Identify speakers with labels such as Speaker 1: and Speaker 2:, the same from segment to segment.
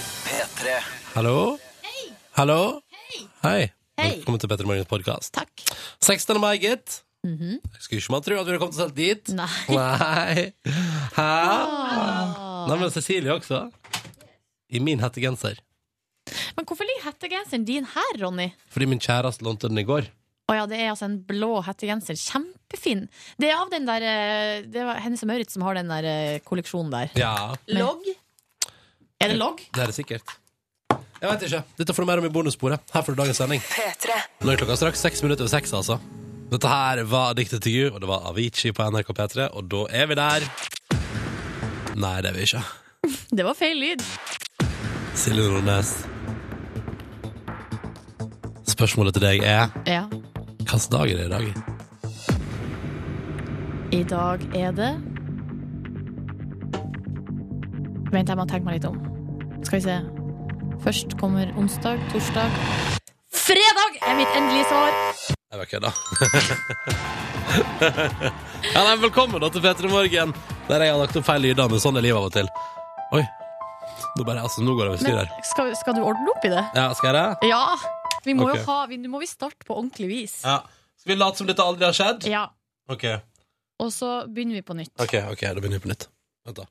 Speaker 1: P3.
Speaker 2: Hallo? Hallo? Hei.
Speaker 3: Hei.
Speaker 2: Velkommen til Petter Morgens podkast.
Speaker 3: Takk. Mhm.
Speaker 2: 16. mai, gitt. Jeg Skulle ikke man tro at vi hadde kommet oss helt dit.
Speaker 3: Nei.
Speaker 2: Nei. Hæ? Nei, men Cecilie også. I min hettegenser.
Speaker 3: Men hvorfor ligger hettegenseren din her, Ronny?
Speaker 2: Fordi min kjæreste lånte den i går.
Speaker 3: Å ja, det er altså en blå hettegenser. Kjempefin. Det er av den der eh, Det var Hennes og Maurits som har den der eh, kolleksjonen der.
Speaker 2: Ja,
Speaker 4: Logg.
Speaker 3: Er det logg?
Speaker 2: det er det sikkert. Jeg vet ikke. Dette får du mer om i bonussporet. Her får du dagens sending.
Speaker 4: P3.
Speaker 2: Nå er klokka straks seks minutter over seks, altså. Dette her var Diktet til you, og det var Avicii på NRK P3, og da er vi der. Nei, det er vi ikke.
Speaker 3: Det var feil lyd.
Speaker 2: Silje Nordnes. Spørsmålet til deg er
Speaker 3: Ja.
Speaker 2: hvilken dag er det i dag?
Speaker 3: I dag er det Vent, jeg må tenke meg litt om. Skal vi se. Først kommer onsdag, torsdag Fredag er mitt endelige svar!
Speaker 2: Jeg var kødda. ja, nei, velkommen da til P3 Morgen, der jeg har lagt opp feil lyder, men sånn er livet av og til. Oi. Nå, bare, altså, nå går det over styr
Speaker 3: Men
Speaker 2: her.
Speaker 3: skal, skal du ordne opp i det?
Speaker 2: Ja, skal jeg det?
Speaker 3: Ja! Vi må
Speaker 2: Ok.
Speaker 3: jo ha vi, Nå må vi starte på ordentlig vis.
Speaker 2: Ja. Skal vi late som dette aldri har skjedd?
Speaker 3: Ja.
Speaker 2: Ok.
Speaker 3: Og så begynner vi på nytt.
Speaker 2: Ok, ok, da begynner vi på nytt. Vent da.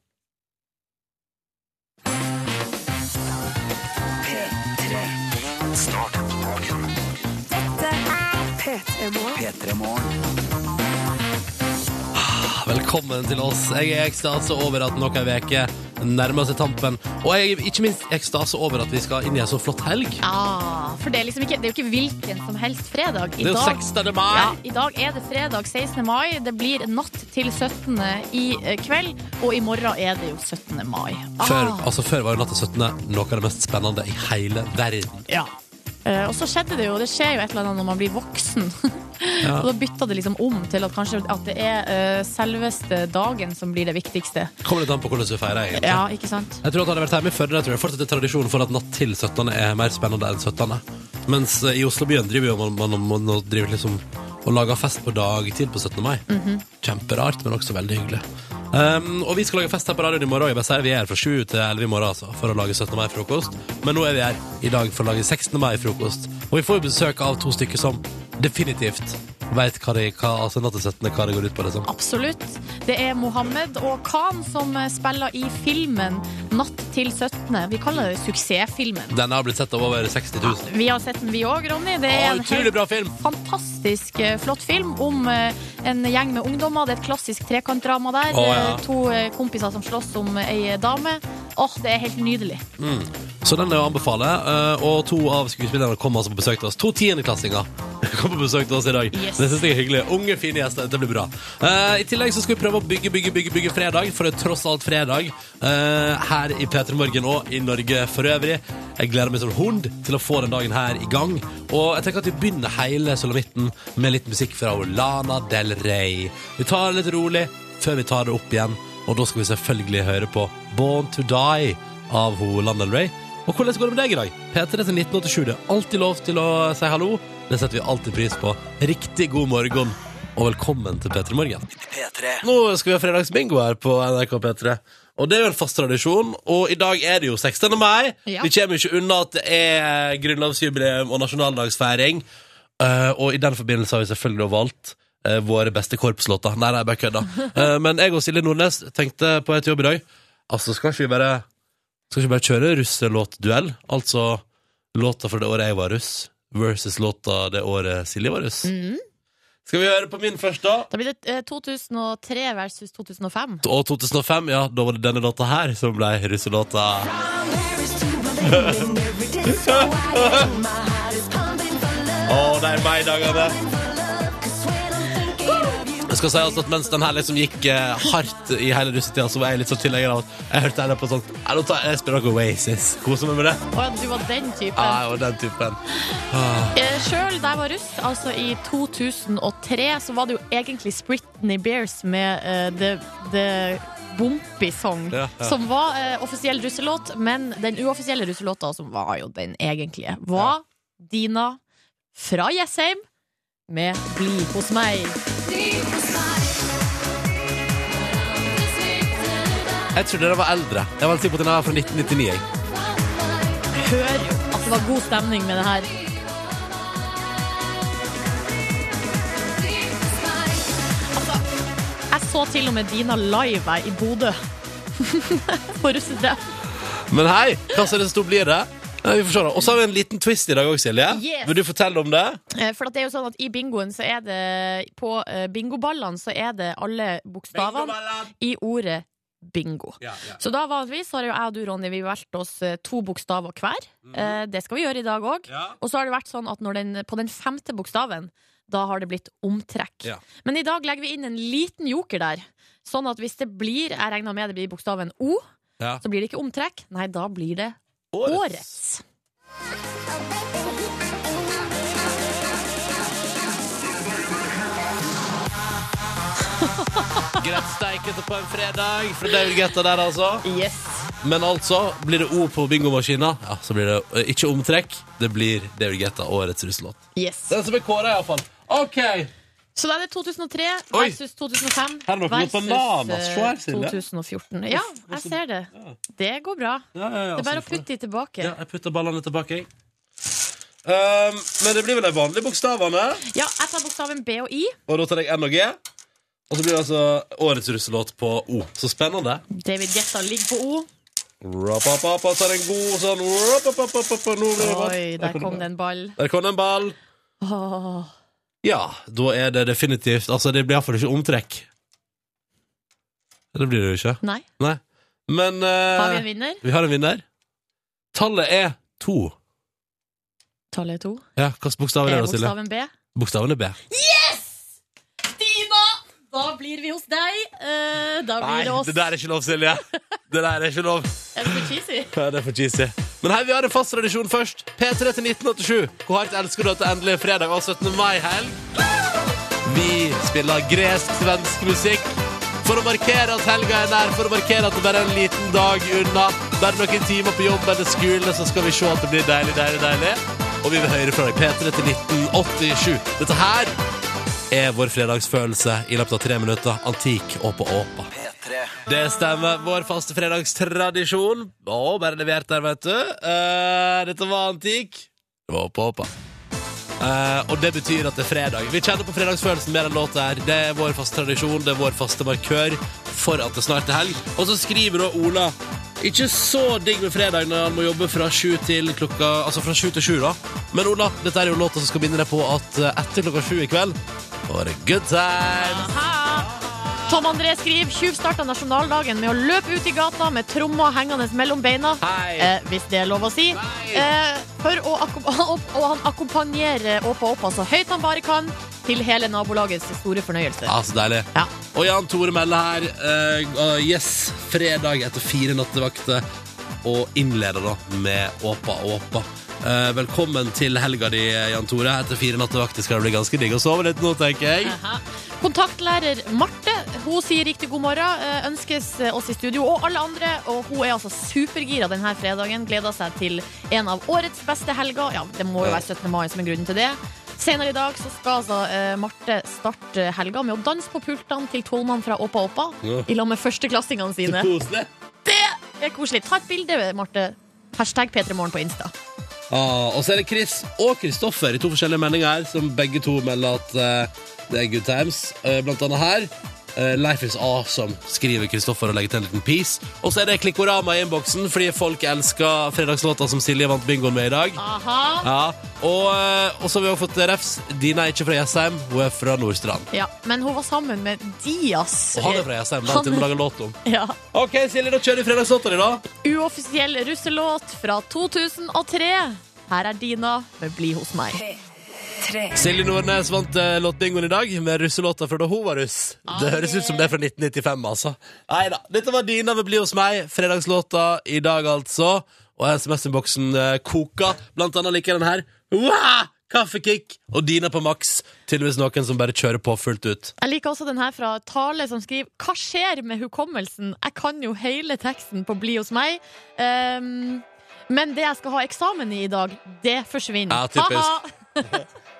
Speaker 4: P3 Morgen.
Speaker 1: P3 Morgen.
Speaker 2: Velkommen til oss. Jeg er i ekstase over at nok ei uke nærmer seg tampen. Og jeg er ikke minst i ekstase over at vi skal inn i en så flott helg.
Speaker 3: Ah, for det er liksom ikke, det er jo ikke hvilken som helst fredag. I
Speaker 2: Det er jo
Speaker 3: dag-
Speaker 2: 16. mai.
Speaker 3: Ja, I dag er det fredag 16. mai. Det blir natt til 17. i eh, kveld. Og i morgen er det jo 17. mai. Ah,
Speaker 2: Før, altså, før var jo natt til 17. noe av det mest spennende i hele verden.
Speaker 3: ja. Eh, og så skjedde det jo, det skjer jo et eller annet når man blir voksen.
Speaker 2: Ja.
Speaker 3: og da bytta det liksom om til at kanskje at det er eh, selveste dagen som blir det viktigste.
Speaker 2: Kommer litt an på hvordan du feirer. egentlig.
Speaker 3: Ja, ikke sant?
Speaker 2: Jeg tror at hadde jeg vært hjemme i Førde, jeg tror jeg fortsatt er tradisjonen for at natt til 17. er mer spennende enn 17. Mens eh, i Oslobyen driver jo man, man, man, man driver liksom og lager fest på dagtid på 17. mai.
Speaker 3: Mhm.
Speaker 2: Kjemperart, men også veldig hyggelig. Um, og vi skal lage fest her på radioen i morgen. Jeg bare sier Vi er her fra 7 til 11 i morgen altså, for å lage 17. mai-frokost. Men nå er vi her i dag for å lage 16. mai-frokost. Og vi får jo besøk av to stykker som definitivt veit hva, de, hva, altså, natt til 17. hva det går ut på. Liksom.
Speaker 3: Absolutt. Det er Mohammed og Khan som eh, spiller i filmen Natt til 17. Vi kaller det suksessfilmen.
Speaker 2: Denne har blitt sett av over 60 000.
Speaker 3: Vi har sett den, vi òg, Ronny. Det
Speaker 2: Å,
Speaker 3: er en
Speaker 2: utrolig
Speaker 3: helt
Speaker 2: bra film!
Speaker 3: fantastisk eh, flott film om eh, en gjeng med ungdommer. Det er et klassisk trekantdrama der.
Speaker 2: Å, ja.
Speaker 3: Eh, To eh, kompiser som slåss om ei dame. Åh, det er helt nydelig.
Speaker 2: Mm. Så den er å anbefale. eh, Og to av skuespillerne kom altså på besøk til oss. To tiendeklassinger kom på besøk til oss i dag.
Speaker 3: Yes.
Speaker 2: Det synes jeg er hyggelig. Unge, fine gjester. Dette blir bra. Eh, I tillegg så skal vi prøve å bygge, bygge, bygge, bygge fredag, for det er tross alt fredag eh, her i P3 Morgen og i Norge for øvrig. Jeg gleder meg som hund til å få den dagen her i gang. Og jeg tenker at vi begynner hele solomitten med litt musikk fra Lana Del Rey. Vi tar det litt rolig før vi tar det opp igjen, og da skal vi selvfølgelig høre på Born to Die av ho Lana Del Rey. Og hvordan går det med deg i dag? P3 til 1987. Det er alltid lov til å si hallo. Det setter vi alltid pris på. Riktig god morgen, og velkommen til P3 Morgen.
Speaker 1: P3.
Speaker 2: Nå skal vi ha fredagsbingo her på NRK P3. Og det er jo en fast tradisjon, og i dag er det jo 16. mai.
Speaker 3: Ja.
Speaker 2: Vi kommer jo ikke unna at det er grunnlovsjubileum og nasjonaldagsfeiring. Eh, og i den forbindelse har vi selvfølgelig valgt eh, våre beste korpslåter. Nei, nei, jeg bare kødda. Eh, men jeg og Silje Nordnes tenkte på et jobb i dag. Altså, skal ikke vi bare Skal ikke vi bare kjøre russelåtduell? Altså låta fra det året jeg var russ versus låta det året Silje var russ. Skal vi høre på min først, da?
Speaker 3: Da blir det eh, 2003 versus 2005.
Speaker 2: og 2005, ja, da var det denne låta her som ble russelåta. Å, de meg-dagene! Jeg skal si altså at Mens den her liksom gikk eh, hardt i hele russetida, så var jeg litt sånn tilhenger av at jeg hørte henne på sånn «Ja, nå tar jeg- Jeg spiller noe Oasis. Koser meg med det.
Speaker 3: Å ja, du var den typen.
Speaker 2: Ja, og den typen. Ah.
Speaker 3: Eh, Sjøl da jeg var russ, altså i 2003, så var det jo egentlig Britney Bears med eh, The, the Bumpy Song,
Speaker 2: Ja, ja.
Speaker 3: som var eh, offisiell russelåt, men den uoffisielle russelåta, som var jo den egentlige, var Dina fra Jessheim med Bli hos meg.
Speaker 2: Jeg trodde den var eldre. Jeg var helt sikker på at den her var fra 1999. jeg.
Speaker 3: hører jo at det var god stemning med det her. Altså, jeg så til og med Dina live jeg, i Bodø på russetreff.
Speaker 2: Men hei, hva ser det som blir det? Nei, Vi får se da. Og så har vi en liten twist i dag òg, Silje.
Speaker 3: Yes.
Speaker 2: Vil du fortelle om det?
Speaker 3: Eh, For at det er jo sånn at i bingoen så er det På eh, bingoballene så er det alle bokstavene i ordet bingo.
Speaker 2: Ja, ja.
Speaker 3: Så da vanligvis har jo jeg og du, Ronny, vi valgt oss eh, to bokstaver hver. Eh, Det skal vi gjøre i dag òg.
Speaker 2: Mhm. Ja.
Speaker 3: Og så har det vært sånn at når den, på den femte bokstaven, da har det blitt omtrekk.
Speaker 2: Ja.
Speaker 3: Men i dag legger vi inn en liten joker der. Sånn at hvis det blir, jeg regner med det blir bokstaven O,
Speaker 2: Ja.
Speaker 3: så blir det ikke omtrekk. Nei, da blir det årets.
Speaker 2: Greit steikete på en fredag fra David Guetta der, altså.
Speaker 3: Yes.
Speaker 2: Men altså, blir det O på bingomaskina, ja, så blir det eh, ikke omtrekk. Det blir David Guetta, årets russelåt.
Speaker 3: yes.
Speaker 2: Den som er kåra, iallfall. OK!
Speaker 3: Så da er det 2003
Speaker 2: Oi.
Speaker 3: versus 2005
Speaker 2: Her er det noe
Speaker 3: versus
Speaker 2: bananas. Se her,
Speaker 3: eh,
Speaker 2: Silje.
Speaker 3: 2014. Ja, jeg ser det. Det går bra.
Speaker 2: Ja, ja, ja,
Speaker 3: Det er bare
Speaker 2: så
Speaker 3: å
Speaker 2: får jeg-
Speaker 3: putte de tilbake.
Speaker 2: Ja, jeg putter ballene tilbake, jeg. Ehm, men det blir vel de vanlige bokstavene.
Speaker 3: Ja, jeg tar bokstaven B og I.
Speaker 2: Og da tar jeg N og G. Og så blir det altså årets russelåt på O. Så spennende.
Speaker 3: David Guetta ligger på O.
Speaker 2: Rapapapa tar en god sånn rapapapapa, nå blir det bra.
Speaker 3: Oi, der kom det en ball.
Speaker 2: Der kom det en ball.
Speaker 3: Åh.
Speaker 2: Ja, da er det definitivt Altså, det blir iallfall ikke omtrekk. Det blir det jo ikke.
Speaker 3: Nei,
Speaker 2: Nei. Men eh,
Speaker 3: har vi en vinner?
Speaker 2: vi har en vinner. Tallet er to.
Speaker 3: Tallet er to.
Speaker 2: Ja, Hvilken bokstav er det,
Speaker 3: Er
Speaker 2: da, Silje?
Speaker 3: E, bokstaven B?
Speaker 2: Bokstaven er B.
Speaker 3: Stina! Da blir vi hos deg. Eh, da
Speaker 2: Nei,
Speaker 3: blir det oss.
Speaker 2: det der er ikke lov, Silje. Det der er ikke lov.
Speaker 3: Er det for cheesy?
Speaker 2: Ja, det er for cheesy. Men hei, vi har en fast tradisjon først. P3 til 1987. Hvor hardt elsker du at det endelig er fredag og 17. mai-helg? Vi spiller gresk-svensk musikk for å markere at helga er nær, for å markere at det bare er en liten dag unna. Bare noen timer på jobb eller skole, så skal vi se at det blir deilig, deilig, deilig. Og vi vil høre fra deg. P3 til 1987. Dette her er vår fredagsfølelse i løpet av tre minutter. Antik og på Åpa. Det stemmer. Vår faste fredagstradisjon. Å, bare levert der, vet du. Eh, dette var antikk. Det var oppe, oppe. Eh, og det betyr at det er fredag. Vi kjenner på fredagsfølelsen med den låta her. Det er vår faste tradisjon, det er vår faste markør for at det snart er helg. Og så skriver da Ola ikke så digg med fredag når han må jobbe fra sju til klokka Altså fra sju til sju, da. Men Ola, dette er jo låta som skal minne deg på at eh, etter klokka sju i kveld var det good times.
Speaker 3: Aha. Tom André skriver tjuvstarta nasjonaldagen med å løpe ut i gata med tromma hengende mellom beina.
Speaker 2: Hei.
Speaker 3: Eh, hvis det er lov å si.
Speaker 2: Nei.
Speaker 3: Eh, for å akkom- opp- og han akkompagnerer Åpa Åpa så høyt han bare kan, til hele nabolagets store fornøyelse.
Speaker 2: Ja, så deilig.
Speaker 3: Ja.
Speaker 2: Og Jan Tore melder her eh, uh, Yes, fredag etter fire nattevakter Og innleder da med Åpa Åpa Eh, Velkommen til helga di, Jan Tore Etter fire nattevakter skal det bli ganske digg å sove litt nå, tenker jeg
Speaker 3: Aha. Kontaktlærer Marte hun sier riktig god morgen, eh, ønskes eh, oss i studio og alle andre. Og hun er altså supergira denne fredagen. Gleder seg til en av årets beste helger. Ja, det må jo være 17. mai som er grunnen til det. Senere i dag så skal altså eh, Marte starte helga med å danse på pultene til tolvmannen fra Åpa Åpa
Speaker 2: Ja.
Speaker 3: i lag med førsteklassingene sine.
Speaker 2: Koselig
Speaker 3: Det er koselig. Ta et bilde, Marte. Hashtag P3morgen på Insta.
Speaker 2: ah, Og så er det Chris og Kristoffer I to forskjellige meldinger her Som begge to melder at eh, det er good times Eh, Blant annet her eh, Life is awesome, skriver Kristoffer og legger til en liten piece Og så er det klikkorama i inboxen Fordi folk elsker fredagslåta som Silje vant bingoen med i dag
Speaker 3: Aha.
Speaker 2: Ja, og, eh, og så har vi også fått refs. Dina er ikke fra Jessheim, hun er fra Nordstrand.
Speaker 3: Ja, men hun var sammen med Dias.
Speaker 2: Og han er fra Jessheim, den
Speaker 3: Han-
Speaker 2: til vi lager låt om.
Speaker 3: Ja.
Speaker 2: OK, Silje, da kjører vi fredagslåta di, da.
Speaker 3: Uoffisiell russelåt fra 2003. Her er Dina med 'Bli hos meg'.
Speaker 2: Silje Nordnes vant eh, låtbingoen i dag med russelåta fra da hun var russ.
Speaker 3: Ah,
Speaker 2: Det høres ut som det er fra 1995, altså. Nei da. Dette var Dina med Bli hos meg, fredagslåta i dag, altså. Og SMS-innboksen eh, koker. Blant annet liker jeg den her. Wow! Kaffekick og Dina på maks. Tydeligvis noen som bare kjører på fullt ut.
Speaker 3: Jeg liker også den her fra Tale, som skriver 'Hva skjer med hukommelsen?' Jeg kan jo hele teksten på 'Bli hos meg'. Ehm, men det jeg skal ha eksamen i i dag, det forsvinner.
Speaker 2: Ja, typisk.
Speaker 3: Ha-ha.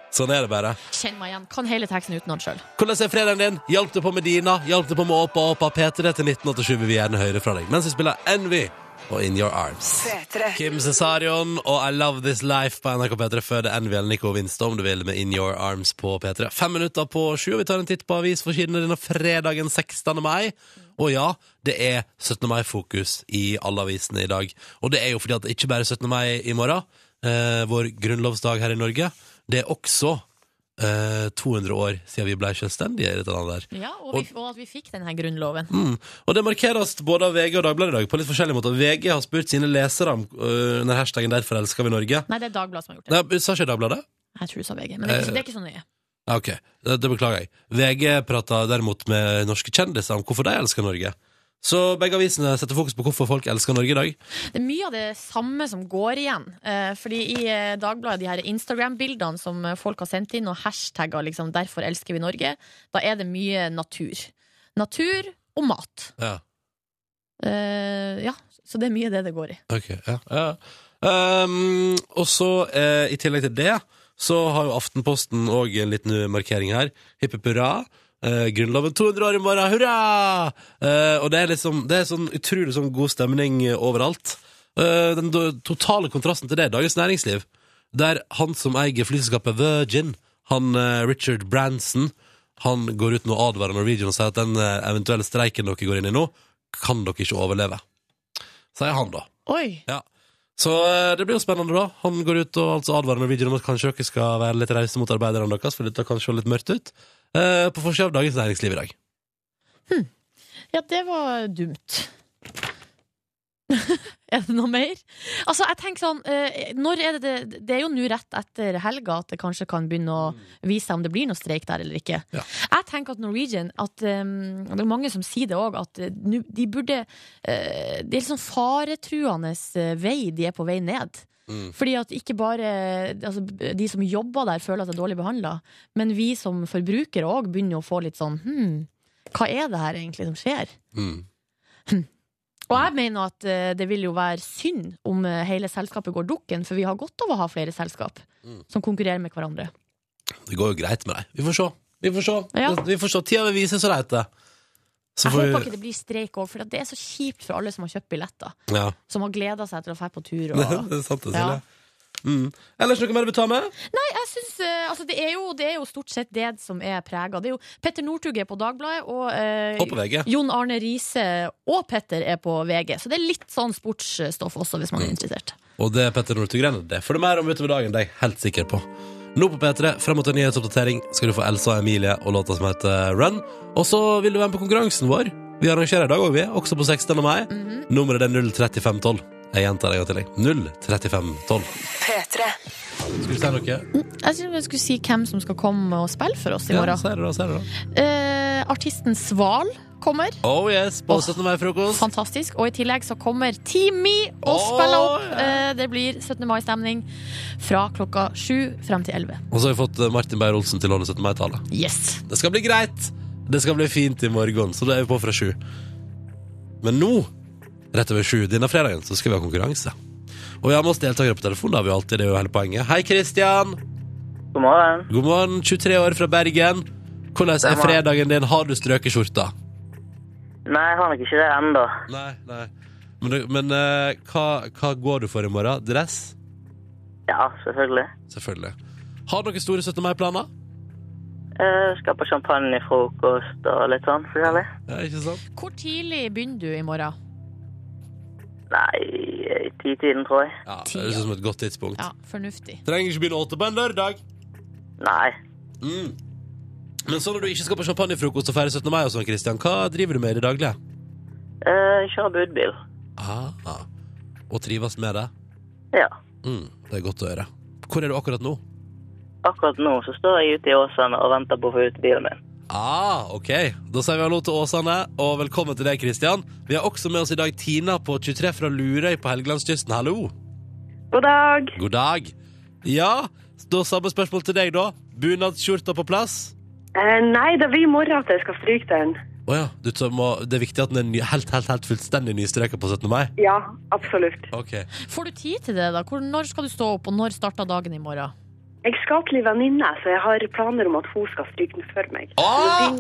Speaker 2: Sånn er det bare.
Speaker 3: Kjenn meg igjen. Kan hele teksten utenat sjøl.
Speaker 2: Hvordan er fredagen din? Hjalp det på med dina? Hjalp det på med Åpa Åpa P3 til 1987? Vi vil gjerne høre fra deg. Mens vi spiller Envy og In Your Arms.
Speaker 4: P3.
Speaker 2: Kim Cesarion og I Love This Life på NRK P3 før det NVL Nico Winstad, om du vil, med In Your Arms på P3. Fem minutter på sju, og vi tar en titt på avisforsidene denne fredagen 16. mai. Og ja, det er 17. mai-fokus i alle avisene i dag. Og det er jo fordi at det ikke bare er 17. mai i morgen, eh, vår grunnlovsdag her i Norge. Det er også eh, 200 år siden vi ble selvstendige i dette landet der.
Speaker 3: Ja, og, vi, og at vi fikk denne grunnloven.
Speaker 2: Mm. Og det markeres både av VG og Dagbladet i dag på litt forskjellige måter. VG har spurt sine lesere om øh, under hashtaggen 'Derfor elsker vi Norge'.
Speaker 3: Nei, det er Dagbladet som har gjort det.
Speaker 2: Nei, Sa ikke Dagbladet?
Speaker 3: Jeg tror du sa VG, men
Speaker 2: Eh,
Speaker 3: det er ikke, det er ikke sånn så nøye.
Speaker 2: Ja, Ok, det, det beklager jeg. VG prata derimot med norske kjendiser om hvorfor de elsker Norge. Så begge avisene setter fokus på hvorfor folk elsker Norge i dag.
Speaker 3: Det er mye av det samme som går igjen. Eh, fordi i eh, Dagbladet, de her Instagram-bildene som eh, folk har sendt inn, og hashtagger liksom 'derfor elsker vi Norge', da er det mye natur. Natur og mat.
Speaker 2: Ja,
Speaker 3: Eh, ja, så det er mye det det går i.
Speaker 2: ok, ja, ja. Ehm, og så, eh, i tillegg til det, så har jo Aftenposten òg en liten markering her. Hipp hipp hurra. Eh, grunnloven 200 år i morgen, hurra! Eh, og det er liksom Det er sånn utrolig sånn god stemning eh, overalt. Eh, den do- totale kontrasten til det er Dagens Næringsliv, der han som eier flyselskapet Virgin, han eh, Richard Branson, han går ut nå og advarer Norwegian og sier at den eh, eventuelle streiken dere går inn i nå, kan dere ikke overleve. Sier han, da.
Speaker 3: Oi!
Speaker 2: Ja. Så eh, det blir jo spennende, da. Han går ut og altså advarer Norwegian om at kanskje dere skal være litt rause mot arbeiderne deres, for dette kan se litt mørkt ut. Eh, på forsida av Dagens Næringsliv i dag.
Speaker 3: Ja, det var dumt. er det noe mer? Altså, jeg tenker sånn eh, når er det, det, det er jo nå rett etter helga at det kanskje kan begynne å vise seg om det blir noe streik der eller ikke.
Speaker 2: Ja.
Speaker 3: Jeg tenker at Norwegian at, eh, Det er mange som sier det òg, at eh, nå- de burde eh, Det er litt sånn faretruende eh, vei de er på vei ned.
Speaker 2: Mm.
Speaker 3: Fordi at ikke bare altså, de som jobber der, føler at det er dårlig behandla, men vi som forbrukere òg begynner å få litt sånn hm, hva er det her egentlig som skjer?
Speaker 2: Mm.
Speaker 3: Og jeg mener at eh, det vil jo være synd om eh, hele selskapet går dukken, for vi har godt av å ha flere selskap som konkurrerer med hverandre.
Speaker 2: Det går jo greit med deg. Vi får se. Vi får se.
Speaker 3: Ja.
Speaker 2: Vi får se. Tida vil vise, så det heter. Så
Speaker 3: Jeg
Speaker 2: får
Speaker 3: håper
Speaker 2: vi-
Speaker 3: ikke det blir streik òg, for det er så kjipt for alle som har kjøpt billetter.
Speaker 2: Ja.
Speaker 3: Som har gleda seg til å dra på tur.
Speaker 2: Det
Speaker 3: Og...
Speaker 2: er sant, det,
Speaker 3: Ja.
Speaker 2: Silje. Mm. Ellers noe mer du vil ta med?
Speaker 3: Nei, jeg synes, eh, altså, det, er jo, det er jo stort sett det som er prega. Det er jo Petter Northug er på Dagbladet, og eh,
Speaker 2: Og på VG.
Speaker 3: Jon Arne Riise og Petter er på VG. Så det er litt sånn sportsstoff også, hvis man
Speaker 2: Mm.
Speaker 3: er interessert.
Speaker 2: Og det er Petter Northug-greiene. Det får du mer om utover dagen, det er jeg helt sikker på. Nå på P3, frem mot en nyhetsoppdatering, skal du få Elsa og Emilie og låta som heter eh, Run. Og så vil du være med på konkurransen vår. Vi arrangerer i dag òg, vi. Også på 16. mai.
Speaker 3: Mhm.
Speaker 2: Nummeret er 03512. Jeg gjentar det en gang til. jeg. 03512.
Speaker 4: P3.
Speaker 2: Skal du si noe?
Speaker 3: Jeg synes jeg skulle si hvem som skal komme og spille for oss i
Speaker 2: Ja,
Speaker 3: morgen.
Speaker 2: si det, da. Si det, da.
Speaker 3: Eh, artisten Sval kommer.
Speaker 2: Oh yes, på
Speaker 3: Åh.
Speaker 2: 17. mai-frokost.
Speaker 3: Fantastisk. Og i tillegg så kommer Team Me og
Speaker 2: Åh,
Speaker 3: spiller opp.
Speaker 2: ja.
Speaker 3: Eh, det blir 17. mai-stemning fra klokka sju frem til elleve.
Speaker 2: Og så har vi fått eh, Martin Beyer-Olsen til å holde 17. mai-tale.
Speaker 3: Yes.
Speaker 2: Det skal bli greit. Det skal bli fint i morgen, så da er vi på fra sju. Men nå, rett over sju denne fredagen, så skal vi ha konkurranse. Og vi har med oss deltakere på telefonen. Det har vi alltid, det er jo hele poenget. Hei, Kristian.
Speaker 1: God morgen.
Speaker 2: God morgen. 23 år fra Bergen. Hvordan er
Speaker 1: morgen.
Speaker 2: fredagen din? Har du strøket skjorta?
Speaker 1: Nei, jeg har nok ikke det ennå.
Speaker 2: Nei, nei. Men, du- men eh, hva, hva går du for i morgen? Dress?
Speaker 1: Ja, selvfølgelig.
Speaker 2: Selvfølgelig. Har du noen store 17. mai-planer?
Speaker 1: Jeg Eh, skal på champagnefrokost og litt sånn forskjellig.
Speaker 2: Ja, ikke sant?
Speaker 3: Hvor tidlig begynner du i morgen?
Speaker 1: Nei, i titiden, tror jeg.
Speaker 2: Ja, det høres ut som et godt tidspunkt.
Speaker 3: Ja, fornuftig.
Speaker 2: Trenger ikke begynne åtte på en lørdag.
Speaker 1: Nei.
Speaker 2: Mm. Men så når du ikke skal på champagnefrokost og feire 17. mai og sånn, Kristian, hva driver du med i det daglige?
Speaker 1: Jeg kjører Eh, budbil.
Speaker 2: Ah. Og trives med det?
Speaker 1: Ja.
Speaker 2: Mm, det er godt å høre. Hvor er du akkurat nå?
Speaker 1: Akkurat nå så står jeg ute i Åsane og venter på å få ut bilen min.
Speaker 2: Ah, ok. Da sier vi hallo til Åsane, og velkommen til deg, Kristian. Vi har også med oss i dag Tina på 23 fra Lurøy på Helgelandskysten. Hallo.
Speaker 5: God dag.
Speaker 2: God dag. Ja, da samme spørsmål til deg, da. Bunadsskjorta på plass?
Speaker 5: Eh, nei, det blir i morgen at jeg skal stryke den.
Speaker 2: Å ja. Du, tar- må- det er viktig at den er ny, helt, helt, helt fullstendig nystreka på 17. mai?
Speaker 5: Ja, absolutt.
Speaker 2: Ok.
Speaker 3: Får du tid til det, da? Hvor, når skal du stå opp, og når starter dagen i morgen?
Speaker 5: Jeg skal til en venninne, så jeg har planer om at hun skal stryke den for meg.
Speaker 2: Ah!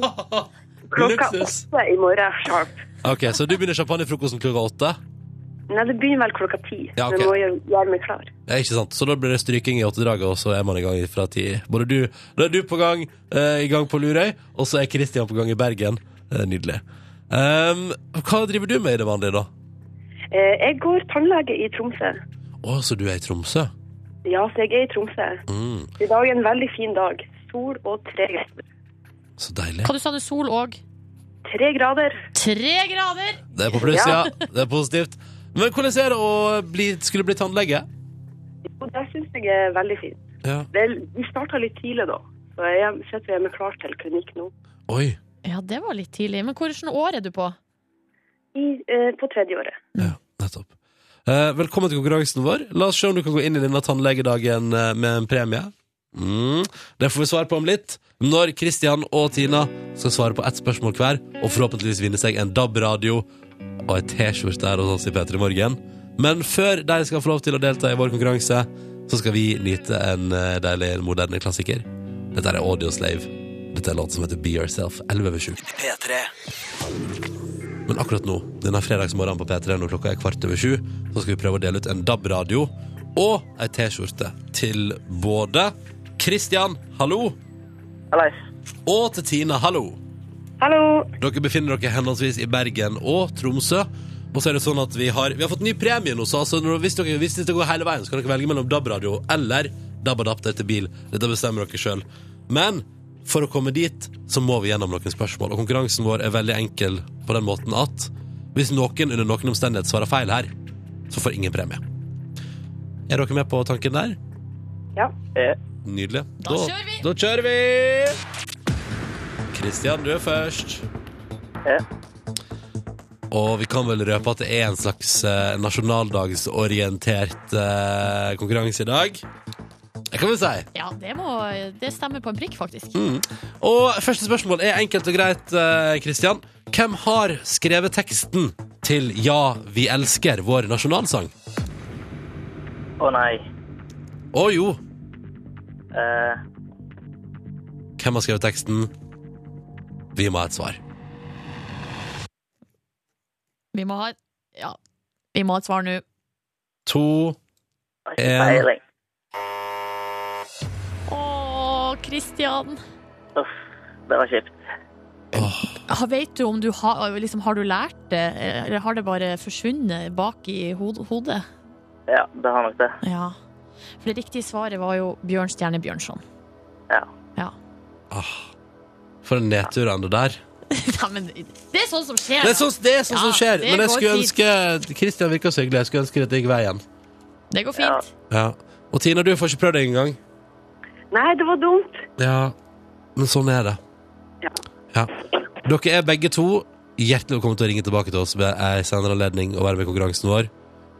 Speaker 5: Klokka
Speaker 2: Luksus.
Speaker 5: åtte i morgen sharp.
Speaker 2: Ok, så du begynner champagnefrokosten klokka åtte?
Speaker 5: Nei, det begynner vel klokka ti.
Speaker 2: Ja, ok.
Speaker 5: Men må gjøre, gjøre meg klar.
Speaker 2: Ja, ikke sant? Så da blir det stryking i åttedraget, og så er man i gang fra ti. Både du, da er du på gang, eh, i gang på Lurøy, og så er Kristian på gang i Bergen. Det er nydelig. Ehm, hva driver du med i det vanlige, da?
Speaker 5: Eh, jeg går tannlege i Tromsø.
Speaker 2: Å, så du er i Tromsø?
Speaker 5: Ja, så jeg er i Tromsø.
Speaker 2: Mm,
Speaker 5: I dag er en veldig fin dag. Sol og tre grader.
Speaker 2: så deilig.
Speaker 3: Hva du sa du? Sol og
Speaker 5: Tre grader.
Speaker 3: tre grader!
Speaker 2: Det er på pluss, ja. Det er positivt. Men hvordan er det å bli, skulle bli tannlege?
Speaker 5: Jo, det syns jeg er veldig fint.
Speaker 2: Ja.
Speaker 5: Vel, vi starta litt tidlig da, så jeg sitter hjemme klar til klinikk nå.
Speaker 2: Oi.
Speaker 3: Ja, det var litt tidlig. Men hvilket år er du på?
Speaker 5: I, eh, på tredje året.
Speaker 2: Ja, nettopp. Eh, velkommen til konkurransen vår. La oss se om du kan gå inn i denne tannlegedagen eh, med en premie. Mm. Det får vi svar på om litt, når Kristian og Tina skal svare på ett spørsmål hver, og forhåpentligvis vinne seg en DAB-radio og ei T-skjorte her hos oss i P3 Morgen. Men før de skal få lov til å delta i vår konkurranse, så skal vi nyte en eh, deilig, moderne klassiker. Dette er Audioslave. Dette er en låt som heter Be Yourself 11 over 7. Men akkurat nå, denne fredagsmorgenen på P3 når klokka er kvart over sju, så skal vi prøve å dele ut en DAB-radio og ei T-skjorte til både Kristian, hallo,
Speaker 1: Hallais.
Speaker 2: og til Tina, hallo.
Speaker 5: Hallo!
Speaker 2: Dere befinner dere henholdsvis i Bergen og Tromsø. Og så er det sånn at vi har, vi har fått ny premie nå, så altså, når, hvis, dere, hvis dette går hele veien, så kan dere velge mellom DAB-radio eller DAB-adapter til bil. Dette bestemmer dere sjøl. Men for å komme dit, så må vi gjennom noen spørsmål. Og konkurransen vår er veldig enkel på den måten at hvis noen under noen omstendighet svarer feil her, så får ingen premie. Er dere med på tanken der?
Speaker 5: Ja.
Speaker 1: Eh,
Speaker 2: Nydelig.
Speaker 3: Da kjører vi!
Speaker 2: Da kjører vi! Kristian, du er først.
Speaker 1: Ja.
Speaker 2: Og vi kan vel røpe at det er en slags eh, nasjonaldagsorientert eh, konkurranse i dag. Det kan vi si. Mm.
Speaker 3: Ja, det, må, det stemmer på en prikk, faktisk.
Speaker 2: Og første spørsmål er enkelt og greit, eh, Kristian. Hvem har skrevet teksten til Ja, vi elsker, vår nasjonalsang?
Speaker 1: Å nei.
Speaker 2: Å jo,
Speaker 1: Eh,
Speaker 2: hvem har skrevet teksten? Vi må ha et svar.
Speaker 3: Vi må ha Ja, vi må ha et svar nå.
Speaker 2: To
Speaker 1: har ikke
Speaker 2: En.
Speaker 1: peiling.
Speaker 3: Å, Kristian.
Speaker 1: Uff, det var kjipt.
Speaker 2: Åh,
Speaker 3: Ja, Vet du om du har liksom, Har du lært det, eller har det bare forsvunnet bak i hod- hodet?
Speaker 1: Ja, det har nok det.
Speaker 3: Ja. For det riktige svaret var jo Bjørnstjerne Bjørnson.
Speaker 1: Ja.
Speaker 3: Ja.
Speaker 2: ah. For en nedtur enn det der.
Speaker 3: Nei, men det er sånn som skjer.
Speaker 2: Det er sånn, det er sånn
Speaker 3: Ja,
Speaker 2: som skjer.
Speaker 3: det
Speaker 2: Men jeg
Speaker 3: går
Speaker 2: skulle
Speaker 3: fint.
Speaker 2: ønske Kristian virka så hyggelig. Jeg skulle ønske dette gikk veien.
Speaker 3: da. Det går fint.
Speaker 2: Ja. Og Tina, du får ikke prøvd det engang.
Speaker 5: Nei, det var dumt.
Speaker 2: Ja, men sånn er det.
Speaker 5: Ja.
Speaker 2: Ja. Dere er begge to hjertelig velkommen til å ringe tilbake til oss ved ei senere anledning og være med i konkurransen vår.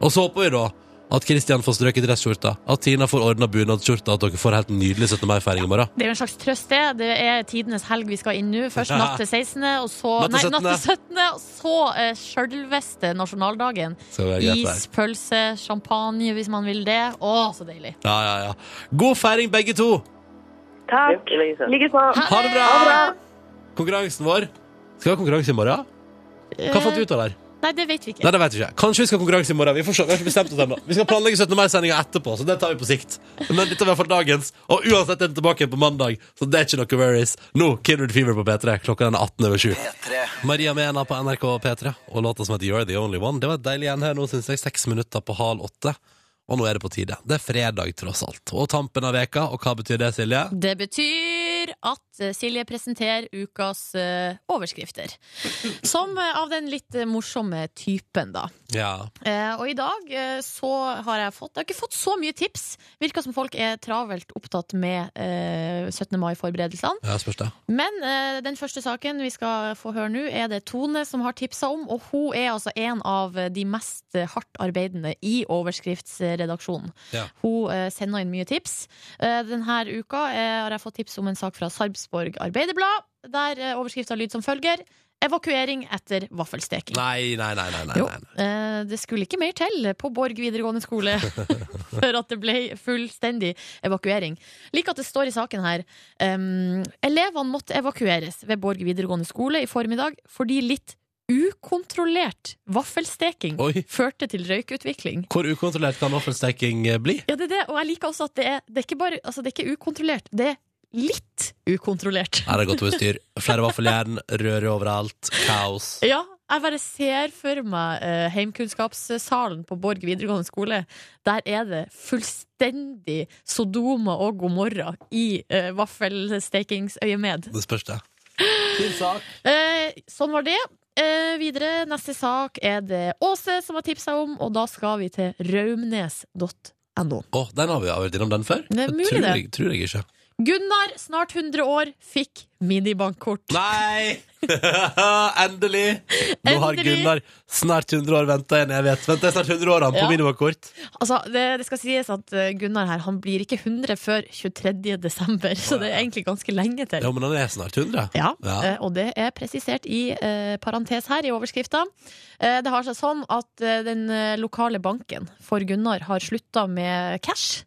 Speaker 2: Og så håper vi da at Kristian får strøket dressskjorta, at Tina får ordna bunadsskjorta, at dere får helt nydelig 17. mai-feiring i morgen.
Speaker 3: Det er jo en slags trøst, det. Det er tidenes helg vi skal inn nå. Først natt til 16., og så
Speaker 2: Natt til
Speaker 3: Nei, natt til
Speaker 2: 17.,
Speaker 3: 17., og så eh, sjølveste nasjonaldagen.
Speaker 2: Så det er greit der.
Speaker 3: Is, pølse, champagne hvis man vil det. Å, så deilig.
Speaker 2: Ja, ja, ja. God feiring, begge to!
Speaker 5: Takk.
Speaker 1: I like måte.
Speaker 5: Likeså.
Speaker 2: Ha det bra! Konkurransen vår. Skal vi ha konkurranse i morgen? Hva fant du ut av der?
Speaker 3: Nei, det vet vi ikke.
Speaker 2: Nei, det vet vi ikke. Kanskje vi skal ha konkurranse i morgen. Vi, får se. vi har ikke bestemt oss ennå. Vi skal planlegge 17. mai-sendinga etterpå, så det tar vi på sikt. Men dette var for dagens, og uansett er den tilbake igjen på mandag, så det er ikke noe worries. Nå, Kindred Fever på P3. Klokka den er 18 over 7. Maria Mena på NRK P3 og låta som heter You're The Only One. Det var et deilig igjen her nå, syns jeg. Seks minutter på halv åtte. Og nå er det på tide. Det er fredag, tross alt. Og tampen av veka, og hva betyr det, Silje?
Speaker 3: Det betyr at eh, Silje presenterer ukas eh, overskrifter. Som eh, av den litt eh, morsomme typen, da.
Speaker 2: Ja.
Speaker 3: Eh, og i dag eh, så har jeg fått Jeg har ikke fått så mye tips. Virker som folk er travelt opptatt med eh, 17. mai-forberedelsene.
Speaker 2: Ja, spørs det.
Speaker 3: Men eh, den første saken vi skal få høre nå, er det Tone som har tipsa om. Og hun er altså en av de mest eh, hardt arbeidende i overskriftsredaksjonen.
Speaker 2: Ja.
Speaker 3: Hun eh, sender inn mye tips. Eh, denne uka eh, har jeg fått tips om en sak fra Sarpsborg Arbeiderblad, der eh, overskrifta lyd som følger. Evakuering etter vaffelsteking.
Speaker 2: Nei, nei, nei, nei. nei,
Speaker 3: Jo,
Speaker 2: nei.
Speaker 3: eh, det skulle ikke mer til på Borg videregående skole før at det ble fullstendig evakuering. Lik at det står i saken her um, Elevene måtte evakueres ved Borg videregående skole i formiddag fordi litt ukontrollert vaffelsteking
Speaker 2: Oi.
Speaker 3: førte til røykutvikling.
Speaker 2: Hvor ukontrollert kan vaffelsteking eh, bli?
Speaker 3: Ja, det er det, og jeg liker også at det er, det er, ikke, bare, altså, det er ikke ukontrollert, det er litt ukontrollert.
Speaker 2: Her har gått over styr. Flere vaffeljern, røre overalt, kaos.
Speaker 3: Ja, jeg bare ser for meg eh, heimkunnskapssalen på Borg videregående skole. Der er det fullstendig Sodoma og Gomorra i eh, vaffelstekingsøyemed.
Speaker 2: Det spørs, det. Fin sak.
Speaker 3: Eh, sånn var det. Eh, videre, neste sak er det Åse som har tipsa om, og da skal vi til raumnes.no.
Speaker 2: Å, den har vi jo vært innom den før.
Speaker 3: Det er mulig,
Speaker 2: tror
Speaker 3: det.
Speaker 2: jeg, tror jeg ikke.
Speaker 3: Gunnar, snart 100 år, fikk minibankkort.
Speaker 2: Nei! Endelig! Nå har
Speaker 3: Endelig.
Speaker 2: Gunnar snart 100 år venta en evighet. Vent, det er snart 100 år han på
Speaker 3: Ja.
Speaker 2: minimumkort.
Speaker 3: Altså, det, det skal sies at eh, Gunnar her Han blir ikke 100 før 23. desember, så det er egentlig ganske lenge til.
Speaker 2: Ja, men han er snart 100.
Speaker 3: Ja,
Speaker 2: Ja.
Speaker 3: eh, og det er presisert i eh, parentes her i overskrifta. Eh, det har seg sånn at eh, den eh, lokale banken for Gunnar har slutta med cash. Eh,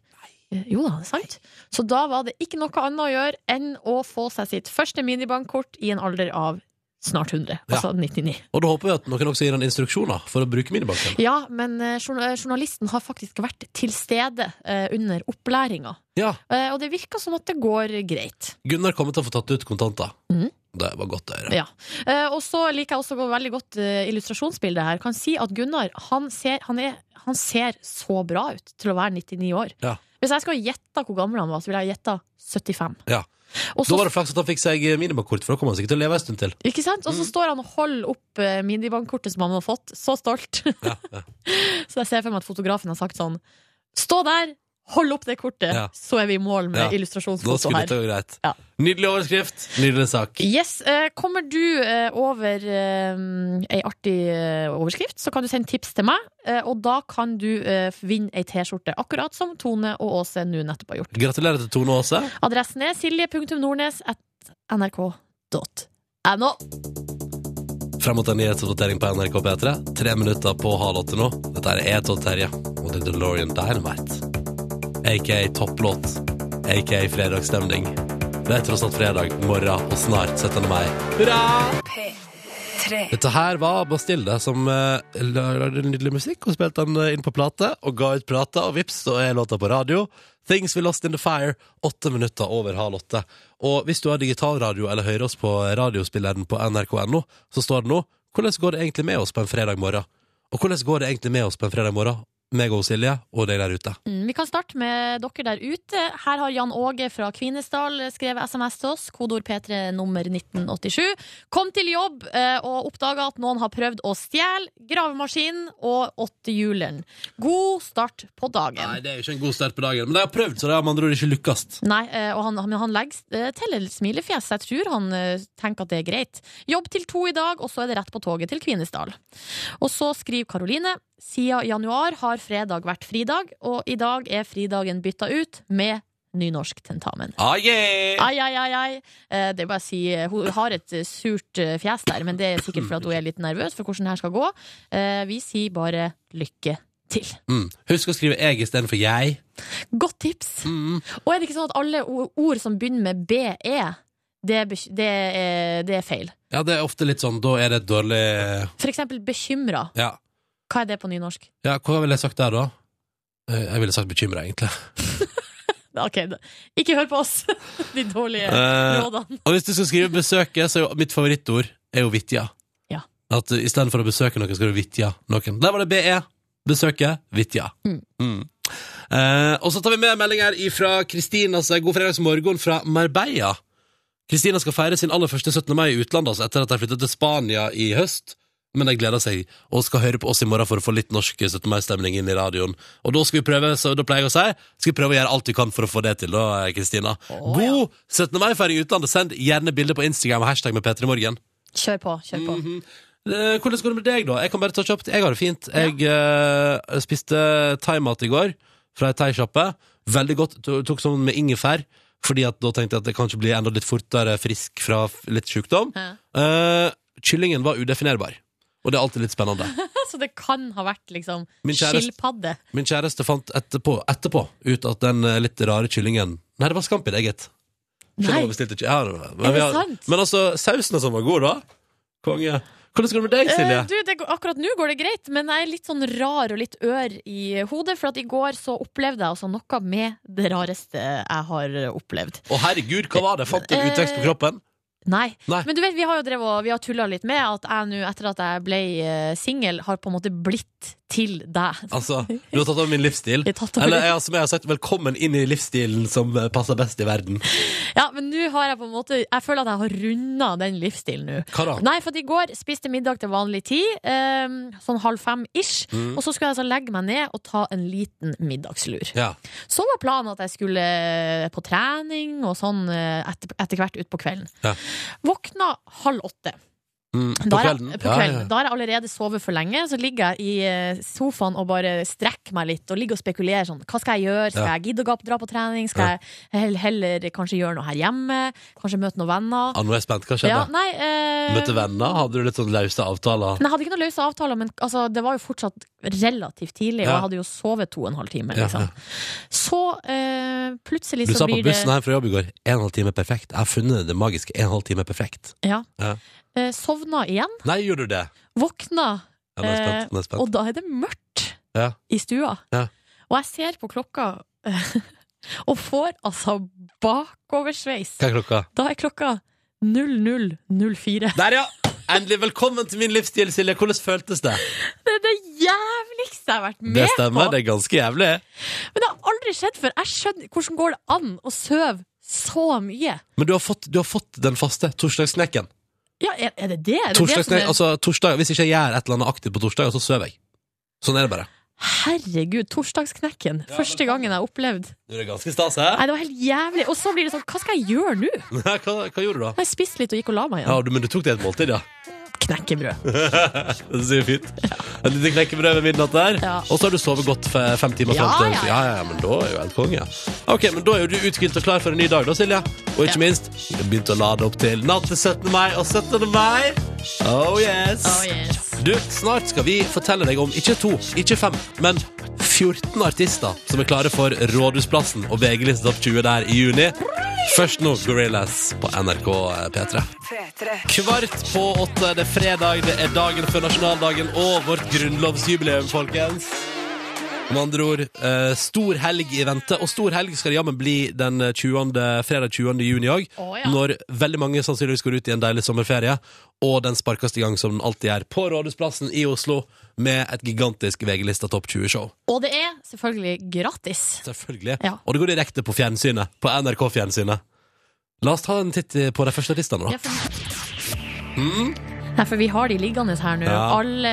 Speaker 3: Jo da, det er sant. Så da var det ikke noe annet å gjøre enn å få seg sitt første minibankkort i en alder av snart 100,
Speaker 2: Ja.
Speaker 3: altså 99.
Speaker 2: Og da håper vi at noen også gir han instruksjoner for å bruke minibanken.
Speaker 3: Ja, men eh, journa- eh, journalisten har faktisk vært til stede eh, under opplæringa,
Speaker 2: Ja,
Speaker 3: Eh, og det virker som at det går greit.
Speaker 2: Gunnar kommer til å få tatt ut kontanter.
Speaker 3: Mhm.
Speaker 2: Det var godt å høre.
Speaker 3: Ja. Eh, og så liker jeg også go- veldig godt eh, illustrasjonsbildet her. Kan si at Gunnar han ser, han, er, han ser så bra ut til å være 99 år.
Speaker 2: Ja.
Speaker 3: Hvis jeg skulle gjette hvor gammel han var, så ville jeg gjetta 75.
Speaker 2: Ja.
Speaker 3: Og
Speaker 2: Da
Speaker 3: så,
Speaker 2: var det flaks at han fikk seg minibankkort, for da kommer han sikkert til å leve en stund til.
Speaker 3: ikke sant?
Speaker 2: Mm.
Speaker 3: Og så står han og holder opp eh, minibankkortet som han har fått. Så stolt.
Speaker 2: Ja, ja.
Speaker 3: så jeg ser for meg at fotografen har sagt sånn Stå der! Hold opp det kortet,
Speaker 2: Ja.
Speaker 3: så er vi i mål med
Speaker 2: Ja. Da
Speaker 3: illustrasjonsfoto
Speaker 2: skulle
Speaker 3: her.
Speaker 2: dette gå greit.
Speaker 3: Ja.
Speaker 2: Nydelig overskrift, nydelig sak.
Speaker 3: Yes, eh, Kommer du eh, over eh, ei artig eh, overskrift, så kan du sende tips til meg. eh, og da kan du eh, vinne ei T-skjorte, akkurat som Tone og Åse nå nettopp har gjort.
Speaker 2: Gratulerer til Tone Aase.
Speaker 3: Adressen er silje.nordnes.nrk.no.
Speaker 2: Frem mot en nyhetsoppdatering på NRK P3. Tre minutter på halv åtte nå. Dette er E12 Terje og The DeLorean Dynamite. Aka topplåt. Aka fredagsstemning. Det er tross alt fredag, morgen og snart 17. mai.
Speaker 4: Tre.
Speaker 2: Dette her var Bastille som eh, lagde nydelig musikk og spilte den eh, inn på plate og ga ut plata, og vips, så er låta på radio. Things We Lost In The Fire, åtte minutter over halv åtte. Og hvis du har digitalradio eller hører oss på radiospilleren på nrk.no, så står det nå Hvordan går det egentlig med oss på en fredag morgen? Og hvordan går det egentlig med oss på en fredag morgen? Meg og Silje og deg der ute.
Speaker 3: Mm, vi kan starte med dere der ute. Her har Jan Åge fra Kvinesdal skrevet SMS til oss. Kodeord P3 nummer 1987. Kom til jobb eh, og oppdaga at noen har prøvd å stjele gravemaskinen og åttehjuleren. God start på dagen.
Speaker 2: Nei, det er jo ikke en god start på dagen, men de har prøvd, så de har med andre ord ikke lykkes.
Speaker 3: Nei, eh, og han, men han legger eh, til et smilefjes. så Jeg tror han eh, tenker at det er greit. Jobb til to i dag, og så er det rett på toget til Kvinesdal. Og så skriver Karoline siden januar har fredag vært fridag, og i dag er fridagen bytta ut med nynorsktentamen.
Speaker 2: Ah, yeah!
Speaker 3: Ai, ai, ai, ai. Eh, Det er bare å si eh, Hun har et eh, surt eh, fjes der, men det er sikkert fordi at hun er litt nervøs for hvordan det her skal gå. Eh, Vi sier bare lykke til.
Speaker 2: Mm. Husk å skrive 'jeg' istedenfor 'jeg'.
Speaker 3: Godt tips!
Speaker 2: Mm.
Speaker 3: Og er det ikke sånn at alle o- ord som begynner med BE, det er, beky- det er, det er feil?
Speaker 2: Ja, det er ofte litt sånn, da er det et dårlig
Speaker 3: For eksempel bekymra.
Speaker 2: Ja,
Speaker 3: Hva er det på nynorsk?
Speaker 2: ja hva ville jeg sagt der da? Eh, Jeg ville sagt bekymra, egentlig.
Speaker 3: Ok, da- ikke hør på oss, de dårlige
Speaker 2: Eh,
Speaker 3: rådene.
Speaker 2: og hvis du skal skrive besøket, så er jo mitt favorittord er jo vitja.
Speaker 3: Ja.
Speaker 2: At uh, istedenfor å besøke noen, skal du vitja noen. Der var det BE. Besøke vitja.
Speaker 3: Mm.
Speaker 2: Eh, og så tar vi med en melding her fra Kristina, som er god fredagsmorgen fra Marbella. Kristina skal feire sin aller første 17. mai i utlandet, altså etter at de flyttet til Spania i høst. Men de gleder seg og skal høre på oss i morgen for å få litt norsk 17. mai-stemning inn i radioen. Og da skal vi prøve, så da pleier jeg å si, skal vi prøve å gjøre alt vi kan for å få det til, da, eh, Kristina.
Speaker 3: Å, ja.
Speaker 2: God 17. mai-feiring i utlandet. Send gjerne bilder på Instagram og hashtag med P3 Morgen.
Speaker 3: Kjør på, kjør på.
Speaker 2: Eh, Hvordan går det med deg, da? Jeg kan bare ta kjapt. Jeg har det fint. Jeg eh, spiste thaimat i går fra ei thaisjappe. Veldig godt. To- Tok sånn med ingefær. Fordi at da tenkte jeg at det kanskje blir enda litt fortere frisk fra f- litt sykdom.
Speaker 3: Ja.
Speaker 2: Eh, kyllingen var udefinerbar. Og det er alltid litt spennende.
Speaker 3: Så det kan ha vært liksom
Speaker 2: Min kjæreste-
Speaker 3: skilpadde.
Speaker 2: Min kjæreste fant etterpå, etterpå ut at den eh, litt rare kyllingen Nei, det var scampi, det, gitt. Skjønner
Speaker 3: Nei,
Speaker 2: hva bestilte ky- Ja, men
Speaker 3: Er det
Speaker 2: vi har-
Speaker 3: sant?
Speaker 2: Men altså, sausen som var god, da. Konge. Hvordan går det med deg, Silje?
Speaker 3: Eh, Du, det, går- akkurat nå går det greit, men jeg er litt sånn rar og litt ør i hodet. For at i går så opplevde jeg altså noe med det rareste jeg har opplevd.
Speaker 2: Å, herregud, hva var det? Fant du en utvekst på
Speaker 3: Eh,
Speaker 2: kroppen?
Speaker 3: Nei.
Speaker 2: Nei.
Speaker 3: Men du vet, vi har jo drevet og- vi har tulla litt med at jeg nå, etter at jeg ble eh, singel, har på en måte blitt til deg.
Speaker 2: Altså, du har tatt over min livsstil.
Speaker 3: Jeg har tatt over-
Speaker 2: Eller jeg, som jeg har sagt, velkommen inn i livsstilen som eh, passer best i verden.
Speaker 3: Ja, men nå har jeg på en måte Jeg føler at jeg har runda den livsstilen nå.
Speaker 2: Hva da?
Speaker 3: Nei, for at i går spiste middag til vanlig tid, eh, sånn halv fem-ish.
Speaker 2: Mm.
Speaker 3: Og så skulle jeg altså legge meg ned og ta en liten middagslur.
Speaker 2: Ja.
Speaker 3: Så var planen at jeg skulle eh, på trening og sånn eh, etter, etter hvert utpå kvelden.
Speaker 2: Ja.
Speaker 3: Våkna halv åtte.
Speaker 2: Mm, på
Speaker 3: Da har jeg-
Speaker 2: kvelden?
Speaker 3: På kvelden. Da har jeg allerede sovet for lenge. Så ligger jeg i eh, sofaen og bare strekker meg litt og ligger og spekulerer sånn. Hva skal jeg gjøre? Skal
Speaker 2: Ja.
Speaker 3: jeg gidde å gå på- dra på trening? Skal
Speaker 2: Ja.
Speaker 3: jeg hell- heller kanskje gjøre noe her hjemme? Kanskje møte noen venner?
Speaker 2: Ja, nå er jeg spent. Hva skjedde?
Speaker 3: Ja, nei, eh,
Speaker 2: Møtte venner? Hadde du litt sånn løse avtaler?
Speaker 3: Nei, jeg hadde ikke noen løse avtaler, men altså, det var jo fortsatt relativt tidlig, og
Speaker 2: Ja.
Speaker 3: jeg hadde jo sovet to og en halv time.
Speaker 2: Ja,
Speaker 3: Liksom.
Speaker 2: ja.
Speaker 3: Så eh, plutselig
Speaker 2: Du
Speaker 3: så
Speaker 2: sa på
Speaker 3: blir det
Speaker 2: bussen her fra jobb i går en halv time er perfekt. Jeg har funnet det magiske en halv time er perfekt.
Speaker 3: ja.
Speaker 2: Ja.
Speaker 3: Eh, Sovna igjen,
Speaker 2: Nei, gjorde du det?
Speaker 3: våkna,
Speaker 2: Ja, nå er jeg
Speaker 3: Eh,
Speaker 2: spent. Nå er jeg spent.
Speaker 3: og da er det mørkt
Speaker 2: Ja.
Speaker 3: i stua.
Speaker 2: Ja.
Speaker 3: Og jeg ser på klokka og får altså bakoversveis.
Speaker 2: Hva er klokka?
Speaker 3: Da er klokka 00.04.
Speaker 2: Der, ja! Endelig velkommen til min livsstil, Silje. Hvordan føltes det?
Speaker 3: Det er det jævligste jeg har vært med
Speaker 2: Det stemmer,
Speaker 3: på!
Speaker 2: det er ganske jævlig.
Speaker 3: Men det har aldri skjedd før. Jeg skjønner hvordan går det an å sove så mye.
Speaker 2: Men du har fått, du har fått den faste torsdagsknekken.
Speaker 3: Ja, er, er det det? Er det det som
Speaker 2: Torsdagsknek,
Speaker 3: er-
Speaker 2: altså, torsdag, hvis ikke jeg gjør et eller annet aktivt på torsdag, så sover jeg. Sånn er det bare.
Speaker 3: Herregud, torsdagsknekken.
Speaker 2: Ja,
Speaker 3: Første
Speaker 2: men-
Speaker 3: gangen jeg opplevde.
Speaker 2: Du er ganske stas, hæ?
Speaker 3: Nei, det var helt jævlig. Og så blir det sånn, hva skal jeg gjøre nå? Nå
Speaker 2: Hva, hva gjorde du da?
Speaker 3: har jeg spist litt og gikk og la meg
Speaker 2: Ja,
Speaker 3: igjen.
Speaker 2: du, men du tok det i et måltid, ja.
Speaker 3: Knekkebrød.
Speaker 2: Det er så fint. Et lite knekkebrød ved midnatt der.
Speaker 3: Ja.
Speaker 2: Og så har du sovet godt fe- fem timer
Speaker 3: Ja,
Speaker 2: frem til
Speaker 3: ja, ja.
Speaker 2: ja, ja, men da er jo helt konge. Ja. Ok, men da er jo du uthvilt og klar for en ny dag, da, Silje. Og ikke
Speaker 3: Ja.
Speaker 2: minst, du har begynt å lade opp til natt til 17. mai og 17. mai. Oh yes.
Speaker 3: Oh, yes.
Speaker 2: Du, snart skal vi fortelle deg om ikke to, ikke fem, men 14 artister som er klare for Rådhusplassen og VG-lista Topp 20 der i juni. Først nå Gorillaz på NRK P3.
Speaker 4: P3.
Speaker 2: Kvart på åtte, det er fredag, det er dagen før nasjonaldagen og vårt grunnlovsjubileum, folkens. Med andre ord, eh, stor helg i vente, og stor helg skal det jammen bli den 20. fredag 20. juni òg.
Speaker 3: Å, ja.
Speaker 2: Når veldig mange sannsynligvis går ut i en deilig sommerferie, og den sparkes i gang som den alltid gjør, på Rådhusplassen i Oslo med et gigantisk VG-lista Topp 20-show.
Speaker 3: Og det er selvfølgelig gratis.
Speaker 2: Selvfølgelig.
Speaker 3: Ja.
Speaker 2: Og det går direkte på fjernsynet. På NRK-fjernsynet. La oss ta en titt eh, på de første artistene, da. Mm.
Speaker 3: Ja, for... Nei, for vi har de liggende her nå.
Speaker 2: Ja.
Speaker 3: Alle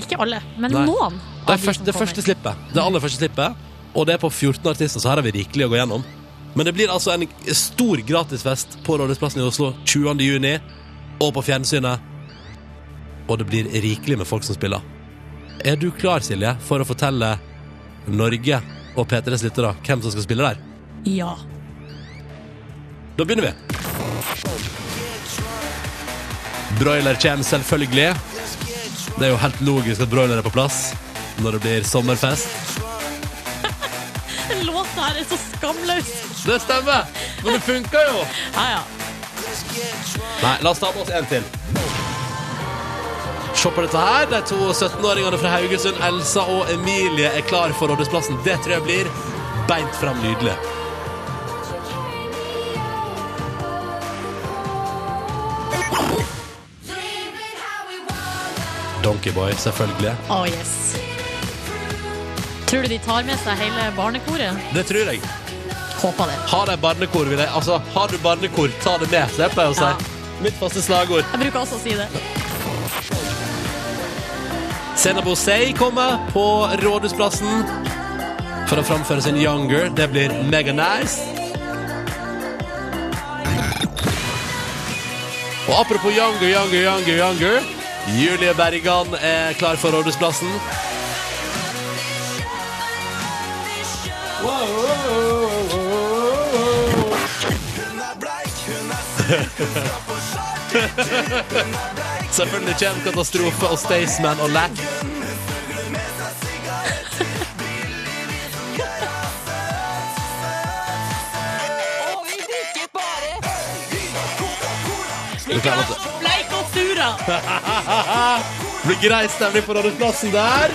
Speaker 3: Ikke alle, men
Speaker 2: Nei.
Speaker 3: noen.
Speaker 2: Det,
Speaker 3: av
Speaker 2: er
Speaker 3: de
Speaker 2: første,
Speaker 3: som
Speaker 2: det
Speaker 3: kommer.
Speaker 2: første slippet. Det aller første slippet. Og det er på 14 artister, så her har vi rikelig å gå gjennom. Men det blir altså en stor gratisfest på Rådhusplassen i Oslo 20. juni, og på fjernsynet. Og det blir rikelig med folk som spiller. Er du klar, Silje, for å fortelle Norge og P3s lyttere hvem som skal spille der?
Speaker 3: Ja.
Speaker 2: Da begynner vi. Broiler kommer selvfølgelig. Det er jo helt logisk at broiler er på plass når det blir sommerfest.
Speaker 3: Den låta her er så skamløs.
Speaker 2: Det stemmer! Men det funker jo!
Speaker 3: Ja, ja.
Speaker 2: Nei, la oss ta med oss en til. Se på dette her. De to 17-åringene fra Haugesund, Elsa og Emilie, er klar for Rådhusplassen. Det tror jeg blir beint fram nydelig. Donkeyboy, selvfølgelig.
Speaker 3: Oh, yes. Tror du de tar med seg hele barnekoret?
Speaker 2: Det tror jeg.
Speaker 3: Håper det.
Speaker 2: Har de barnekor, vil jeg Altså, har du barnekor, ta det med. Så jeg pleier å si.
Speaker 3: Ja.
Speaker 2: Mitt faste slagord.
Speaker 3: Jeg bruker også å si det.
Speaker 2: Senabo Say kommer på Rådhusplassen for å framføre sin Younger. Det blir mega nice. Og apropos Younger, Younger, Younger, Younger. Julie Bergan er klar for Rådhusplassen. Selvfølgelig kommer Katastrofe og Staysman og Lack. Er du klar, Lotte?
Speaker 3: Bleik og sura! Ja.
Speaker 2: Det blir grei stemning på Rådhusplassen der.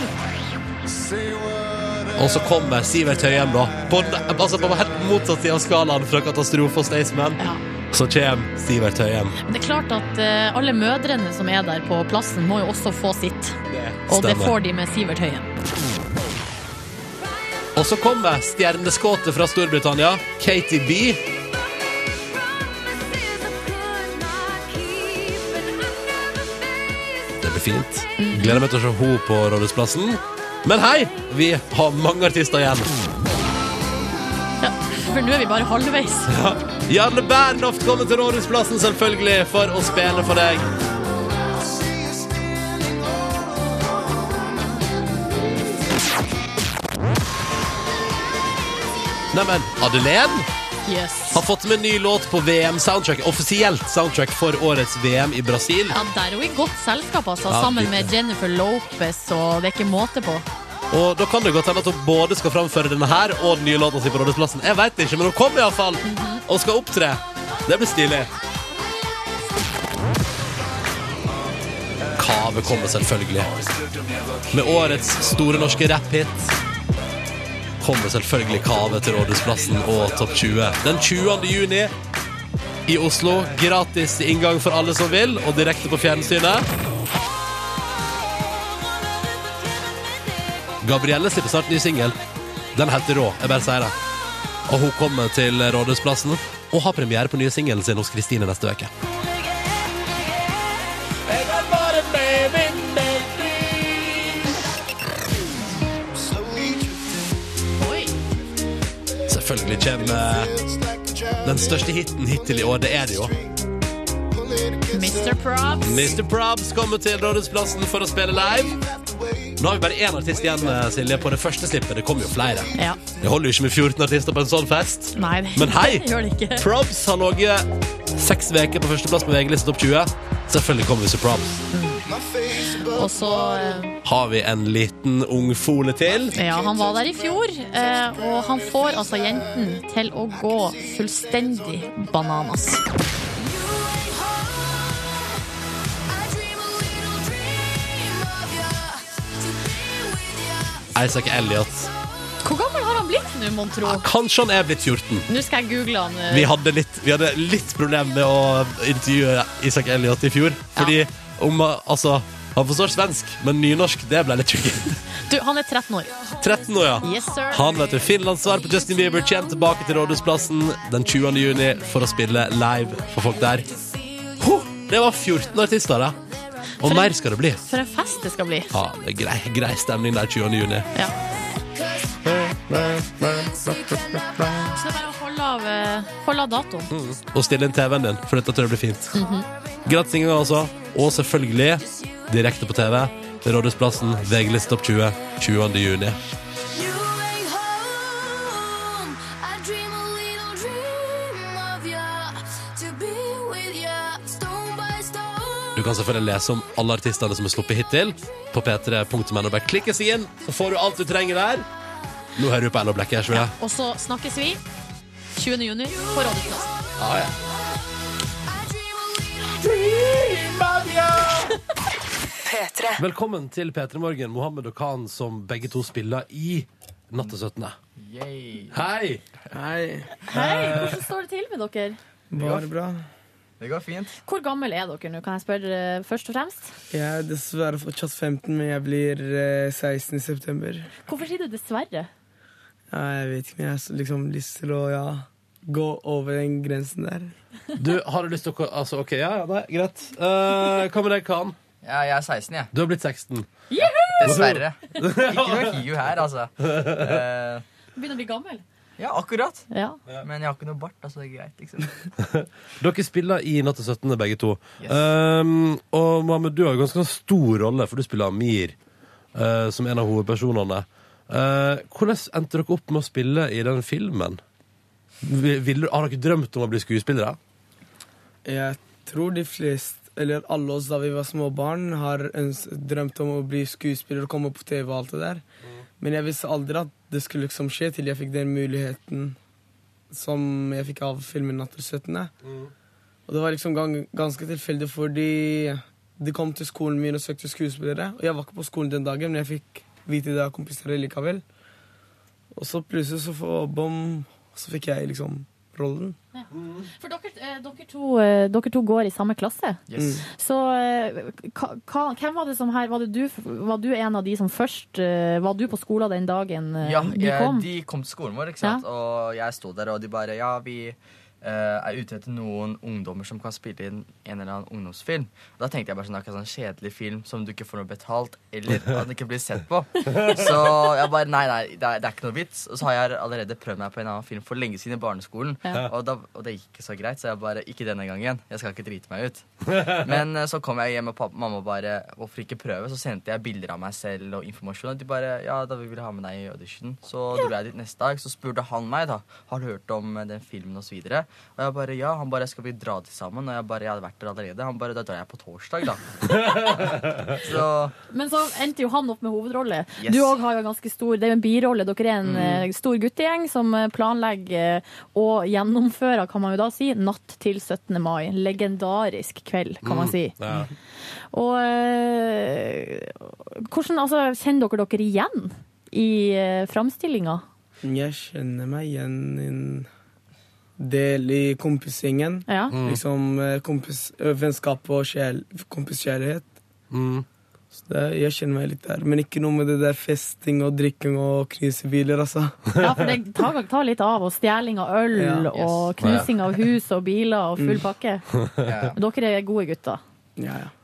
Speaker 2: Og så kommer Sivert Høyem, da. På, den- altså på helt motsatt side av skalaen fra Katastrofe og Staysman.
Speaker 3: Ja.
Speaker 2: Så kommer Sivert Høyem.
Speaker 3: Men Det er klart at eh, alle mødrene som er der på plassen, må jo også få sitt. Og det
Speaker 2: Stemmer.
Speaker 3: får de med Sivert Høyen.
Speaker 2: Og så kommer stjerneskåtet fra Storbritannia, Katie B. Det blir fint. Gleder meg til å se henne på Rådhusplassen. Men hei, vi har mange artister igjen.
Speaker 3: Ja. For nå er vi bare halvveis.
Speaker 2: Jarle Bernhoft kommer til Rådhusplassen selvfølgelig for å spille for deg. Neimen, Adelén
Speaker 3: Yes.
Speaker 2: har fått med en ny låt på VM-soundtrack. Offisielt soundtrack for årets VM i Brasil.
Speaker 3: Ja, Der er hun i godt selskap, altså.
Speaker 2: Ja,
Speaker 3: Sammen
Speaker 2: fint,
Speaker 3: med
Speaker 2: det.
Speaker 3: Jennifer Lopez, og det er ikke måte på.
Speaker 2: Og da kan det godt hende at hun både skal framføre denne her og den nye låta si på Rådhusplassen. Jeg veit ikke, men hun kommer iallfall. Og skal opptre. Det blir stilig. Kave kommer selvfølgelig. Med årets store norske rap-hit kommer selvfølgelig Kave til Rådhusplassen og Topp 20. Den 20. juni i Oslo. Gratis inngang for alle som vil, og direkte på fjernsynet. Gabrielle slipper snart ny singel. Den er helt rå, jeg bare sier det. Og hun kommer til Rådhusplassen og har premiere på nye singelen sin hos Kristine neste uke.
Speaker 3: Oi.
Speaker 2: Selvfølgelig kommer eh, den største hiten hittil i år, det er det jo.
Speaker 3: Mr. Props.
Speaker 2: Mr. Probs kommer til Rådhusplassen for å spille live. Nå har vi bare én artist igjen, eh, Silje, på det første slippet. Det kommer jo flere.
Speaker 3: Ja.
Speaker 2: Det holder jo ikke med 14 artister på en sånn fest.
Speaker 3: Nei, det-
Speaker 2: Men hei,
Speaker 3: det gjør det ikke.
Speaker 2: Probs har ligget seks uker på førsteplass på VG-listen Topp 20. Selvfølgelig kommer Mr. Probs.
Speaker 3: Og så eh,
Speaker 2: Har vi en liten ung fole til?
Speaker 3: Ja, han var der i fjor, eh, og han får altså jentene til å gå fullstendig bananas.
Speaker 2: Isaac Elliot.
Speaker 3: Hvor gammel har han blitt nå, mon tro?
Speaker 2: Kanskje han er blitt 14.
Speaker 3: Nå skal jeg google han. eh.
Speaker 2: Vi hadde litt, vi hadde litt problem med å intervjue Isaac Elliot i fjor. Fordi om Altså, han forstår svensk, men nynorsk, det ble litt tricky.
Speaker 3: Du, han er 13 år.
Speaker 2: 13 år, ja.
Speaker 3: Yes, sir.
Speaker 2: Han vet du, Finlands svar på Justin Bieber kommer tilbake til Rådhusplassen den 20. juni for å spille live for folk der. Huh, det var 14 artister, da. Og mer skal det bli.
Speaker 3: For en fest det skal bli.
Speaker 2: Ja, det er grei, grei stemning der 20. juni.
Speaker 3: Ja. Så det er bare å holde av, eh, holde av datoen.
Speaker 2: Og stille inn TV-en din, for dette tror jeg blir fint. Gratis inngang, altså. Og selvfølgelig direkte på TV. Rådhusplassen, VG-liste topp 20, 20. juni. Du kan selvfølgelig lese om alle artistene som er sluppet hittil på p3.no. Bare klikke seg inn, så får du alt du trenger der. Nå hører du på LO Black her, tror jeg.
Speaker 3: Og så snakkes vi 20. juni på Rådhusplassen.
Speaker 2: Ja, ja.
Speaker 4: P3.
Speaker 2: Velkommen til P3 Morgen, Mohammed og Khan, som begge to spiller i Natt til 17. Hei!
Speaker 6: Hei.
Speaker 3: Hei, hvordan står det til med dere?
Speaker 6: Bare bra.
Speaker 7: Det går fint.
Speaker 3: Hvor gammel er dere nå, kan jeg spørre eh, først og fremst?
Speaker 6: Jeg er dessverre fortsatt 15, men jeg blir eh, 16 i september.
Speaker 3: Hvorfor sier du dessverre?
Speaker 6: Ja, jeg vet ikke, men jeg har så liksom lyst til å ja, gå over den grensen der.
Speaker 2: Du, har du lyst til å ko- Altså, OK, ja, ja, nei, greit. Eh, hva med deg, Khan?
Speaker 7: Ja, jeg er 16, jeg.
Speaker 2: Du har blitt 16.
Speaker 7: Dessverre. Ikke noe hiu her, altså. Eh,
Speaker 3: Begynner å bli gammel.
Speaker 7: ja, akkurat.
Speaker 3: Ja.
Speaker 7: Men jeg har ikke noe bart, altså. Det er greit, liksom.
Speaker 2: Dere spiller i Natt til 17, begge to.
Speaker 7: Yes.
Speaker 2: Um, og Mohammed, du har en ganske stor rolle, for du spiller Amir, eh, som en av hovedpersonene. Eh, hvordan endte dere opp med å spille i den filmen? Vil, vil, har dere drømt om å bli skuespillere?
Speaker 6: Jeg tror de fleste, eller alle oss da vi var små barn, har øns drømt om å bli skuespiller og komme på TV og alt det der. Men jeg visste aldri at det skulle liksom skje til jeg fikk den muligheten som jeg fikk av filmen Natt til 17. Og det var liksom gang ganske tilfeldig fordi de kom til skolen min og søkte skuespillere. Og jeg var ikke på skolen den dagen, men jeg fikk vite det av kompiser likevel. Og så plutselig så, får- bom, så fikk jeg liksom rollen.
Speaker 7: Mm.
Speaker 3: For dere, eh, dere, to, eh, dere to går i samme klasse.
Speaker 7: Yes.
Speaker 3: Så eh, hva, hva- hvem var det som her Var, det du, var du en av de som først eh, Var du på skolen den dagen eh,
Speaker 7: Ja,
Speaker 3: de
Speaker 7: jeg,
Speaker 3: kom?
Speaker 7: de kom til skolen vår, ikke sant? og jeg sto der, og de bare Ja, vi eh, er ute etter noen ungdommer som kan spille inn en eller annen ungdomsfilm. Og da tenkte jeg bare sånn akkurat sånn kjedelig film som du ikke får noe betalt, eller at den ikke blir sett på. Så jeg bare Nei, nei, det er, det er ikke noe vits. Og så har jeg allerede prøvd meg på en annen film for lenge siden i barneskolen, og, da, og det gikk ikke så greit, så jeg bare Ikke denne gangen. Jeg skal ikke drite meg ut. Men eh, så kom jeg hjem, og pappa, mamma bare Hvorfor ikke prøve? Så sendte jeg bilder av meg selv og informasjon. Og de bare Ja, da vi ville ha med deg i audition. Så dro jeg dit neste dag. Så spurte han meg, da. Har du hørt om eh, den filmen, og så videre? Og jeg bare Ja. Han bare Skal vi dra dit sammen? Og jeg bare Jeg hadde vært der allerede. Han bare Da drar jeg på torsdag, da. så
Speaker 3: Men så endte jo han opp med hovedrolle.
Speaker 7: Yes.
Speaker 3: Du òg har jo en ganske stor Det er jo en birolle. Dere er en eh, stor guttegjeng som eh, planlegger eh, og gjennomfører, kan man jo da si, Natt til 17. mai. Legendarisk kveld, kan man si.
Speaker 2: Ja.
Speaker 3: Og eh, hvordan Altså, kjenner dere dere igjen i eh, framstillinga?
Speaker 6: Jeg kjenner meg igjen i en del i kompisgjengen.
Speaker 3: Ja.
Speaker 6: Liksom eh, kompis, eh, vennskap og kjæl, kompiskjærlighet.
Speaker 2: Mm.
Speaker 6: Så det, jeg kjenner meg litt der. Men ikke noe med det der festing og drikking og krisebiler, altså.
Speaker 3: ja, for det tar, tar litt av. Og stjeling av øl
Speaker 6: Ja. Yes.
Speaker 3: og knusing av hus og biler og full pakke.
Speaker 7: ja.
Speaker 3: Dere er gode gutter.
Speaker 6: Ja, ja.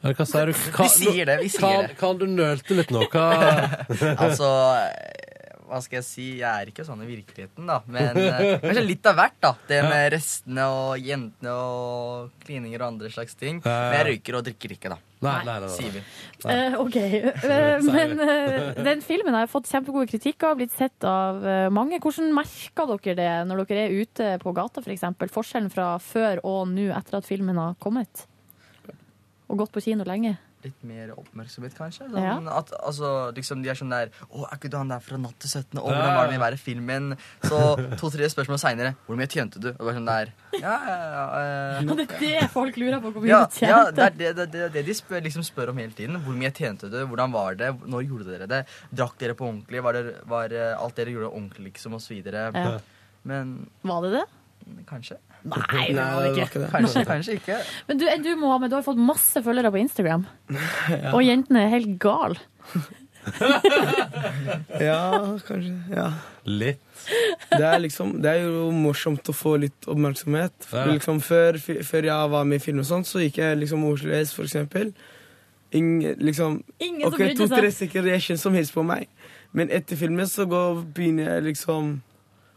Speaker 2: Hva sier du? Hva,
Speaker 7: Vi sier det, vi sier
Speaker 2: kan,
Speaker 7: det.
Speaker 2: kan du nølte litt nå? Hva?
Speaker 7: Altså eh, hva skal jeg si? Jeg er ikke sånn i virkeligheten, da. Men eh, kanskje litt av hvert, da. Det med restene og jentene og klininger og andre slags ting. Men jeg røyker og drikker ikke, da.
Speaker 2: Nei, nei, nei, nei.
Speaker 7: Sier vi.
Speaker 3: Eh, OK. Eh, men eh, den filmen har fått kjempegode kritikker og blitt sett av eh, mange. Hvordan merker dere det når dere er ute på gata, f.eks.? For eksempel? Forskjellen fra før og nå etter at filmen har kommet? Og gått på kino lenge?
Speaker 7: Litt mer oppmerksomhet, kanskje.
Speaker 3: Ja.
Speaker 7: Sånn at, altså, liksom, de er sånn der Å, er ikke du han der fra Natt til 17.? Og hvordan var det med å være i filmen? Så to-tre spørsmål seinere. Hvor mye tjente du? Og bare sånn der Ja, ja, ja. eh,
Speaker 3: Og det er det folk lurer på hvor mye
Speaker 7: Ja,
Speaker 3: du
Speaker 7: ja det,
Speaker 3: tjente.
Speaker 7: er det, det, det er det de spør, liksom spør om hele tiden. Hvor mye tjente du? Hvordan var det? Når gjorde dere det? Drakk dere på ordentlig? Var, det, var eh, alt dere gjorde ordentlig, liksom, og så videre?
Speaker 3: Ja.
Speaker 7: Men
Speaker 3: Var det det?
Speaker 7: kanskje?
Speaker 3: Nei, det var det ikke.
Speaker 7: Kanskje, kanskje ikke.
Speaker 3: Men du, du Mohammed, du har fått masse følgere på Instagram. Og jentene er helt gal.
Speaker 6: Ja, kanskje. Ja.
Speaker 2: Litt.
Speaker 6: Det er liksom Det er jo morsomt å få litt oppmerksomhet. For
Speaker 2: Ja.
Speaker 6: Liksom før, f- før jeg var med i film og sånt, så gikk jeg liksom Oslo S, for eksempel. Ing, liksom
Speaker 3: Ingen
Speaker 6: Ok, to-tre stykker reaksjon som hilser på meg. Men etter filmen så går, begynner jeg liksom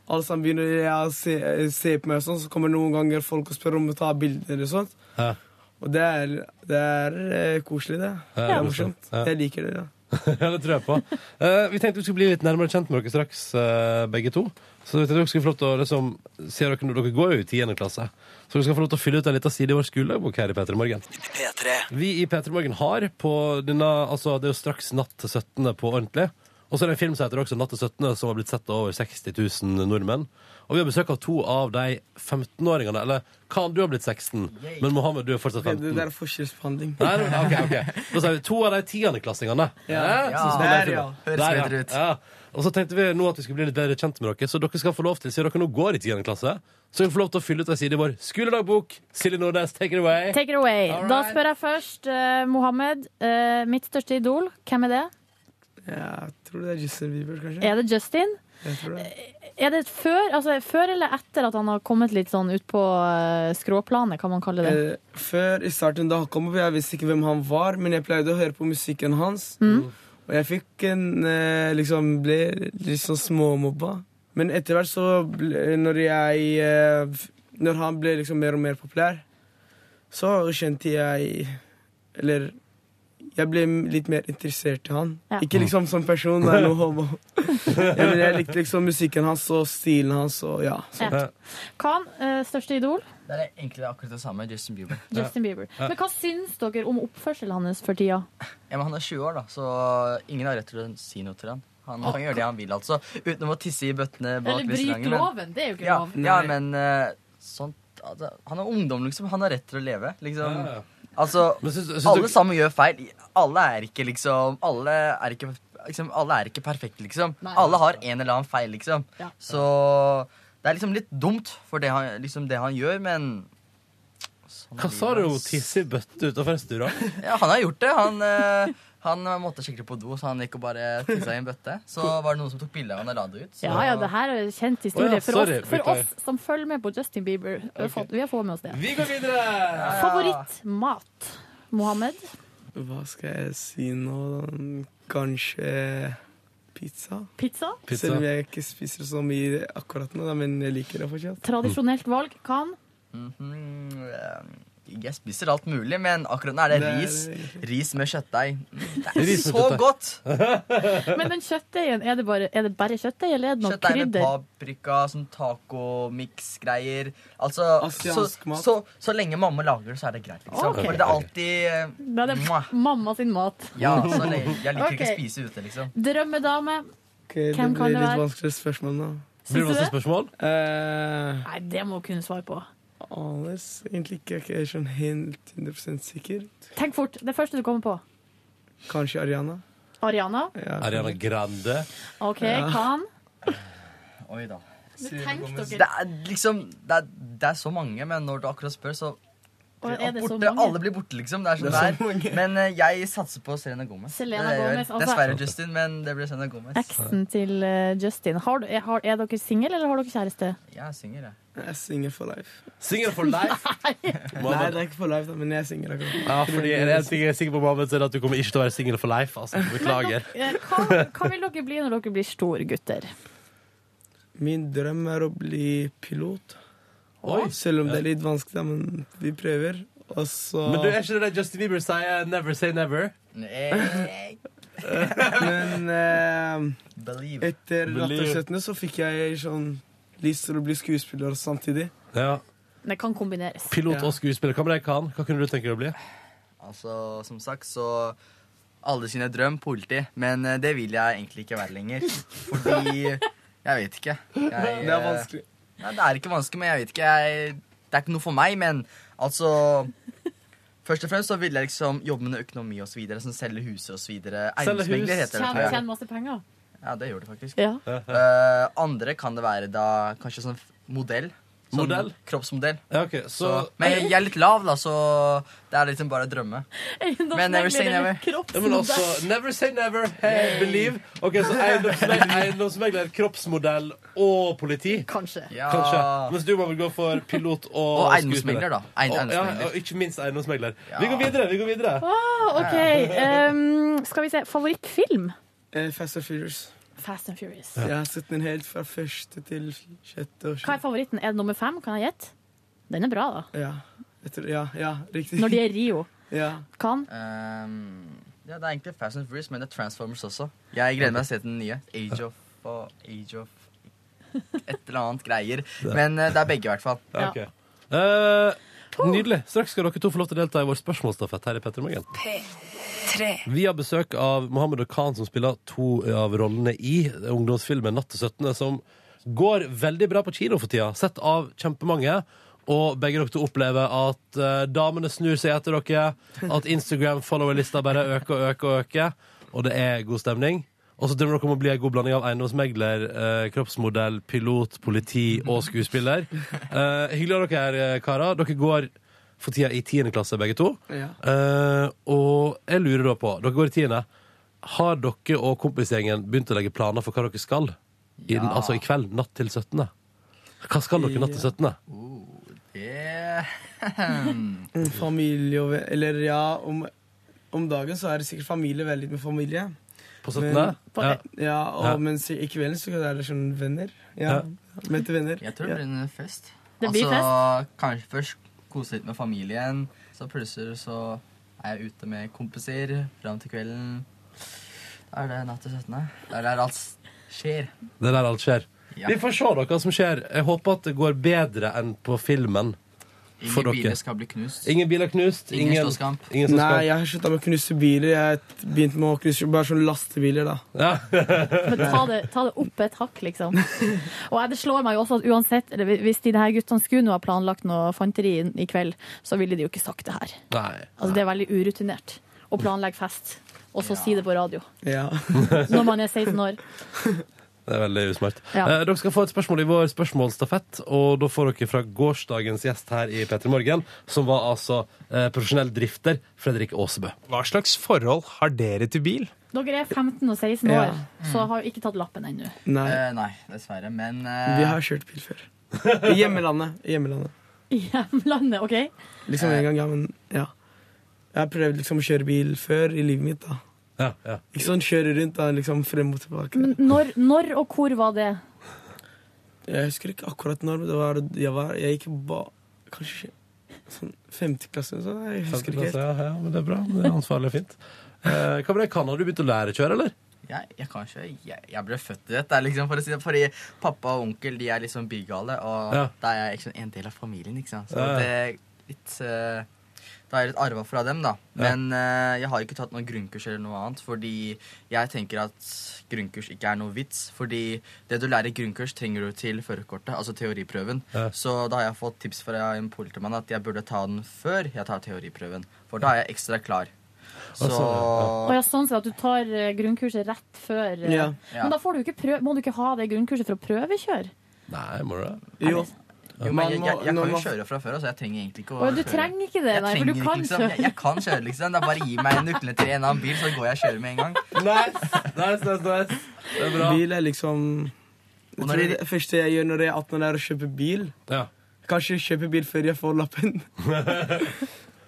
Speaker 6: Alle sammen begynner jeg å se, se på meg, og sånn, så kommer noen ganger folk og spør om å ta bilder. Og sånt
Speaker 2: Ja.
Speaker 6: Og det er, det er eh, koselig, det. Det
Speaker 2: Ja.
Speaker 6: er morsomt.
Speaker 2: Ja.
Speaker 6: Jeg liker det. ja.
Speaker 2: Ja, det tror jeg på. Eh, vi tenkte vi skulle bli litt nærmere kjent med dere straks, eh, begge to. Så vi tenkte dere skulle få lov til å liksom, se dere, dere går jo i 10. klasse. Så dere skal få lov til å fylle ut en liten side i vår skoledagbok her i P3 Morgen. Vi i P3 Morgen har på denne Altså, det er jo straks natt til 17. på ordentlig. Og så er det en film som heter også Natt til 17., som har blitt sett av over 60 000 nordmenn. Og vi har besøk av to av de 15-åringene. Eller kan du har blitt 16, men Mohammed, du er fortsatt
Speaker 6: Det, det
Speaker 2: 15.
Speaker 6: der er forskjellsbehandling.
Speaker 2: Nei, nei, ok, ok. Da sier vi to av de tiendeklassingene. Hæ?
Speaker 7: Ja.
Speaker 2: Som står
Speaker 6: Der,
Speaker 2: i filmen.
Speaker 6: ja.
Speaker 7: Høres
Speaker 2: Der,
Speaker 7: bedre ut.
Speaker 2: Ja. Og så tenkte vi nå at vi skulle bli litt bedre kjent med dere, så dere skal få lov til, siden dere nå går i tiende klasse, så dere får lov til å fylle ut ei side i vår skoledagbok. Silje Nordnes, take it away.
Speaker 3: Take it away.
Speaker 2: All
Speaker 3: Da
Speaker 2: right.
Speaker 3: spør jeg først eh, Mohammed. eh, mitt største idol, hvem er det?
Speaker 6: Ja, jeg tror det er Justin Bieber, kanskje.
Speaker 3: Er det Justin?
Speaker 6: Jeg tror det.
Speaker 3: Er det før, altså, før eller etter at han har kommet litt sånn ut på eh, skråplanet, kan man kalle det?
Speaker 6: Eh, før i starten da han kom opp, jeg visste ikke hvem han var, men jeg pleide å høre på musikken hans.
Speaker 3: Mm.
Speaker 6: Og jeg fikk en eh, liksom ble litt sånn småmobba. Men etter hvert så ble, når jeg eh, f- Når han ble liksom mer og mer populær, så skjønte jeg Eller jeg ble m- litt mer interessert i han.
Speaker 3: Ja.
Speaker 6: Ikke liksom som person, det er noe homo. Ja, men jeg likte liksom musikken hans og stilen hans og ja. Så.
Speaker 3: Ja.
Speaker 2: sånn.
Speaker 3: Khan, eh, største idol,
Speaker 7: Det er egentlig akkurat det samme. Justin Bieber.
Speaker 3: Justin Bieber. Men hva syns dere om oppførselen hans for tida?
Speaker 7: Ja, men han er 20 år, da, så ingen har rett til å si noe til han. Han kan gjøre det han vil, altså. Utenom å tisse i bøttene bak
Speaker 3: Eller bryt
Speaker 7: restauranten, men-
Speaker 3: loven, det er jo ikke
Speaker 7: Ja,
Speaker 3: lov.
Speaker 7: ja men eh, sånt altså, Han er ungdom, liksom. Han har rett til å leve. Liksom.
Speaker 2: Ja, ja.
Speaker 7: Altså,
Speaker 2: Men syns- syns
Speaker 7: alle
Speaker 2: du-
Speaker 7: sammen gjør feil. Alle er ikke liksom Alle er ikke, liksom, alle er ikke perfekte, liksom.
Speaker 3: Nei.
Speaker 7: Alle har en eller annen feil, liksom.
Speaker 3: Ja.
Speaker 7: Så det er liksom litt dumt for det han, liksom, det han gjør, men sånn er
Speaker 2: Hva sa
Speaker 7: livet,
Speaker 2: du?
Speaker 7: ass.
Speaker 2: Tisse i bøtte utenfor restauranten?
Speaker 7: Ja, han har gjort det. Han, eh, han måtte skikkelig på do, så han gikk og bare tissa i en bøtte. Så var det noen som tok bilde av han og la det ut. Så.
Speaker 3: Ja, ja, det her er en kjent historie
Speaker 2: Å ja, sorry,
Speaker 3: for, oss, for
Speaker 2: beklager.
Speaker 3: oss som følger med på Justin Bieber. Vi har fått- Vi har fått med oss det.
Speaker 2: Vi går videre!
Speaker 3: Favorittmat? Mohammed?
Speaker 6: Hva skal jeg si nå? da? Kanskje pizza?
Speaker 3: Pizza?
Speaker 2: Pizza.
Speaker 6: Selv om jeg ikke spiser så mye akkurat nå, da, men jeg liker det fortsatt.
Speaker 3: Tradisjonelt valg? Kan?
Speaker 2: Mm.
Speaker 7: Mhm, eh, jeg spiser alt mulig, men akkurat nå er det
Speaker 6: Det er-
Speaker 7: ris. Ris med kjøttdeig. Mm, Det er
Speaker 2: Ris med
Speaker 7: så
Speaker 2: kjøttdeig.
Speaker 7: godt!
Speaker 3: Men den kjøttdeigen, er det bare, er det bare kjøttdeig, eller er det noe
Speaker 7: Kjøttdeig med
Speaker 3: krydder?
Speaker 7: paprika, sånn tacomix-greier. Altså, så,
Speaker 6: Asiatisk mat.
Speaker 7: så, så lenge mamma lager det, så er det greit. Liksom.
Speaker 3: Ok.
Speaker 7: For det er alltid eh,
Speaker 3: Nei, det
Speaker 7: Mwah.
Speaker 3: er mamma sin mat.
Speaker 7: Ja, så le- jeg liker ikke
Speaker 3: Ok.
Speaker 7: å spise ute, liksom.
Speaker 3: Drømmedame?
Speaker 6: Okay, det
Speaker 3: Hvem kan
Speaker 6: blir
Speaker 3: det
Speaker 6: litt
Speaker 3: være?
Speaker 6: vanskeligere spørsmål nå.
Speaker 2: Blir det
Speaker 3: Syns du
Speaker 2: masse
Speaker 3: det?
Speaker 2: spørsmål?
Speaker 6: Eh,
Speaker 3: Nei, det må hun kunne svare på.
Speaker 6: Alles egentlig ikke. Jeg er ikke sånn helt 100 sikker.
Speaker 3: Tenk fort. Det første du kommer på.
Speaker 6: Kanskje Ariana?
Speaker 3: Ariana?
Speaker 6: Ja.
Speaker 2: Ariana Grande.
Speaker 3: OK, kan?
Speaker 7: Oi da.
Speaker 3: Tenk
Speaker 7: Det
Speaker 3: dere.
Speaker 7: er liksom det er, det er så mange, men når du akkurat spør, så
Speaker 3: Og er det så
Speaker 7: borte,
Speaker 3: mange?
Speaker 7: Alle blir borte, liksom. Det er sånn
Speaker 6: Det
Speaker 7: det
Speaker 6: er så
Speaker 7: er.
Speaker 6: mange.
Speaker 7: Men eh, jeg satser på Selena Gomez.
Speaker 3: Selena
Speaker 7: Det gjør jeg.
Speaker 3: Gomez, altså-
Speaker 7: Dessverre, Justin, men det blir Selena Gomez.
Speaker 3: Eksen til eh, Justin. Har, du- er- har, er dere single, eller har dere kjæreste?
Speaker 7: Jeg er singel, jeg.
Speaker 6: Jeg synger for life.
Speaker 2: Singel for life.
Speaker 6: Nei,
Speaker 2: Mohammed.
Speaker 6: det er ikke for life, da, men jeg synger akkurat.
Speaker 2: Ja, fordi er det en ting jeg er sikker på, Mohammed, så er det at du kommer ikke til å være singel for life. Altså. Beklager.
Speaker 3: Eh, Hva, hva vil dere bli når dere blir store gutter?
Speaker 6: Min drøm er å bli pilot.
Speaker 2: Oi.
Speaker 6: Selv om det er litt vanskelig, da, men vi prøver. Og så
Speaker 2: Men du, er ikke det det Justin Bieber sier? Never say never.
Speaker 7: Nei,
Speaker 6: Men eh,
Speaker 7: Believe.
Speaker 6: etter
Speaker 2: Believe.
Speaker 6: rattersettene så fikk jeg sånn lyst til å bli skuespiller samtidig.
Speaker 2: Ja.
Speaker 3: Det kan kombineres.
Speaker 2: Pilot
Speaker 6: Ja.
Speaker 2: og skuespiller. Hva med deg, Khan? Hva kunne du tenke deg å bli?
Speaker 7: Altså, som sagt, så Alle sine drøm politi, men eh, det vil jeg egentlig ikke være lenger. Fordi Jeg vet ikke. Jeg,
Speaker 6: Det er
Speaker 7: eh,
Speaker 6: vanskelig.
Speaker 7: Nei, det er ikke vanskelig, men jeg vet ikke. Jeg, det er ikke noe for meg, men altså Først og fremst så ville jeg liksom jobbe med noe økonomi og så videre, sånn selge huset og så videre.
Speaker 2: Selge hus.
Speaker 7: Eiendomsmegler heter det.
Speaker 3: Tjene,
Speaker 7: tror jeg.
Speaker 3: tjene masse penger.
Speaker 7: Ja, det gjør det faktisk.
Speaker 3: Ja.
Speaker 7: Eh, andre kan det være da kanskje sånn f- modell. Sånn
Speaker 2: Modell?
Speaker 7: Kroppsmodell.
Speaker 2: Ja, ok,
Speaker 7: Så,
Speaker 2: så...
Speaker 7: men jeg, jeg er litt lav, da, så det er liksom bare å drømme. Men never say
Speaker 3: Eiendomsmegler
Speaker 7: never.
Speaker 3: eller
Speaker 2: Ja, men
Speaker 3: kroppsmodell.
Speaker 2: altså, never say never, hey, believe. Ok, så eiendomsmegler, eiendomsmegler, kroppsmodell og politi.
Speaker 3: Kanskje.
Speaker 7: Ja.
Speaker 2: Kanskje. Mens du må vel gå for pilot og
Speaker 7: Og
Speaker 2: skuespiller.
Speaker 7: eiendomsmegler, da.
Speaker 2: Og,
Speaker 7: Eiend-
Speaker 2: ja,
Speaker 7: eiendomsmegler.
Speaker 2: og ikke minst eiendomsmegler.
Speaker 7: Ja.
Speaker 2: Vi går videre. vi går videre
Speaker 3: Ah, OK. Ehm, skal vi se. Favorittfilm?
Speaker 6: Eh, Fast and Furious.
Speaker 3: Fast and Furious.
Speaker 6: Jeg har sett den helt fra første til sjette og
Speaker 3: Hva er favoritten? Er det nummer fem? Kan jeg gjette? Den er bra, da.
Speaker 6: Ja, jeg tror, ja, ja, riktig.
Speaker 3: Når de er i Rio.
Speaker 6: ja.
Speaker 3: Kan?
Speaker 7: Ehm, ja, det er egentlig Fast and Furious, men det er Transformers også. Jeg gleder meg til å se den nye. Age of og Age of et eller annet greier. Men eh, det er begge, i hvert fall.
Speaker 2: Ja, ok. Eh, nydelig. Straks skal dere to få lov til å delta i vår spørsmålsstafett her i Petter Morgen.
Speaker 4: P3.
Speaker 2: Vi har besøk av Mohammed og Khan, som spiller to av rollene i ungdomsfilmen 'Natt til 17.', som går veldig bra på kino for tida. Sett av kjempemange. Og begge dere to opplever at eh, damene snur seg etter dere. At Instagram-followerlista bare øker og øker og øker. Og det er god stemning. Og så drømmer dere om å bli en god blanding av eiendomsmegler, eh, kroppsmodell, pilot, politi og skuespiller. Eh, hyggelig av dere her, eh, karer. Dere går for tida i tiende klasse, begge to.
Speaker 6: Ja.
Speaker 2: Eh, og jeg lurer da på Dere går i tiende. Har dere og kompisgjengen begynt å legge planer for hva dere skal? I, den-
Speaker 7: Ja.
Speaker 2: Altså i kveld, natt til 17. Hva skal dere natt til 17.?
Speaker 7: Det
Speaker 6: Mm, Familie og ve- Eller ja, om, om dagen så er det sikkert familie, veldig med familie.
Speaker 2: På 17.?
Speaker 3: på-
Speaker 2: ja.
Speaker 6: Ja, og
Speaker 2: Ja.
Speaker 6: mens i kvelden så er det sånn venner.
Speaker 2: Ja.
Speaker 6: Ja, Møte venner.
Speaker 7: Jeg tror det blir en fest.
Speaker 3: Det blir
Speaker 7: altså, Kanskje først kose litt med familien, så plutselig så er jeg ute med kompiser fram til kvelden. Da er det natt til 17. Det er der alt s- skjer.
Speaker 2: Det er der alt skjer.
Speaker 7: Ja.
Speaker 2: Vi får se da, hva som skjer. Jeg håper at det går bedre enn på filmen. for
Speaker 7: Ingen
Speaker 2: dere.
Speaker 7: biler skal bli knust.
Speaker 2: Ingen biler knust.
Speaker 7: Ingen slåsskamp.
Speaker 2: ingen slåsskamp.
Speaker 6: Nei, jeg har slutta med å knuse biler. Jeg begynte med å knuse bare sånne lastebiler. da
Speaker 2: Ja.
Speaker 3: Men ta det, ta det opp et hakk, liksom. Og jeg- det slår meg jo også at uansett, eller hvis de her guttene skulle nå ha planlagt noe fanteri i- i kveld, så ville de jo ikke sagt det her.
Speaker 2: Nei.
Speaker 3: Altså, det er veldig urutinert å planlegge fest, og så si det på radio
Speaker 6: Ja.
Speaker 3: når man er 16 år.
Speaker 2: Det er veldig usmart.
Speaker 3: Ja.
Speaker 2: Eh, dere skal få et spørsmål i vår spørsmålsstafett, og da får dere fra gårsdagens gjest her i P3 Morgen, som var altså eh, profesjonell drifter Fredrik Aasebø.
Speaker 8: Hva slags forhold har dere til bil?
Speaker 3: Dere er 15 og 16
Speaker 6: Ja.
Speaker 3: år, så har jo ikke tatt lappen ennå.
Speaker 6: Nei,
Speaker 7: Eh, nei, dessverre. Men eh,
Speaker 6: vi har kjørt bil før. I hjemlandet. I hjemlandet.
Speaker 3: I hjemlandet, OK?
Speaker 6: Liksom en gang, ja, men ja. Jeg har prøvd liksom å kjøre bil før i livet mitt. da
Speaker 2: Ja, ja.
Speaker 6: Ikke sånn kjøre rundt da, liksom frem og tilbake.
Speaker 3: Men når, når og hvor var det?
Speaker 6: Jeg husker ikke akkurat når, men det var, jeg, var, jeg gikk ba, kanskje sånn femteklasse. Så jeg husker ikke
Speaker 2: Femteklasse,
Speaker 6: helt.
Speaker 2: Ja, ja, men det er bra. Det er ansvarlig og fint. Eh, hva med deg, Kan? Har du begynt å lære å kjøre, eller?
Speaker 7: jeg, jeg kan ikke jeg, jeg ble født til dette, liksom, for å si det. Fordi pappa og onkel de er liksom bygale, og
Speaker 2: Ja.
Speaker 7: da er jeg ikke en del av familien. ikke sant? Så
Speaker 2: Ja, ja.
Speaker 7: det er litt eh, Da er jeg litt arva fra dem, da. Men eh, jeg har ikke tatt noen grunnkurs eller noe annet, fordi jeg tenker at grunnkurs ikke er noe vits. Fordi det du lærer i grunnkurs, trenger du til førerkortet, altså teoriprøven.
Speaker 2: Ja.
Speaker 7: Så da har jeg fått tips fra en politimann at jeg burde ta den før jeg tar teoriprøven, for da er jeg ekstra klar. Så
Speaker 2: Altså,
Speaker 3: Å ja, sånn sett at du tar eh, grunnkurset rett før eh.
Speaker 6: Ja.
Speaker 7: Ja.
Speaker 3: Men da får du ikke prøv, må du ikke ha det grunnkurset for å prøvekjøre?
Speaker 2: Nei, må du det?
Speaker 6: Jo.
Speaker 7: Jo, men
Speaker 6: Man
Speaker 7: jeg,
Speaker 6: må-
Speaker 7: jeg, jeg
Speaker 6: når
Speaker 7: kan jo
Speaker 6: man-
Speaker 7: kjøre fra før, så jeg trenger egentlig ikke å
Speaker 3: Å, ja, du
Speaker 7: kjøre.
Speaker 3: trenger ikke det,
Speaker 7: Jeg
Speaker 3: nei, for
Speaker 7: trenger
Speaker 3: du
Speaker 7: ikke,
Speaker 3: kan
Speaker 7: liksom. Jeg,
Speaker 3: kjøre.
Speaker 7: jeg kan kjøre, liksom. Da bare gi meg nøklene til en annen bil, så går jeg og kjører med en gang.
Speaker 2: Nice, nice, nice, nice. Det er bra.
Speaker 6: Bil er liksom
Speaker 7: Og
Speaker 6: jeg
Speaker 7: når
Speaker 6: tror
Speaker 7: det-
Speaker 6: Det første jeg gjør når jeg er 18, er å kjøpe bil.
Speaker 2: Ja.
Speaker 6: Kanskje jeg kjøper bil før jeg får lappen.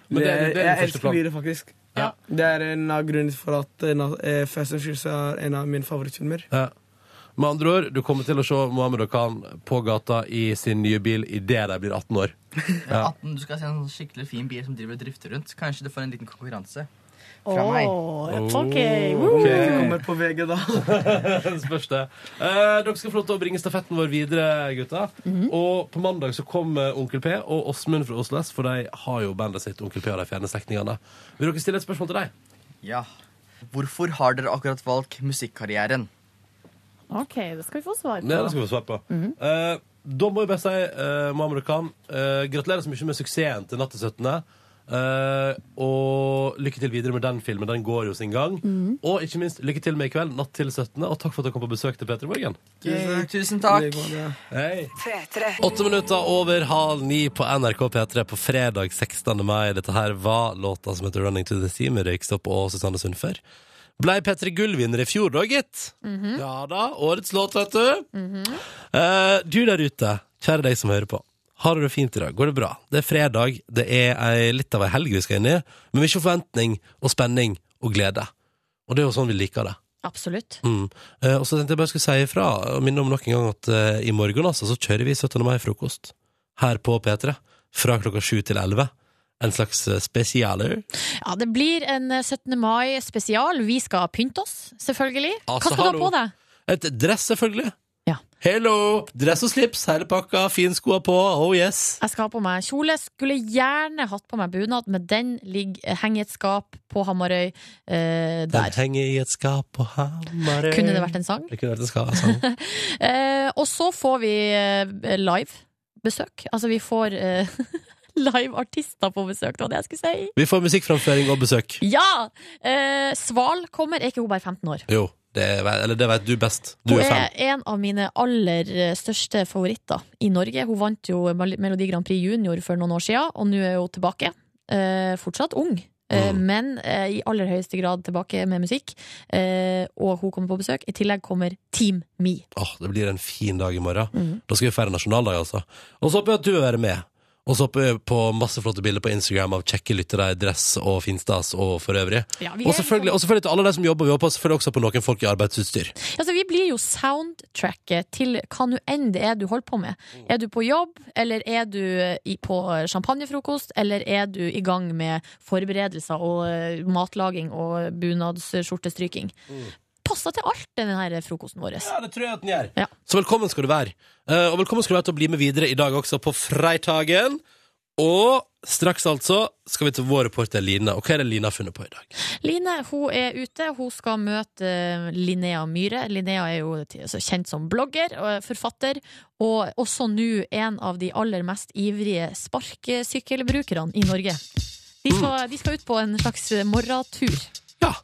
Speaker 2: Men det er- det er din
Speaker 6: jeg
Speaker 2: første plan.
Speaker 6: elsker biler, faktisk.
Speaker 2: Ja.
Speaker 6: Det er en av grunnene for at en av, eh, Fast and Furious er en av mine favorittfilmer.
Speaker 2: Ja. Med andre ord, du kommer til å se Mohammed og Khan på gata i sin nye bil idet de blir 18 år.
Speaker 7: Ja. 18, du skal se en sånn skikkelig fin bil som driver og drifter rundt. Kanskje du får en liten konkurranse. Fra
Speaker 3: Å,
Speaker 7: meg.
Speaker 3: OK.
Speaker 2: Ok.
Speaker 3: Woo.
Speaker 6: Kommer på VG, da.
Speaker 2: Det spørs det. Eh, dere skal få lov til å bringe stafetten vår videre, gutta. Og på mandag så kommer Onkel P og Åsmund fra Oslo S, for de har jo bandet sitt Onkel P og de fjerne slektningene. Vil dere stille et spørsmål til deg?
Speaker 7: Ja. Hvorfor har dere akkurat valgt musikkarrieren?
Speaker 3: OK, det skal vi få svar
Speaker 2: Ja, det
Speaker 3: på.
Speaker 2: skal vi svare på. Eh, da må jeg bare si, eh, Mohammed og Khan, eh, gratulerer så mye med suksessen til Natt til 17. Eh, og lykke til videre med den filmen. Den går jo sin gang. Og ikke minst lykke til med i kveld, Natt til 17., og takk for at dere kom på besøk til Peter Morgen.
Speaker 7: Tusen takk.
Speaker 2: Hei.
Speaker 4: P3.
Speaker 2: Åtte minutter over halv ni på NRK P3 på fredag 16. mai. Dette her var låta som heter 'Running to the Sea' med Røykstopp og Susanne Sundfør. Blei P3 Gull-vinner i fjor da, gitt. Ja da. Årets låt, vet du. Eh, du der ute, kjære deg som hører på. Har du det fint i dag? Går det bra? Det er fredag, det er ei, litt av ei helg vi skal inn i, men mye forventning og spenning og glede. Og det er jo sånn vi liker det.
Speaker 3: Absolutt.
Speaker 2: Mm. Eh, og så tenkte jeg bare skulle si ifra og minne om nok en gang at eh, i morgen altså, så kjører vi 17. mai-frokost her på P3 fra klokka 7 til 11. En slags eh, spesialer.
Speaker 3: Ja, det blir en eh, 17. mai spesial. Vi skal pynte oss, selvfølgelig. Hva
Speaker 2: Altså,
Speaker 3: skal du ha
Speaker 2: hallo.
Speaker 3: på deg?
Speaker 2: Et dress, selvfølgelig.
Speaker 3: Ja.
Speaker 2: Hello! Dress og slips, hele pakka, finskoa på, oh yes.
Speaker 3: Jeg skal ha på meg kjole. Skulle gjerne hatt på meg bunad, men den ligger, henger i et skap på Hamarøy. eh,
Speaker 2: Den
Speaker 3: der.
Speaker 2: henger i et skap på Hamarøy.
Speaker 3: Kunne det vært en sang?
Speaker 2: Det kunne vært en ska- sang.
Speaker 3: Eh, og så får vi eh, live besøk. Altså, vi får eh, live artister på besøk, det var det jeg skulle si.
Speaker 2: Vi får musikkframføring og besøk.
Speaker 3: Ja! Eh, Sval kommer. Er ikke hun bare 15 år?
Speaker 2: Jo, det, ve- eller det vet du best. Du
Speaker 3: Hun
Speaker 2: er fan.
Speaker 3: er en av mine aller eh, største favoritter i Norge. Hun vant jo Mel- Melodi Grand Prix Junior for noen år siden, og nå er hun tilbake. Eh, fortsatt ung, eh,
Speaker 2: Mm.
Speaker 3: men eh, i aller høyeste grad tilbake med musikk. Eh, og hun kommer på besøk. I tillegg kommer Team Me.
Speaker 2: Åh, det blir en fin dag i morgen.
Speaker 3: Mhm.
Speaker 2: Da skal vi feire nasjonaldag, altså. Og så håper jeg at du vil være med. Og så håper jeg på masse flotte bilder på Instagram av kjekke lyttere i dress og finstas og for øvrig. Og selvfølgelig, og selvfølgelig til alle de som jobber. Vi håper selvfølgelig også på noen folk i arbeidsutstyr.
Speaker 3: Altså, vi blir jo soundtracket til hva nå enn det er du holder på med. Er du på jobb, eller er du eh, i, på champagnefrokost, eller er du i gang med forberedelser og eh, matlaging og bunadsskjortestryking? Passer til alt, denne her frokosten vår.
Speaker 2: Ja, det tror jeg at den gjør.
Speaker 3: Ja.
Speaker 2: Så velkommen skal du være. Eh, Og velkommen skal du være til å bli med videre i dag også, på freitagen. Og straks altså skal vi til vår reporter Line. Og hva er det Line har funnet på i dag?
Speaker 3: Line hun er ute. Hun skal møte eh, Linnea Myhre. Linnea er jo t- altså kjent som blogger og forfatter, og også nå en av de aller mest ivrige sparkesykkelbrukerne i Norge. De skal, de skal ut på en slags morgentur.
Speaker 2: Ja,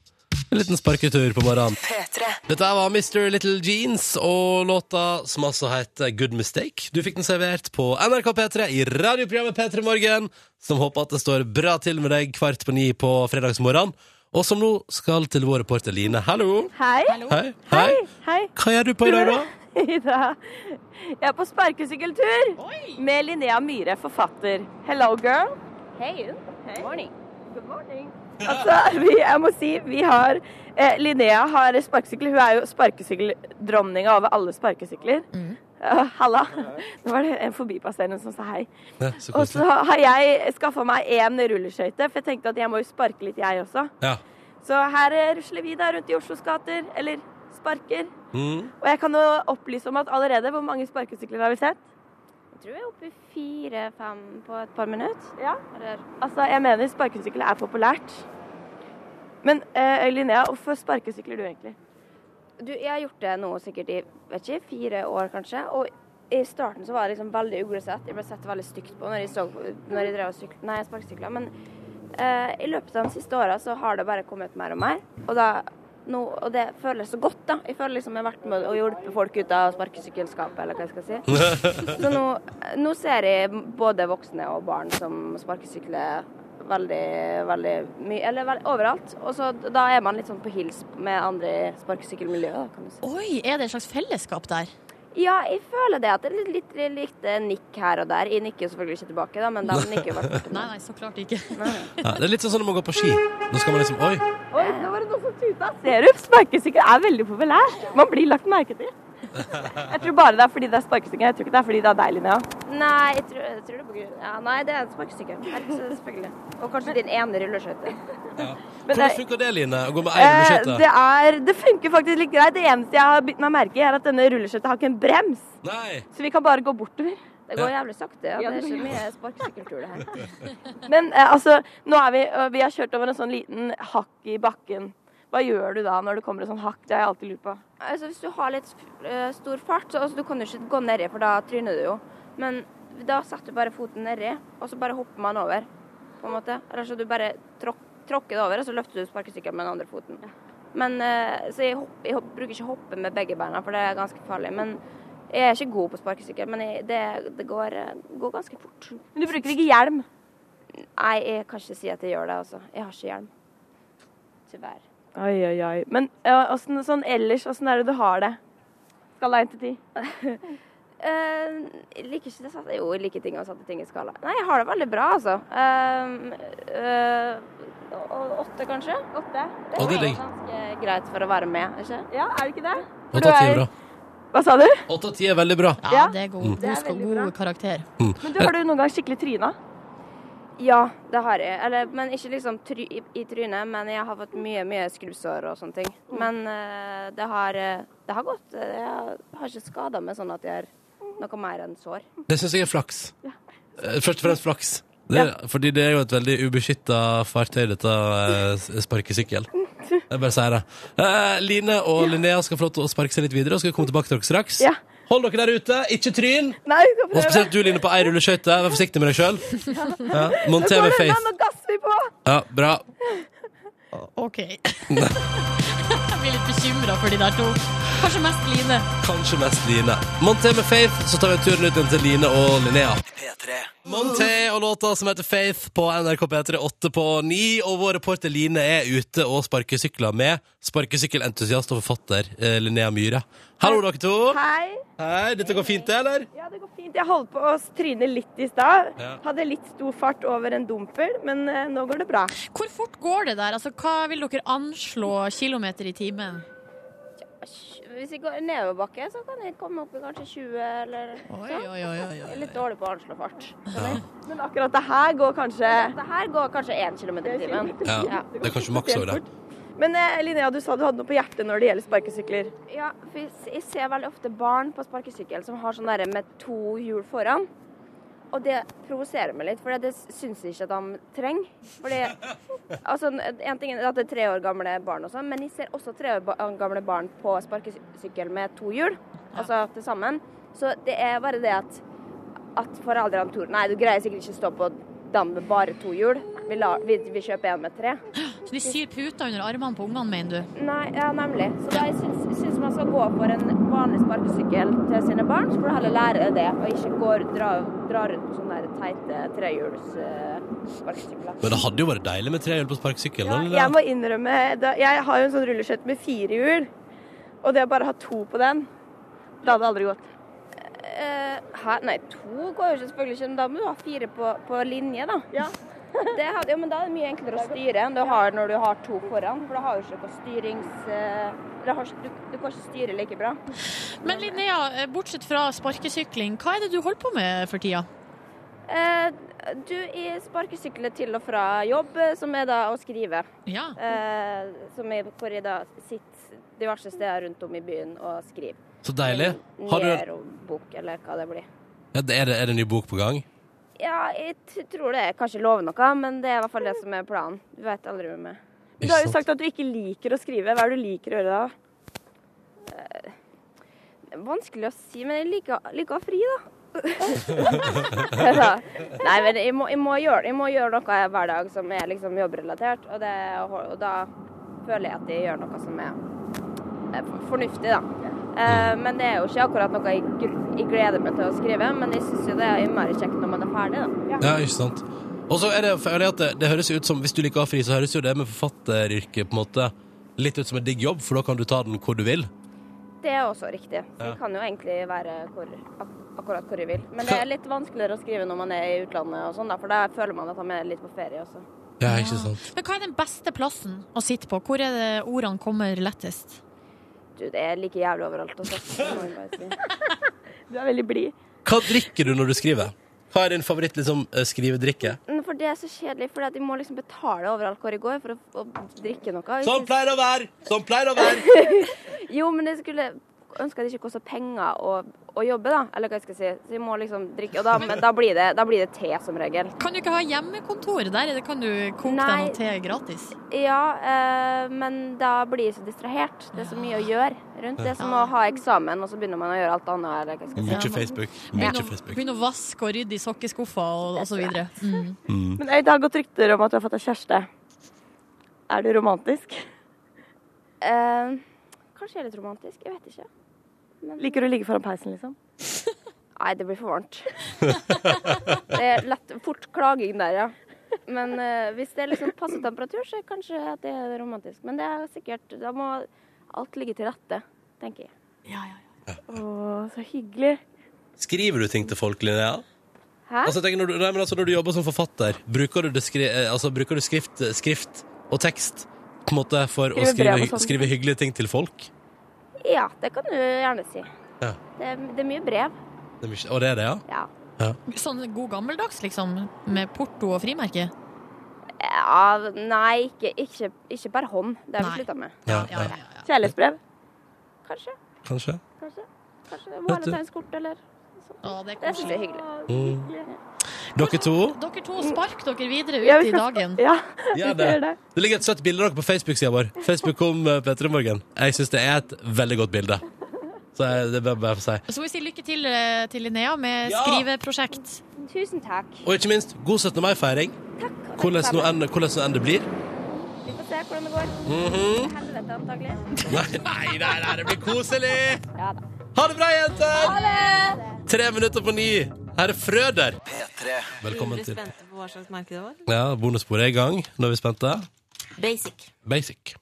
Speaker 2: en liten sparketur på morgenen.
Speaker 4: P3.
Speaker 2: Dette her var Mr. Little Jeans og låta som altså heter Good Mistake. Du fikk den servert på NRK P3 i radioprogrammet P3 Morgen, som håper at det står bra til med deg kvart på ni på fredagsmorgen. Og som nå skal til vår reporter Line. Hallo.
Speaker 9: Hei.
Speaker 2: Hei. Hei.
Speaker 9: Hei.
Speaker 2: Hva gjør du på i dag, da?
Speaker 9: I dag Jeg er på sparkesykkeltur med Linnea Myhre, forfatter. Hello, girl. Hey. Good morning. Altså, vi, jeg må si vi har eh, Linnea har sparkesykkel. Hun er jo sparkesykkeldronninga over alle sparkesykler. Eh, halla. Nå var det en forbipasserende som sa hei.
Speaker 2: Ja, så
Speaker 9: Og så
Speaker 2: koselig.
Speaker 9: har jeg skaffa meg én rulleskøyte, for jeg tenkte at jeg må jo sparke litt, jeg også.
Speaker 2: Ja.
Speaker 9: Så her eh, rusler vi da rundt i Oslos gater, eller sparker.
Speaker 2: Mm.
Speaker 9: Og jeg kan jo opplyse om at allerede hvor mange sparkesykler har vi sett?
Speaker 10: tror jeg er oppe i fire-fem på et par minutter.
Speaker 9: Ja. Altså, jeg mener sparkesykler er populært. Men eh, Linnea, hvorfor sparkesykler du egentlig?
Speaker 10: Du, jeg har gjort det nå sikkert i vet ikke, fire år, kanskje. Og i starten så var jeg liksom veldig uglesett. Jeg ble sett veldig stygt på når jeg, så, når jeg drev og syk- nei, sparkesykla. Men eh, i løpet av de siste åra så har det bare kommet mer og mer. Og, da, nå, og det føles så godt, da. Jeg føler liksom jeg har vært med og hjulpet folk ut av sparkesykkelskapet, eller hva jeg skal si. Så nå, nå ser jeg både voksne og barn som sparkesykler veldig, veldig mye, eller vel- overalt. Og så da er man litt sånn på hils med andre sparkesykkelmiljø, da, kan du si.
Speaker 3: Oi, er det et slags fellesskap der?
Speaker 10: Ja, jeg føler det at det er litt, litt, litt eh, nikk her og der. Jeg nikker jo selvfølgelig ikke tilbake, da, men de nikker jo hvert
Speaker 3: Nei, nei, så klart ikke.
Speaker 2: ja. Det er litt sånn som når man går på ski. Da skal man liksom Oi.
Speaker 9: Oi, nå var det noen som tuta. Ser du? Sparkesykkel er veldig populært. Man blir lagt merke til. Jeg tror bare det er fordi det er sparkesykkel. Jeg tror ikke det er fordi det er deg, Linnea.
Speaker 10: Nei, jeg tror, jeg tror det er på grunn Ja, nei, det er sparkesykkel. Selvfølgelig. Og kanskje din ene rulleskøyte.
Speaker 9: Men
Speaker 2: Hvordan
Speaker 9: det-
Speaker 2: funker det, Line? Å gå med ei
Speaker 9: Eh, det,
Speaker 2: rulleskøyte?
Speaker 9: er, det funker faktisk litt greit. Det eneste jeg har bitt meg merke i, er at denne rulleskøyta har ikke en brems.
Speaker 2: Nei.
Speaker 9: Så vi kan bare gå bortover.
Speaker 10: Det går jævlig sakte. Ja. Det er ikke mye sparkesykkeltur, det her.
Speaker 9: Men eh, altså, nå er vi, og vi har kjørt over en sånn liten hakk i bakken. Hva gjør du da når det kommer en sånn hakk? Det har jeg alltid lurt på.
Speaker 10: Altså, hvis du har litt eh, stor fart, så altså, du kan jo ikke gå nedi, for da tryner du jo. Men da setter du bare foten nedi, og så bare hopper man over, på en måte. Eller så du bare tråk, tråkker det over, og så løfter du sparkesykkelen med den andre foten. Men, eh, så jeg, hopp, jeg hopp, bruker ikke hoppe med begge beina, for det er ganske farlig. Men jeg er ikke god på sparkesykkel, men jeg, det, det går, eh, går ganske fort.
Speaker 9: Men du bruker ikke hjelm.
Speaker 10: Nei, jeg kan ikke si at jeg gjør det, altså. Jeg har ikke hjelm. Tyvärr.
Speaker 9: Oi, oi, oi. Men eh, åssen sånn ellers, åssen er det du har det? Skala 1 til 10.
Speaker 10: Eh, jeg liker ikke det satte Jo, jeg liker ting og satte ting i skala. Nei, jeg har det veldig bra, altså. Eh, eh, å- åtte, kanskje? Åtte.
Speaker 2: Å, det er
Speaker 10: er
Speaker 2: digg.
Speaker 10: ganske greit for å være med, ikke
Speaker 9: Ja, er det ikke det?
Speaker 2: Åtte av ti er bra.
Speaker 9: Hva sa du?
Speaker 2: Åtte av ti er veldig bra.
Speaker 3: Ja,
Speaker 9: Ja.
Speaker 3: det er god,
Speaker 9: Det er
Speaker 3: god,
Speaker 9: veldig bra.
Speaker 3: god karakter.
Speaker 9: Men du, har du noen gang skikkelig tryna?
Speaker 10: Ja, det har jeg. Eller, men ikke liksom try i, i trynet, men jeg har fått mye, mye skrubbsår og sånne ting.
Speaker 3: Mm.
Speaker 10: Men eh, det, har, eh, det har gått. Eh, Jeg har ikke skada meg sånn at jeg har noe mer enn sår.
Speaker 2: Det syns jeg er flaks. Eh, Først og fremst flaks. Det, Fordi det er jo et veldig ubeskytta fartøy, dette eh, s- sparkesykkel. Jeg bare sier det. Eh, Line og Linnea skal få lov til å sparke seg litt videre, og skal komme tilbake til dere straks.
Speaker 9: Ja.
Speaker 2: Hold dere der ute, ikke tryn!
Speaker 9: Nei, vi skal
Speaker 2: Og
Speaker 9: prøve.
Speaker 2: spesielt du, Line, på ei rulleskøyte. Vær forsiktig med deg sjøl. Ja. Monter med
Speaker 9: Nå,
Speaker 2: face.
Speaker 9: nå gasser vi på!
Speaker 2: Ja, bra.
Speaker 3: OK. Jeg blir litt bekymra for de der to. Kanskje mest Line.
Speaker 2: Kanskje mest Line. Monté med Faith, så tar vi en tur ut igjen til Line og Linnea. Monté og låta som heter Faith på NRK P3 8 på 9. Og vår reporter Line er ute og sparkesykler med sparkesykkelentusiast og forfatter eh, Linnea Myhre. Hallo, dere to.
Speaker 9: Hei.
Speaker 2: Hei, dette går fint, det, eller?
Speaker 9: Ja, det går fint. Jeg holdt på å tryne litt i stad.
Speaker 2: Ja.
Speaker 9: Hadde litt stor fart over en dumper, men eh, nå går det bra.
Speaker 3: Hvor fort går det der? Altså, hva vil dere anslå kilometer i timen?
Speaker 10: Hvis jeg går nedoverbakke, så kan jeg komme opp i kanskje 20 eller
Speaker 3: Oi, oi, oi, oi,
Speaker 10: Jeg
Speaker 3: oi.
Speaker 10: er litt dårlig på å anslå fart.
Speaker 9: Men akkurat det her går kanskje
Speaker 10: Det her går kanskje 1 km i timen.
Speaker 2: Ja, det er kanskje maks over det.
Speaker 9: Men eh, Linnea, du sa du hadde noe på hjertet når det gjelder sparkesykler.
Speaker 10: Ja, for jeg- jeg ser veldig ofte barn på sparkesykkel som har sånn derre med to hjul foran. Og det provoserer meg litt, for det syns jeg ikke at de trenger. Fordi, altså, en ting er at det er tre år gamle barn og sånn, men jeg ser også tre år ba- eh, gamle barn på sparkesykkel med to hjul, altså til sammen. Så det er bare det at, at foreldrene tror Nei, du greier sikkert ikke å stå på den med bare to hjul. Vi, la, vi, vi kjøper en med tre.
Speaker 3: Så de syr puter under armene på ungene, mener du?
Speaker 10: Nei, ja, nemlig. Så da jeg syns, syns man skal gå for en vanlig sparkesykkel til sine barn, så får du heller lære det, og ikke gå, dra, dra rundt på sånne der teite trehjuls eh, sparkesykler.
Speaker 2: Men det hadde jo vært deilig med trehjul på sparkesykkel.
Speaker 10: Ja,
Speaker 2: eller?
Speaker 10: jeg må innrømme da, Jeg har jo en sånn rulleskøyte med fire hjul, og det å bare ha to på den, det hadde aldri gått. Eh, hæ? Nei, to går jo ikke, selvfølgelig ikke, men da må du ha fire på, på linje, da. Det hadde, jo, men da er det mye enklere å styre enn du har når du har to foran, for da har du ikke noe styrings... eh, da har ikke- du, du kan ikke styre like bra.
Speaker 3: Men Linnea, eh, bortsett fra sparkesykling, hva er det du holder på med for tida?
Speaker 10: Eh, du, jeg sparkesykler til og fra jobb, eh, som er da å skrive. Eh, som er hvor jeg da sitter diverse steder rundt om i byen og skriver.
Speaker 2: Så deilig. Har du-
Speaker 10: Nero-bok, eller hva det blir.
Speaker 2: Ja, det er, det, er det en ny bok på gang?
Speaker 10: Ja, jeg t tror det. Jeg kan ikke love noe, men det er i hvert fall det som er planen. Du vet aldri med meg.
Speaker 9: Du har jo sagt at du ikke liker å skrive. Hva er det du liker å gjøre da?
Speaker 10: Det er Eh, Vanskelig å si, men jeg liker, liker å ha fri, da. Ja. Nei, men jeg må, jeg, må gjøre, jeg må gjøre noe hver dag som er liksom jobbrelatert, og, det, og da føler jeg at jeg gjør noe som er eh, for- fornuftig, da. Eh, men det er jo ikke akkurat noe jeg, gr- jeg gleder meg til å skrive, men jeg syns jo det er innmari kjekt når man er ferdig, da.
Speaker 2: Ja, ikke sant. Og så er det, føler jeg at det, det høres jo ut som, hvis du liker å ha fri, så høres jo det med forfatteryrket på en måte litt ut som en digg jobb, for da kan du ta den hvor du vil.
Speaker 10: Det er også riktig. Så
Speaker 2: Ja.
Speaker 10: jeg kan jo egentlig være hvor, ak akkurat hvor jeg vil. Men det er litt vanskeligere å skrive når man er i utlandet og sånn, da, for da føler man at man er litt på ferie også.
Speaker 2: Ja, ikke sant.
Speaker 3: Men hva er den beste plassen å sitte på? Hvor er det ordene kommer lettest?
Speaker 10: Du, det er like jævlig overalt. Også. Det må jeg bare si.
Speaker 9: Du er veldig blid.
Speaker 2: Hva drikker du når du skriver? Hva er din favoritt liksom, eh, skrivedrikke?
Speaker 10: Men Mm, For det er så kjedelig, for de må liksom betale overalt hvor jeg går for å, å drikke noe. Jeg
Speaker 2: Sånn
Speaker 10: synes-
Speaker 2: pleier det å være! Sånn pleier det å være!
Speaker 10: Jo, men jeg skulle ønske at det ikke kosta penger å, å jobbe, da. Eller hva jeg skal si. Så jeg må liksom drikke. Og da, men da, blir, det, da blir det te, som regel.
Speaker 3: Kan du ikke ha hjemmekontor der? Det kan du koke deg
Speaker 10: Nei.
Speaker 3: noe te gratis.
Speaker 10: Ja, eh, men da blir jeg så distrahert. Det er så mye å gjøre rundt. Det er som å ha eksamen, og så begynner man å gjøre alt annet. Eller hva jeg skal si.
Speaker 2: Mye Facebook. Mye
Speaker 3: Begynne å,
Speaker 2: Facebook.
Speaker 3: begynne å vaske og rydde i sokkeskuffa og, og så videre. Mm.
Speaker 2: Mm.
Speaker 9: Men eh, det har gått rykter om at du har fått deg kjæreste. Er du romantisk?
Speaker 10: Eh, kanskje jeg er litt romantisk. Jeg vet ikke. Men-
Speaker 9: Liker du å ligge foran peisen, liksom?
Speaker 10: Nei, det blir for varmt. Det er lett, fort klaging der, ja. Men eh, hvis det er liksom passe temperatur, så er kanskje at det er romantisk. Men det er sikkert Da må alt ligge til rette, tenker jeg.
Speaker 9: Å, så hyggelig.
Speaker 2: Skriver du ting til folk, Linnea?
Speaker 10: Hæ?
Speaker 2: Altså, jeg tenker, når, du, nei, men altså, når du jobber som forfatter, bruker du, det skri, eh, altså, bruker du skrift, skrift og tekst på en måte for å
Speaker 10: Skrive brev
Speaker 2: skrive,
Speaker 10: og
Speaker 2: hy-
Speaker 10: sånn.
Speaker 2: skrive hyggelige ting til folk?
Speaker 10: Ja, det kan du gjerne si.
Speaker 2: Ja.
Speaker 10: Det er, det er mye brev.
Speaker 2: Det er mye, og det er det, ja?
Speaker 10: Ja.
Speaker 3: Sånn god gammeldags, liksom? Med porto og frimerke?
Speaker 10: ja nei, ikke, ikke, ikke per hånd. Det har vi slutta med.
Speaker 2: Ja, ja,
Speaker 9: Kjærlighetsbrev?
Speaker 10: Kanskje.
Speaker 2: Kanskje.
Speaker 10: Kanskje. Kanskje
Speaker 2: Vet du-
Speaker 10: Valentinskort eller noe sånt.
Speaker 3: det
Speaker 10: er så hyggelig.
Speaker 2: Mm. Dere to?
Speaker 3: Dere to, spark dere videre ut
Speaker 9: Ja, vi
Speaker 3: i
Speaker 9: skal-
Speaker 3: dagen.
Speaker 9: Ja.
Speaker 2: Gjør det.
Speaker 9: gjør det.
Speaker 2: Det ligger et søtt bilde av dere på Facebook-sida vår. Facebook om Petter i morgen. Jeg syns det er et veldig godt bilde. Så jeg, det bør jeg bare få si.
Speaker 3: Så må vi si lykke til eh, til Linnea med
Speaker 2: Ja!
Speaker 3: skriveprosjekt.
Speaker 10: Tusen takk.
Speaker 2: Og ikke minst, god 17. mai-feiring. Hvordan nå enn hvordan nå enn det blir.
Speaker 10: Vi får se hvordan det går.
Speaker 2: Mhm.
Speaker 10: Til Helvete, antagelig.
Speaker 2: Nei, nei, nei, nei, det blir koselig!
Speaker 10: Ja da.
Speaker 2: Ha det bra, jenter! Tre minutter på ni. Her er Frøder. Velkommen til
Speaker 11: spente på hva slags merke det var?
Speaker 2: Ja, Bonussporet er i gang. Nå er vi spente.
Speaker 11: Basic.
Speaker 2: Basic.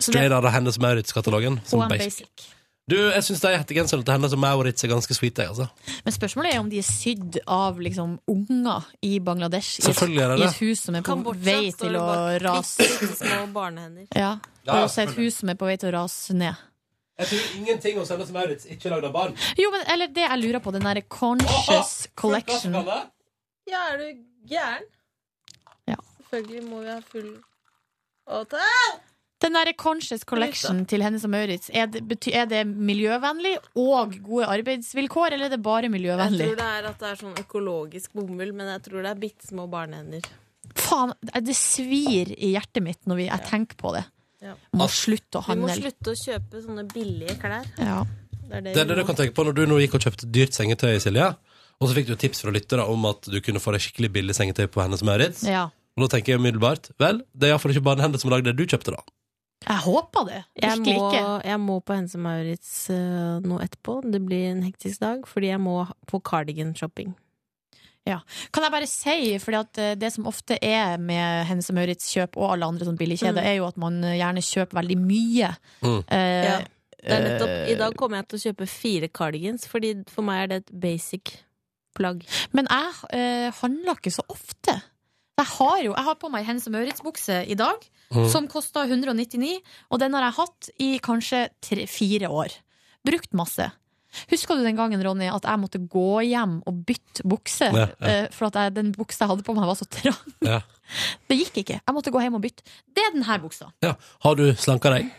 Speaker 2: Straight out av hennes Maurits-katalogen. Som
Speaker 3: Og en
Speaker 2: basic. Du, jeg syns de hettegenserne til hennes og Maurits er ganske sweet, jeg, altså.
Speaker 3: Men spørsmålet er om de er sydd av liksom, unger i Bangladesh. I, et-
Speaker 2: Selvfølgelig er det
Speaker 3: I
Speaker 2: det.
Speaker 3: et hus som er på
Speaker 11: Kambodsja
Speaker 3: vei
Speaker 11: står
Speaker 3: til
Speaker 11: det
Speaker 3: å
Speaker 11: bak.
Speaker 3: rase.
Speaker 11: Bitte små barnehender.
Speaker 3: Ja.
Speaker 2: Ja, ja,
Speaker 3: Og også et hus som er på vei til å rase ned.
Speaker 2: Jeg tror ingenting hos hennes Maurits ikke er lagd av barn.
Speaker 3: Jo, men eller det jeg lurer på, den derre Conscious Collection.
Speaker 11: Ja, er du gæren?
Speaker 3: Ja.
Speaker 11: Selvfølgelig må vi ha full åte.
Speaker 3: Den derre Conscious Collection til Hennes og Maurits, er det, bety- er det miljøvennlig og gode arbeidsvilkår, eller er det bare
Speaker 11: Jeg
Speaker 3: miljøvennlig?
Speaker 11: tror det er at det er sånn økologisk bomull, men jeg tror det er bitte små barnehender.
Speaker 3: Faen, eh, det svir i hjertet mitt når vi, jeg tenker på det.
Speaker 11: Ja.
Speaker 3: Må slutte å
Speaker 11: Vi må
Speaker 3: handle.
Speaker 11: slutte å kjøpe sånne billige klær.
Speaker 3: Ja.
Speaker 11: Det er det,
Speaker 2: Det er det du
Speaker 11: vi må.
Speaker 2: kan tenke på når du nå gikk og kjøpte dyrt sengetøy, Silje. Og så fikk du tips fra lyttere om at du kunne få deg skikkelig billig sengetøy på hennes Maurits.
Speaker 3: Ja.
Speaker 2: Og da tenker jeg umiddelbart Vel, det er iallfall ikke bare hender som lagde det du kjøpte, da.
Speaker 3: Jeg håper det.
Speaker 11: Jeg
Speaker 3: Virkelig
Speaker 11: må,
Speaker 3: ikke.
Speaker 11: jeg må på Hense Maurits eh, nå etterpå. Det blir en hektisk dag, fordi jeg må på cardigan-shopping.
Speaker 3: Ja. Kan jeg bare si, fordi at eh, det som ofte er med Hennes og Maurits kjøp og alle andre sånn billigkjeder,
Speaker 11: Mm.
Speaker 3: er jo at man eh, gjerne kjøper veldig mye.
Speaker 2: Mm.
Speaker 3: Eh,
Speaker 11: Ja. Det er nettopp,
Speaker 3: eh,
Speaker 11: I dag kommer jeg til å kjøpe fire cardigans, fordi for meg er det et basic plagg.
Speaker 3: Men jeg eh, handler ikke så ofte. Jeg har jo jeg har på meg Hennes og Maurits-bukse i dag,
Speaker 2: Mm.
Speaker 11: Mhm.
Speaker 3: som kosta 199, og den har jeg hatt i kanskje tre, fire år. Brukt masse. Husker du den gangen Ronny, at jeg måtte gå hjem og bytte bukse?
Speaker 2: Ja, ja.
Speaker 3: eh, For at jeg, den buksa jeg hadde på meg, var så trang.
Speaker 2: Ja.
Speaker 3: Det gikk ikke. Jeg måtte gå hjem og bytte. Det er denne buksa.
Speaker 2: ja. Har du slanka deg?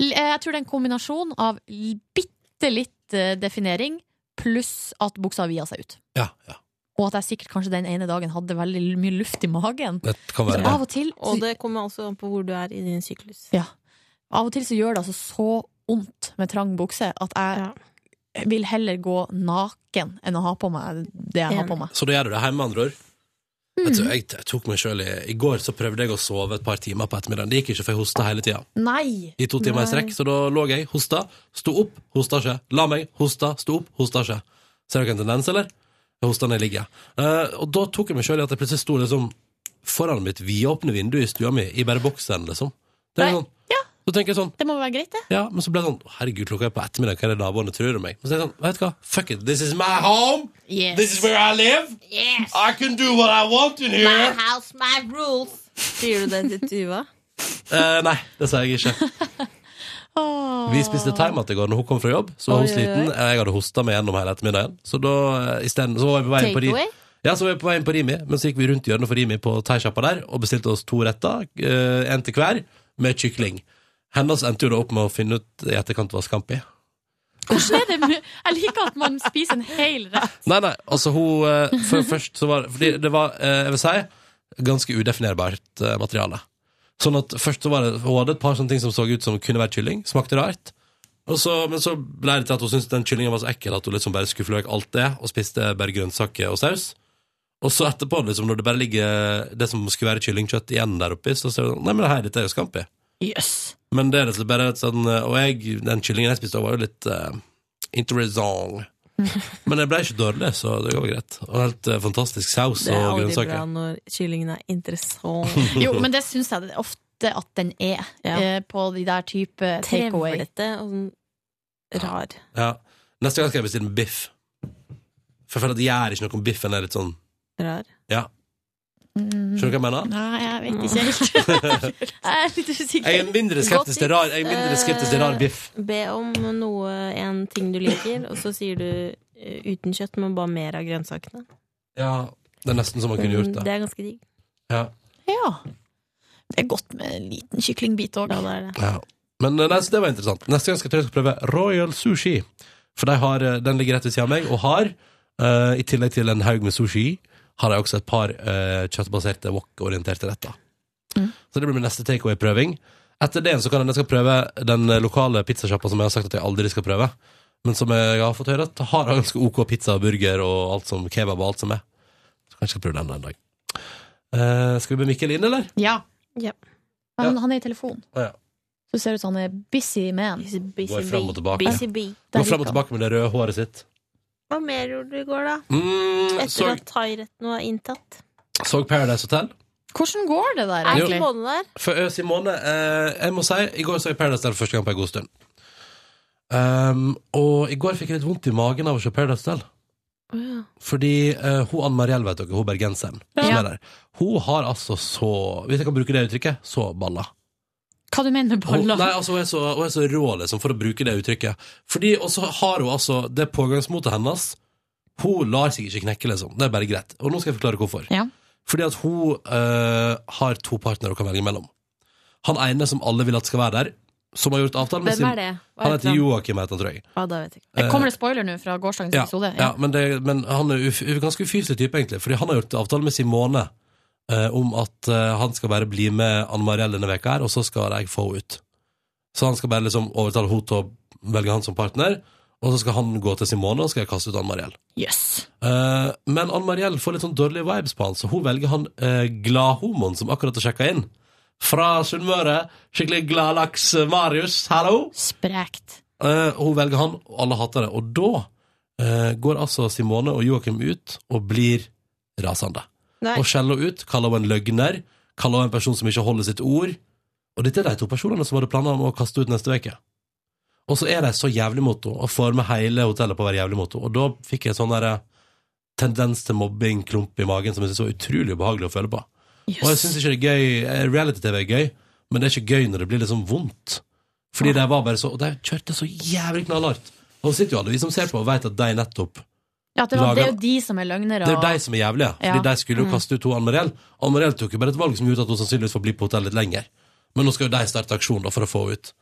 Speaker 3: L- eh, Jeg tror det er en kombinasjon av l- bitte litt eh, definering pluss at buksa via seg ut.
Speaker 2: Ja,
Speaker 3: Og at jeg sikkert kanskje den ene dagen hadde veldig l- mye luft i magen.
Speaker 2: Det kan
Speaker 3: Så
Speaker 2: være
Speaker 3: av
Speaker 2: det.
Speaker 3: og til
Speaker 11: Og det kommer også an på hvor du er i din syklus.
Speaker 3: Ja. Av og til så gjør det altså så vondt med trang bukse at jeg vil heller gå naken enn å ha på meg det jeg har på meg. Mm.
Speaker 2: Så da gjør du det hjemme, med andre ord? Jeg, tror- jeg, jeg tok meg selv i I går så prøvde jeg å sove et par timer på ettermiddagen. Det gikk ikke, for jeg hosta hele tida.
Speaker 3: Nei!
Speaker 2: I to timer i strekk, så da lå jeg, hosta, sto opp, hosta ikke. La meg, hosta, sto opp, hosta ikke. Ser dere en tendens, eller? Jeg hosta når jeg ligger. Eh, og da tok jeg meg sjøl i at jeg plutselig sto liksom foran mitt vidåpne vindu i stua mi, i bare boksen, liksom. Det er sånn. Så tenker jeg sånn
Speaker 3: Det må være greit, det.
Speaker 2: ja, men så ble det sånn Herregud, klokka er på ettermiddag, hva er det naboene tror om meg? Men så er det sånn, vet du hva, fuck it, this is my home!
Speaker 3: Yes.
Speaker 2: This is where I live!
Speaker 11: Yes.
Speaker 2: I can do what I want in here!
Speaker 11: house, my rules! Sier du det til Tuva?
Speaker 2: Eh, nei, det sa jeg ikke. Vi spiste thaimat i går når hun kom fra jobb. Så var hun
Speaker 11: Oi, oi,
Speaker 2: sliten.
Speaker 11: oi.
Speaker 2: Jeg hadde hosta meg gjennom hele ettermiddagen. Så da eh, i stedet, så var jeg på vei inn på Ri-
Speaker 11: Takeaway?
Speaker 2: Ja, så var jeg på vei inn på Rimi, men så gikk vi rundt hjørnet for Rimi på thaisjappa der og bestilte oss to retter, eh, en til hver, med kykling. Hennes endte jo da opp med å finne ut i etterkant hva scampi.
Speaker 3: Hvordan er det med Jeg liker at man spiser en hel rett.
Speaker 2: Nei, nei, altså hun eh, For først så var Fordi det var, eh, jeg vil si Ganske udefinerbart eh, materiale Sånn at først så var det Hun hadde et par sånne ting som så ut som kunne vært kylling Smakte rart Og så, Men så ble det til at hun syntes den kyllingen var så ekkel At hun liksom bare skulle fløk alt det Og spiste bare grønnsaker og saus og så etterpå, liksom, når det bare ligger det som skulle være kyllingkjøtt igjen der oppe, så ser du sånn, nei, men det her, dette er jo skampi.
Speaker 3: Yes.
Speaker 2: Men det er rett og slett bare et sånn, og jeg, den kyllingen jeg spiste, var jo litt uh, interessant. Men det ble ikke dårlig, så det går greit. Og helt eh, fantastisk saus
Speaker 11: Det er
Speaker 2: og
Speaker 11: aldri bra
Speaker 2: grønnsaker.
Speaker 11: når kyllingen er interessant.
Speaker 3: Jo, men det syns jeg det er ofte at den er,
Speaker 11: Ja.
Speaker 3: eh, på de der type takeaway.
Speaker 11: Trevlete og sånn rar.
Speaker 2: Ja. Neste gang skal jeg bestille biff. For jeg føler at jeg gjør ikke noe om biffen er litt sånn
Speaker 11: rar.
Speaker 2: Ja. Skjønner du hva jeg mener?
Speaker 3: Nei, jeg vet ikke helt. jeg er litt usikker.
Speaker 2: Jeg er mindre skeptisk til rar, jeg er mindre skeptisk til rar biff.
Speaker 11: Eh, Be om noe, en ting du liker, og så sier du eh, uten kjøtt, men bare mer av grønnsakene.
Speaker 2: Ja, det er nesten som man kunne gjort
Speaker 11: Mm,
Speaker 2: det.
Speaker 11: er ganske digg.
Speaker 2: Ja.
Speaker 3: Ja. Det er godt med en liten kyklingbit òg.
Speaker 11: Ja, det er det.
Speaker 2: Ja. Men eh, nei, så det var interessant. Neste gang skal jeg tror jeg skal prøve Royal Sushi. For de har, eh, den ligger rett ved siden av meg, og har, eh, i tillegg til en haug med sushi, har de også et par eh, kjøttbaserte wok-orienterte retter.
Speaker 11: Mm.
Speaker 2: Så det blir min neste takeaway-prøving. Etter det så kan jeg, jeg skal prøve den eh, lokale pizzasjappa som jeg har sagt at jeg aldri skal prøve. Men som jeg har fått høre at har ganske OK pizza og burger og alt som kebab og alt som er. Så kanskje jeg skal prøve den en dag. Eh, skal vi be Mikkel inn, eller?
Speaker 3: Ja. Han,
Speaker 2: Ja.
Speaker 3: han er i telefon.
Speaker 2: Å, ja.
Speaker 3: Så det ser ut som han er busy man.
Speaker 2: Går frem og tilbake.
Speaker 11: Busy bee.
Speaker 2: Gå frem og tilbake med det røde håret sitt.
Speaker 11: Hva mer gjorde du i går, da?
Speaker 2: Mm,
Speaker 11: Etter
Speaker 2: så,
Speaker 11: at thairetten var inntatt?
Speaker 2: så Paradise Hotel.
Speaker 3: Hvordan går det der,
Speaker 11: Er
Speaker 2: Jo.
Speaker 11: Simone der?
Speaker 2: For ø, Simone, eh, jeg må si, i går så jeg Paradise Hotel for første gang på en god stund. Um, og i går fikk jeg litt vondt i magen av å se Paradise Hotel. Fordi eh, hun Ann Mariell, vet dere, hun bergenseren som er der, hun har altså så, hvis jeg kan bruke det uttrykket, så balla.
Speaker 3: Hva du mener med
Speaker 2: Hun, nei,
Speaker 3: baller?
Speaker 2: altså, hun er så, hun er så rå, liksom, for å bruke det uttrykket. Fordi, og så har hun altså det pågangsmotet hennes. Hun lar seg ikke knekke, liksom. Det er bare greit. Og nå skal jeg forklare hvorfor.
Speaker 3: Ja.
Speaker 2: Fordi at hun eh, har to partnere hun kan velge mellom. Han ene som alle vil at skal være der, som har gjort avtalen med
Speaker 3: Hvem er
Speaker 2: sin-
Speaker 3: det? Hva
Speaker 2: Han
Speaker 3: heter
Speaker 2: heter
Speaker 3: han?
Speaker 2: Joakim, heter han, tror jeg.
Speaker 11: Ja, da vet jeg.
Speaker 2: Eh,
Speaker 3: Kommer det spoiler nå fra gårsdagens
Speaker 2: ja,
Speaker 3: episode?
Speaker 2: Ja, men, det, men han er uf ganske ufyselig type, egentlig. Fordi han har gjort avtale med Simone eh, om at eh, han skal bare bli med Anne Mariell denne veka her, og så skal jeg få henne ut. Så han skal bare liksom overtale henne til å velge han som partner, og så skal han gå til Simone, og så skal jeg kaste ut Anne Mariell.
Speaker 3: Yes.
Speaker 2: Eh, men Anne Mariell får litt sånn dårlige vibes på han, så hun velger han eh, gladhomoen som akkurat har sjekka inn. Fra Sunnmøre. Skikkelig gladlaks eh, Marius, hallo!
Speaker 3: Sprekt.
Speaker 2: Eh, hun velger han, og alle hater det. Og da eh, går altså Simone og Joakim ut og blir rasende.
Speaker 11: Nei.
Speaker 2: Og skjeller henne ut, kaller henne en løgner, kaller henne en person som ikke holder sitt ord. Og dette er de to personene som hadde planer om å kaste ut neste uke. Og så er de så jævlig mot henne, og får med hele hotellet på å være jævlig mot henne. Og da fikk jeg sånn der eh, tendens til mobbing, klump i magen, som jeg synes var utrolig ubehagelig å føle på. Og jeg synes ikke det er gøy, eh, reality-tv er gøy, men det er ikke gøy når det blir liksom vondt. Fordi de var bare så, og de kjørte så jævlig knallhardt. Og så sitter jo alle vi som ser på og vet at de nettopp
Speaker 3: Ja, det, var,
Speaker 2: Lager-
Speaker 3: det er jo de som er løgnere.
Speaker 2: Det er jo
Speaker 3: og-
Speaker 2: de som er jævlige, fordi
Speaker 3: Ja.
Speaker 2: de skulle jo
Speaker 3: Mm.
Speaker 2: kaste ut to Ann Mariell. Ann Mariell tok jo bare et valg som gjorde at hun sannsynligvis får bli på hotell litt lenger. Men nå skal jo de starte aksjon da for å få henne ut.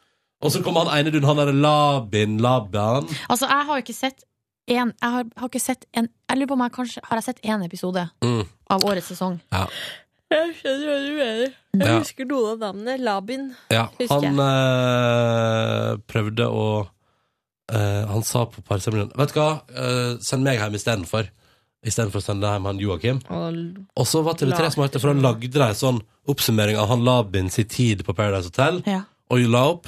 Speaker 2: Og så kommer han ene dun, han derre Labin Laban.
Speaker 3: Altså, jeg har jo ikke sett en, jeg har, har ikke sett en Jeg lurer på om jeg kanskje har jeg sett én episode
Speaker 2: Mm.
Speaker 3: av årets sesong.
Speaker 2: Ja.
Speaker 11: Jeg skjønner hva du mener.
Speaker 2: Ja.
Speaker 11: Jeg husker noen av navnene. Labin.
Speaker 2: ja.
Speaker 11: Husker jeg.
Speaker 2: Han eh, prøvde å eh, Han sa på parseremonien Vet du hva, eh, send meg hjem istedenfor. Istedenfor å sende hjem han Joakim.
Speaker 11: Og
Speaker 2: Og så var TV3
Speaker 11: La-
Speaker 2: smarte, for han lagde deg sånn oppsummering av han Labin sin tid på Paradise Hotel, og la opp,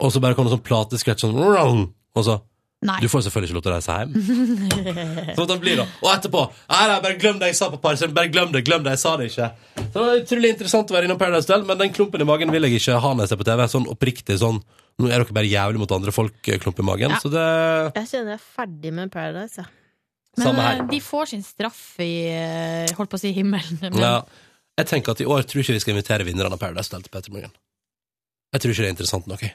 Speaker 2: og så bare kom det sånn plateskretch sånn «Rrrrrrrrrrrrrrrrrrrrrrrrrrrrrrrr», Og så
Speaker 3: Nei.
Speaker 2: Du får selvfølgelig ikke lov til å reise hjem. Sånn at han blir da. Og etterpå Nei, nei, bare glem det jeg sa på Paradise Bare glem det, glem det, jeg sa det ikke. Så det var utrolig interessant å være innom Paradise Hotel, men den klumpen i magen vil jeg ikke ha når jeg ser på TV. Sånn oppriktig sånn Nå er dere bare jævlig mot andre folk, eh, klump i magen.
Speaker 11: Ja.
Speaker 2: Så det
Speaker 11: Jeg kjenner jeg er ferdig med Paradise, ja.
Speaker 3: Men
Speaker 2: Samme her.
Speaker 3: eh, de får sin straff i eh, Holdt på å si himmelen. Men,
Speaker 2: Ja. Jeg tenker at i år tror ikke vi skal invitere vinnerne av Paradise Hotel til Petter Morgan. Jeg tror ikke det er interessant nok, jeg.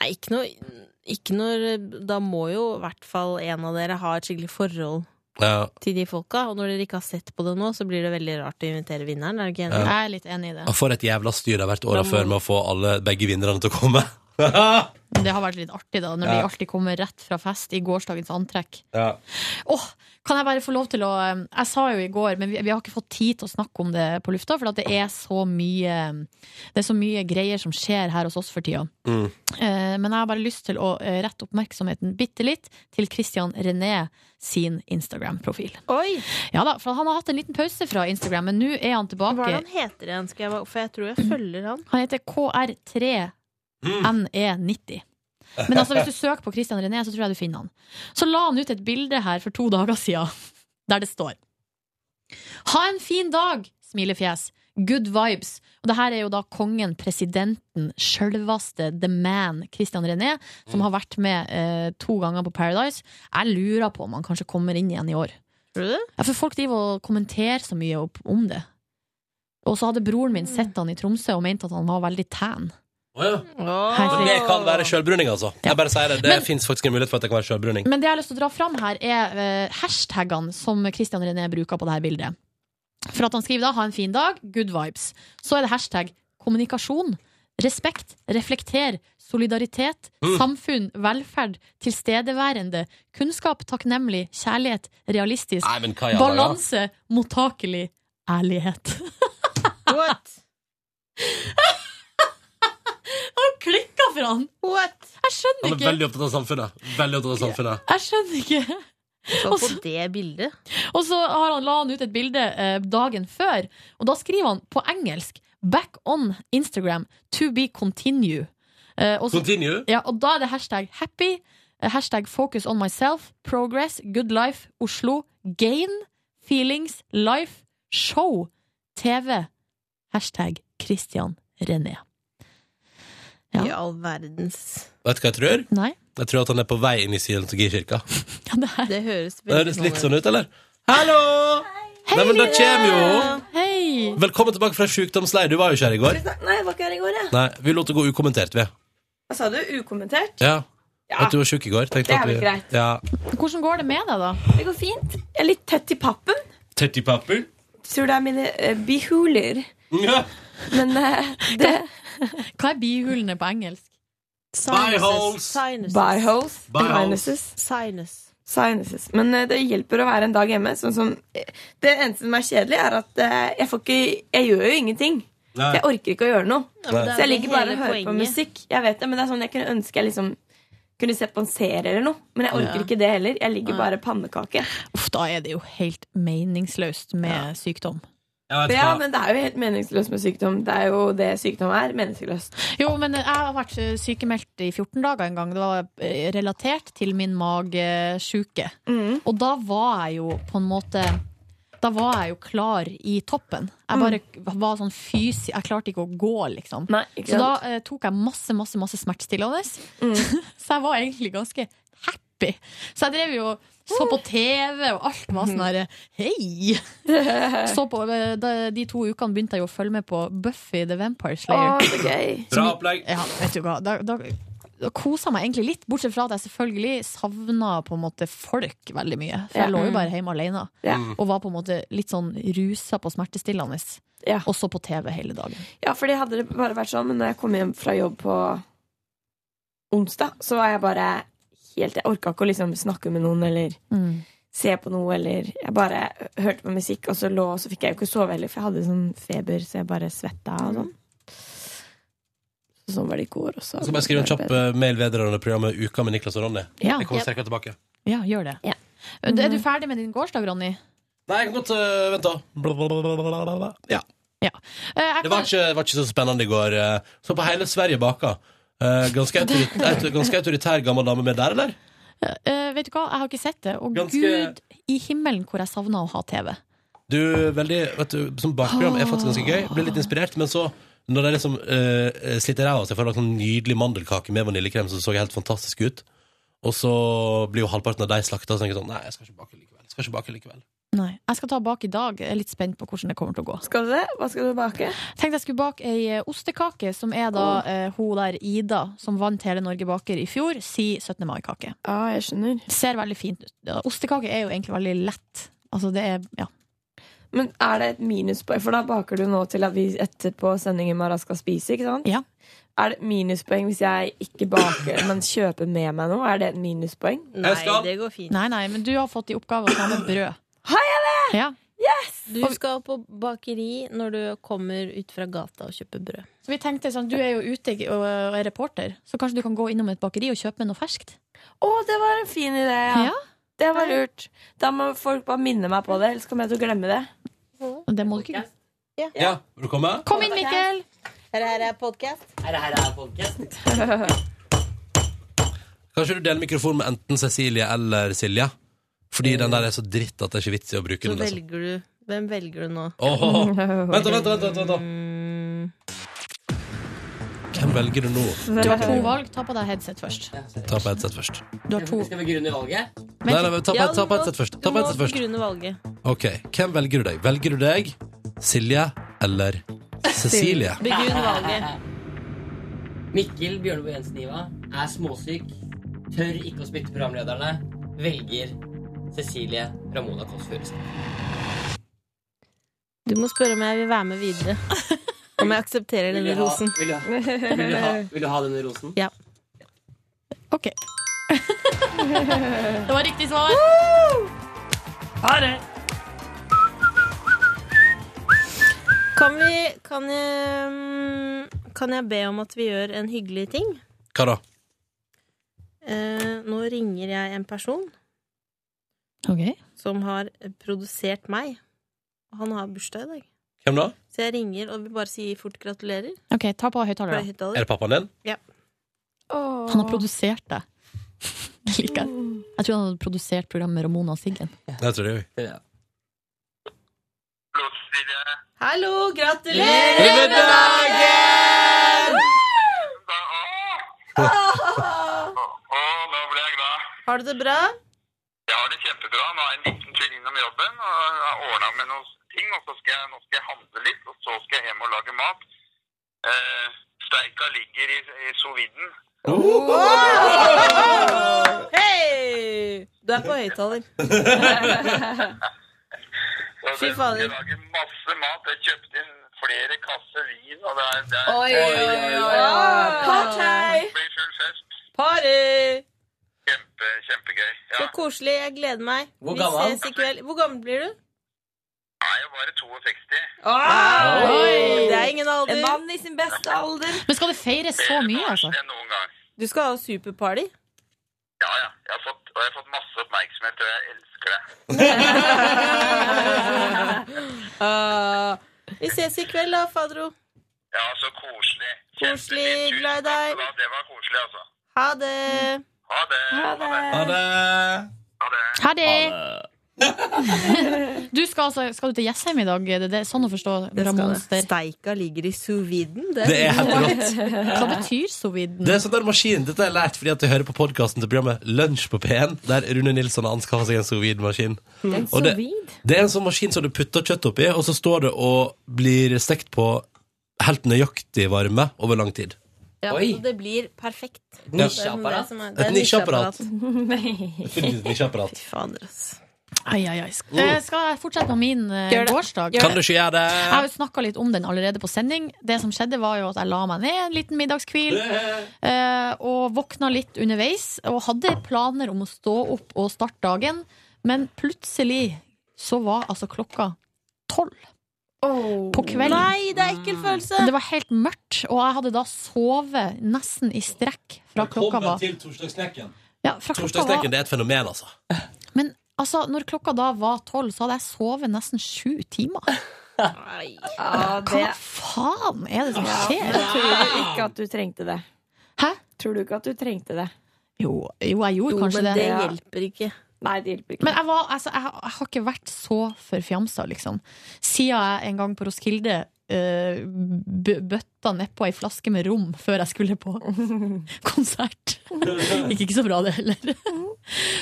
Speaker 11: Nei, ikke noe, ikke noe Da må jo i hvert fall en av dere ha et skikkelig forhold
Speaker 2: Ja.
Speaker 11: til de folka. Og når dere ikke har sett på det nå, så blir det veldig rart å invitere vinneren. Er du ikke enig?
Speaker 2: Ja. Jeg
Speaker 3: er litt enig i
Speaker 2: Og For et jævla styr det har vært åra
Speaker 11: Da må-
Speaker 2: før med å få alle, begge vinnerne til å komme. ja.
Speaker 3: Det har vært litt artig, da, når
Speaker 2: Ja.
Speaker 3: de alltid kommer rett fra fest i gårsdagens antrekk. Åh, kan jeg bare få lov til å eh, Jeg sa jo i går, men vi, vi har ikke fått tid til å snakke om det på lufta, for at det er så mye um, Det er så mye greier som skjer her hos oss for tida.
Speaker 12: Mm.
Speaker 3: Eh, Men jeg har bare lyst til å eh, rette oppmerksomheten bitte litt til Christian René sin Instagram-profil.
Speaker 11: Oi!
Speaker 3: Ja da, for han har hatt en liten pause fra Instagram, men nå er han tilbake.
Speaker 11: Hva er det han heter igjen? Skal jeg, bare- for jeg tror jeg følger han.
Speaker 3: Han heter KR3NE90. E Men altså, hvis du søker på Christian René, så tror jeg du finner han. Så la han ut et bilde her for to dager siden, der det står Ha en fin dag! Smilefjes. Good vibes. Og det her er jo da kongen, presidenten, sjølveste the man, Christian René, som
Speaker 11: Mm.
Speaker 3: har vært med eh, to ganger på Paradise. Jeg lurer på om han kanskje kommer inn igjen i år.
Speaker 11: Tror du det?
Speaker 3: Ja, for folk driver og kommenterer så mye opp- om det. Og så hadde broren min sett han i Tromsø og mente at han var veldig tan.
Speaker 2: Å ja.
Speaker 3: Herregud.
Speaker 2: Men det kan være sjølbruning, altså. Jeg bare sier Det det fins faktisk en mulighet for at det kan være sjølbruning.
Speaker 3: Men det jeg har lyst til å dra fram her, er eh, hashtagene som Christian René bruker på dette bildet. For at han skriver da 'ha en fin dag', 'good vibes'. Så er det hashtag kommunikasjon, respekt, reflekter, solidaritet,
Speaker 12: Mm.
Speaker 3: samfunn, velferd, tilstedeværende, kunnskap, takknemlig, kjærlighet, realistisk,
Speaker 12: Nei, men hva i all verden?
Speaker 3: balanse, mottakelig, ærlighet.
Speaker 11: What?
Speaker 3: Han klikka for han! Jeg skjønner
Speaker 2: Han er
Speaker 3: ikke.
Speaker 2: veldig opptatt av samfunnet. Veldig opptatt av samfunnet.
Speaker 3: Jeg skjønner ikke.
Speaker 11: Så på det bildet
Speaker 3: Og så har han, la han ut et bilde eh, dagen før, og da skriver han på engelsk 'Back on Instagram. To be continue'. Eh, og så-
Speaker 2: Continue?
Speaker 3: Ja, og da er det hashtag happy, eh, hashtag focus on myself, progress, good life, Oslo, gain, feelings, life, show, TV, hashtag Christian René.
Speaker 11: i all verdens
Speaker 2: Vet du hva jeg tror?
Speaker 3: Nei.
Speaker 2: Jeg tror at han er på vei inn i Scientologikirka.
Speaker 3: det,
Speaker 11: høres
Speaker 2: Det høres litt sånn ut, eller? Hallo! Nei, men da kommer jo
Speaker 3: Hei!
Speaker 2: Velkommen tilbake fra sjukdomsleir. Du var jo ikke her i går.
Speaker 12: Nei, jeg var ikke her i går, jeg.
Speaker 2: Nei, vi lot det gå ukommentert, vi.
Speaker 12: Hva sa du? Ukommentert?
Speaker 2: Ja.
Speaker 12: Ja.
Speaker 2: At du var sjuk i går. tenkte
Speaker 12: Det er
Speaker 2: at vi-
Speaker 12: vel greit.
Speaker 2: Ja.
Speaker 3: Hvordan går det med deg, da?
Speaker 12: Det går fint. Jeg er litt tett i pappen.
Speaker 2: Tetty Papper.
Speaker 12: Tror det er mine eh, bihuler.
Speaker 9: Men eh, det
Speaker 3: Hva er bihulene på engelsk?
Speaker 9: Biholes. Biholes.
Speaker 3: Biholes.
Speaker 9: Sinuses.
Speaker 11: Sinus.
Speaker 9: Sinuses. Men eh, det hjelper å være en dag hjemme. Sånn som, eh, det eneste som er kjedelig, er at eh, jeg, får ikke, jeg gjør jo ingenting.
Speaker 13: Nei.
Speaker 9: Så Jeg orker ikke å gjøre noe.
Speaker 13: Ja, men det er
Speaker 9: Så jeg
Speaker 13: jo
Speaker 9: ligger bare
Speaker 13: hele
Speaker 9: og hører på
Speaker 13: poenget.
Speaker 9: musikk. Jeg vet det, men det er sånn jeg kunne ønske jeg liksom kunne sett på en serie eller noe. Men jeg orker
Speaker 3: Ja.
Speaker 9: ikke det heller. Jeg ligger
Speaker 3: Nei.
Speaker 9: bare pannekake.
Speaker 3: Uff, da er det jo helt meningsløst med sykdom.
Speaker 9: Ja, men det er jo helt meningsløst med sykdom. Det er jo det sykdom er. Meningsløst.
Speaker 3: Jo, men jeg har vært eh, sykemeldt i 14 dager en gang. Det var eh, relatert til min magesjuke.
Speaker 9: Mm.
Speaker 3: Og da var jeg jo på en måte Da var jeg jo klar i toppen. Jeg bare var sånn fysi... Jeg klarte ikke å gå, liksom.
Speaker 9: Mm. ikke
Speaker 3: Så da
Speaker 9: sant? Mm.
Speaker 3: eh, tok jeg masse, masse, masse smertestillende. så jeg var egentlig ganske happy. Så jeg drev jo så på TV, og alt var sånn her Hei! Så på, eh, da, de to ukene begynte jeg jo å følge med på Buffy the Vampire Slayer.
Speaker 9: Å, så gøy.
Speaker 2: Bra opplegg.
Speaker 3: Ja, vet du hva. Da, da, da kosa jeg meg egentlig litt, bortsett fra at jeg selvfølgelig savna på en måte folk veldig mye. For
Speaker 9: Ja.
Speaker 3: jeg
Speaker 9: Mm.
Speaker 3: lå jo bare hjemme alene
Speaker 9: Ja.
Speaker 3: og var på en måte litt sånn rusa på smertestillende. Og så på TV hele dagen.
Speaker 9: Ja, for det hadde det bare vært sånn, men når jeg kom hjem fra jobb på onsdag, så var jeg bare helt Jeg orka ikke å liksom snakke med noen eller
Speaker 11: Mm.
Speaker 9: se på noe eller Jeg bare hørte på musikk, og så lå og så fikk jeg jo ikke sove heller, for jeg hadde sånn feber, så jeg bare svetta og sånn. Så sånn var det i går også.
Speaker 2: Jeg skal bare skrive en kjapp eh, mail vedrørende programmet Uka med Niklas og Ronny.
Speaker 3: Ja.
Speaker 2: Jeg kommer
Speaker 3: Ja.
Speaker 2: sterkere tilbake.
Speaker 3: Ja, gjør det. Er du ferdig med din gårsdag, Ronny?
Speaker 2: Nei, jeg kan godt eh, vent, da. Blablabla. Ja.
Speaker 3: Eh, jeg
Speaker 2: Det var
Speaker 3: kan-
Speaker 2: ikke, det var ikke så spennende i går. eh. Så på hele Sverige baka. Eh, ganske, autorit autor, ganske autoritær gammel dame med der, eller?
Speaker 3: eh, vet du hva, jeg har ikke sett det. Og
Speaker 2: Ganske-
Speaker 3: gud i himmelen hvor jeg savna å ha TV.
Speaker 2: Du, veldig, vet du, Som bakprogram er faktisk ganske gøy. Blir litt inspirert. Men så, når de liksom eh, sliter ræva av seg for å lage sånn nydelig mandelkake med vaniljekrem som så helt fantastisk ut, og så blir jo halvparten av de slakta, så tenker jeg sånn Nei, jeg skal ikke bake likevel. Jeg skal ikke bake likevel.
Speaker 3: Nei. Jeg skal ta bak i dag. Jeg er litt spent på hvordan det kommer til å gå.
Speaker 9: Skal du det? Hva skal du bake?
Speaker 3: tenkte jeg skulle bake ei eh, ostekake, som er da eh, hun der Ida, som vant Hele Norge baker i fjor, si 17. mai-kake.
Speaker 9: Ja, jeg skjønner.
Speaker 3: Ser veldig fint ut. Ja, Ostekake er jo egentlig veldig lett. Altså, det er ja.
Speaker 9: Men er det et minuspoeng? For da baker du nå til at vi etterpå sendingen Mara skal spise, ikke sant?
Speaker 3: Ja.
Speaker 9: Er det et minuspoeng hvis jeg ikke baker, men kjøper med meg noe? Er det et minuspoeng?
Speaker 11: Nei, det går fint.
Speaker 3: Nei, nei, men du har fått i oppgave å ta med brød.
Speaker 9: Har jeg det?!
Speaker 3: Ja.
Speaker 11: Du skal på bakeri når du kommer ut fra gata og kjøper brød.
Speaker 3: Så vi tenkte sånn, du er jo ute og og er reporter, så kanskje du kan gå innom et bakeri og kjøpe noe ferskt?
Speaker 9: Å, det var en fin idé, ja. Det var lurt. Da må folk bare minne meg på det, ellers kommer jeg til å glemme det.
Speaker 11: Mm.
Speaker 3: Det må du ikke
Speaker 2: Ja, vil du komme?
Speaker 3: Kom inn, Mikkel!
Speaker 11: Her er podkast.
Speaker 13: Her er podkast.
Speaker 2: Kanskje du deler mikrofon med enten Cecilie eller Silje? Fordi den der er så dritt at det er ikke vits i å bruke
Speaker 11: Så
Speaker 2: den. Liksom.
Speaker 11: velger du Hvem velger du nå? Mm.
Speaker 2: Åh, åh, åh. Vent, da, vent, da, vent, da, vent, da. Hvem velger du nå?
Speaker 3: Du har to valg. Ta på deg headset først.
Speaker 2: Ta på headset først.
Speaker 3: Du har to.
Speaker 13: Skal vi grunne valget?
Speaker 2: Nei, nei, men ta på,
Speaker 11: Ja,
Speaker 2: ta
Speaker 11: du
Speaker 2: på
Speaker 11: må-
Speaker 2: headset først. Ta
Speaker 11: du
Speaker 2: på
Speaker 11: må
Speaker 2: headset først.
Speaker 11: begrunne valget.
Speaker 2: Ok, hvem velger du deg? Velger du deg Silje eller Cecilie?
Speaker 11: Begrunn valget.
Speaker 13: Mikkel Bjørneboe Jensen Iva er småsyk, tør ikke å spytte programlederne, velger Cecilie Ramona Kåss Furuseth.
Speaker 11: Du må spørre om jeg vil være med videre. Om jeg aksepterer
Speaker 13: Vil du
Speaker 11: denne
Speaker 13: ha-
Speaker 11: rosen.
Speaker 13: vil du ha- Vil, du ha- vil du ha denne rosen?
Speaker 11: Ja.
Speaker 3: Ok. Det var riktig svar.
Speaker 13: Ha det!
Speaker 11: Kan vi kan jeg, mm, kan jeg be om at vi gjør en hyggelig ting?
Speaker 2: Hva da?
Speaker 11: Eh, nå ringer jeg en person som har produsert meg. Og han har bursdag i dag.
Speaker 2: Hvem da?
Speaker 11: Så jeg ringer og vil bare si fort gratulerer.
Speaker 3: Ok, ta på
Speaker 11: Fra
Speaker 3: høyttaleren.
Speaker 11: høyttaler.
Speaker 2: Er det pappaen din?
Speaker 11: Ja.
Speaker 3: Han har produsert det. Det liker jeg. Jeg tror han hadde produsert programmet med Ramona og Siggen.
Speaker 2: Det tror jeg
Speaker 13: òg.
Speaker 11: Hallo, gratulerer
Speaker 13: med dagen!
Speaker 11: Har du det bra?
Speaker 14: Jeg har det kjempebra. Nå er jeg en liten tur innom jobben og jeg har ordna med noen ting. Og så skal jeg, nå skal jeg handle litt, og så skal jeg hjem og lage mat. Eh, steika ligger i, i soviden.
Speaker 11: Hei! Du er på høyttaler.
Speaker 14: Så
Speaker 11: Fy
Speaker 14: det-
Speaker 11: fader.
Speaker 14: Jeg lager masse mat. Jeg kjøpte inn flere kasser vin, og det er, det er
Speaker 12: Oi, oi, oi, oi. Party!
Speaker 11: Party!
Speaker 14: Kjempe, eh, kjempegøy. Ja.
Speaker 11: Så koselig. Jeg gleder meg.
Speaker 14: Hvor gammel?
Speaker 11: Vi ses i kveld. Hvor gammel blir du?
Speaker 14: Nei, jeg var i 62.
Speaker 11: Ah,
Speaker 14: Oi!
Speaker 11: Det er ingen alder.
Speaker 12: En mann i sin beste alder.
Speaker 11: Men skal det feires så mye, altså? Du skal ha superparty?
Speaker 14: Ja, ja. Jeg har fått, og jeg har fått masse oppmerksomhet, og jeg elsker det.
Speaker 11: Ah, vi ses i kveld, da, Fadro.
Speaker 14: Ja, så koselig.
Speaker 11: Koselig. Glad i deg.
Speaker 14: Ja, det var koselig, altså.
Speaker 11: Ha det.
Speaker 14: Ha det.
Speaker 11: Ha
Speaker 2: det.
Speaker 3: Ha det. Du skal, altså, skal du til Jessheim i dag? Det, det er sånn å forstå
Speaker 11: Det skal det.
Speaker 3: Ramonster.
Speaker 11: Steika ligger i sous-viden.
Speaker 2: Det er helt rått.
Speaker 3: Hva betyr soviden?
Speaker 2: Det er sånn der maskin, Dette har jeg lært fordi at jeg hører på podkasten til programmet Lunsj på P1, der Rune Nilsson har anskaffa seg en sous-vide-maskin.
Speaker 15: Det er en
Speaker 2: Og det,
Speaker 15: sous-vide?
Speaker 2: det er en sånn maskin som du putter kjøtt oppi, og så står det og blir stekt på helt nøyaktig varme over lang tid.
Speaker 11: Ja,
Speaker 2: Oi.
Speaker 11: og det blir perfekt.
Speaker 2: Ja.
Speaker 11: Det er sånn det som er- det
Speaker 2: Et
Speaker 11: er
Speaker 2: nisjeapparat.
Speaker 11: nisjeapparat.
Speaker 2: Nisjeapparat.
Speaker 3: Ai, ai, ai. Sk- eh, Skal jeg fortsette med min eh,
Speaker 11: Gjør det.
Speaker 3: gårsdag?
Speaker 2: Oh. Kan du ikke gjøre det?
Speaker 3: Jeg har jo snakka litt om den allerede på sending. Det som skjedde, var jo at jeg la meg ned en liten middagskvil. eh, Og våkna litt underveis. Og hadde planer om å stå opp og starte dagen, men plutselig så var altså klokka tolv. På kvelden.
Speaker 11: Nei, det er ekkel følelse.
Speaker 3: Det var helt mørkt, og jeg hadde da sovet nesten i strekk fra klokka var
Speaker 2: til torsdagsknekken.
Speaker 3: ja, fra klokka var
Speaker 2: Torsdagsknekken det er et fenomen, altså.
Speaker 3: Men altså, når klokka da var tolv, så hadde jeg sovet nesten sju timer. Hva faen er det som skjer?
Speaker 9: Tror du ikke at du trengte det?
Speaker 3: Hæ?
Speaker 9: Tror du ikke at du trengte det?
Speaker 3: Jo, jo jeg gjorde kanskje det.
Speaker 9: hjelper ikke. Nei, det hjelper ikke.
Speaker 3: Men jeg, var, altså, jeg, jeg har ikke vært så forfjamsa, liksom. Siden jeg en gang på Roskilde uh, bøtta nedpå ei flaske med rom før jeg skulle på konsert. Gikk ikke så bra, det heller.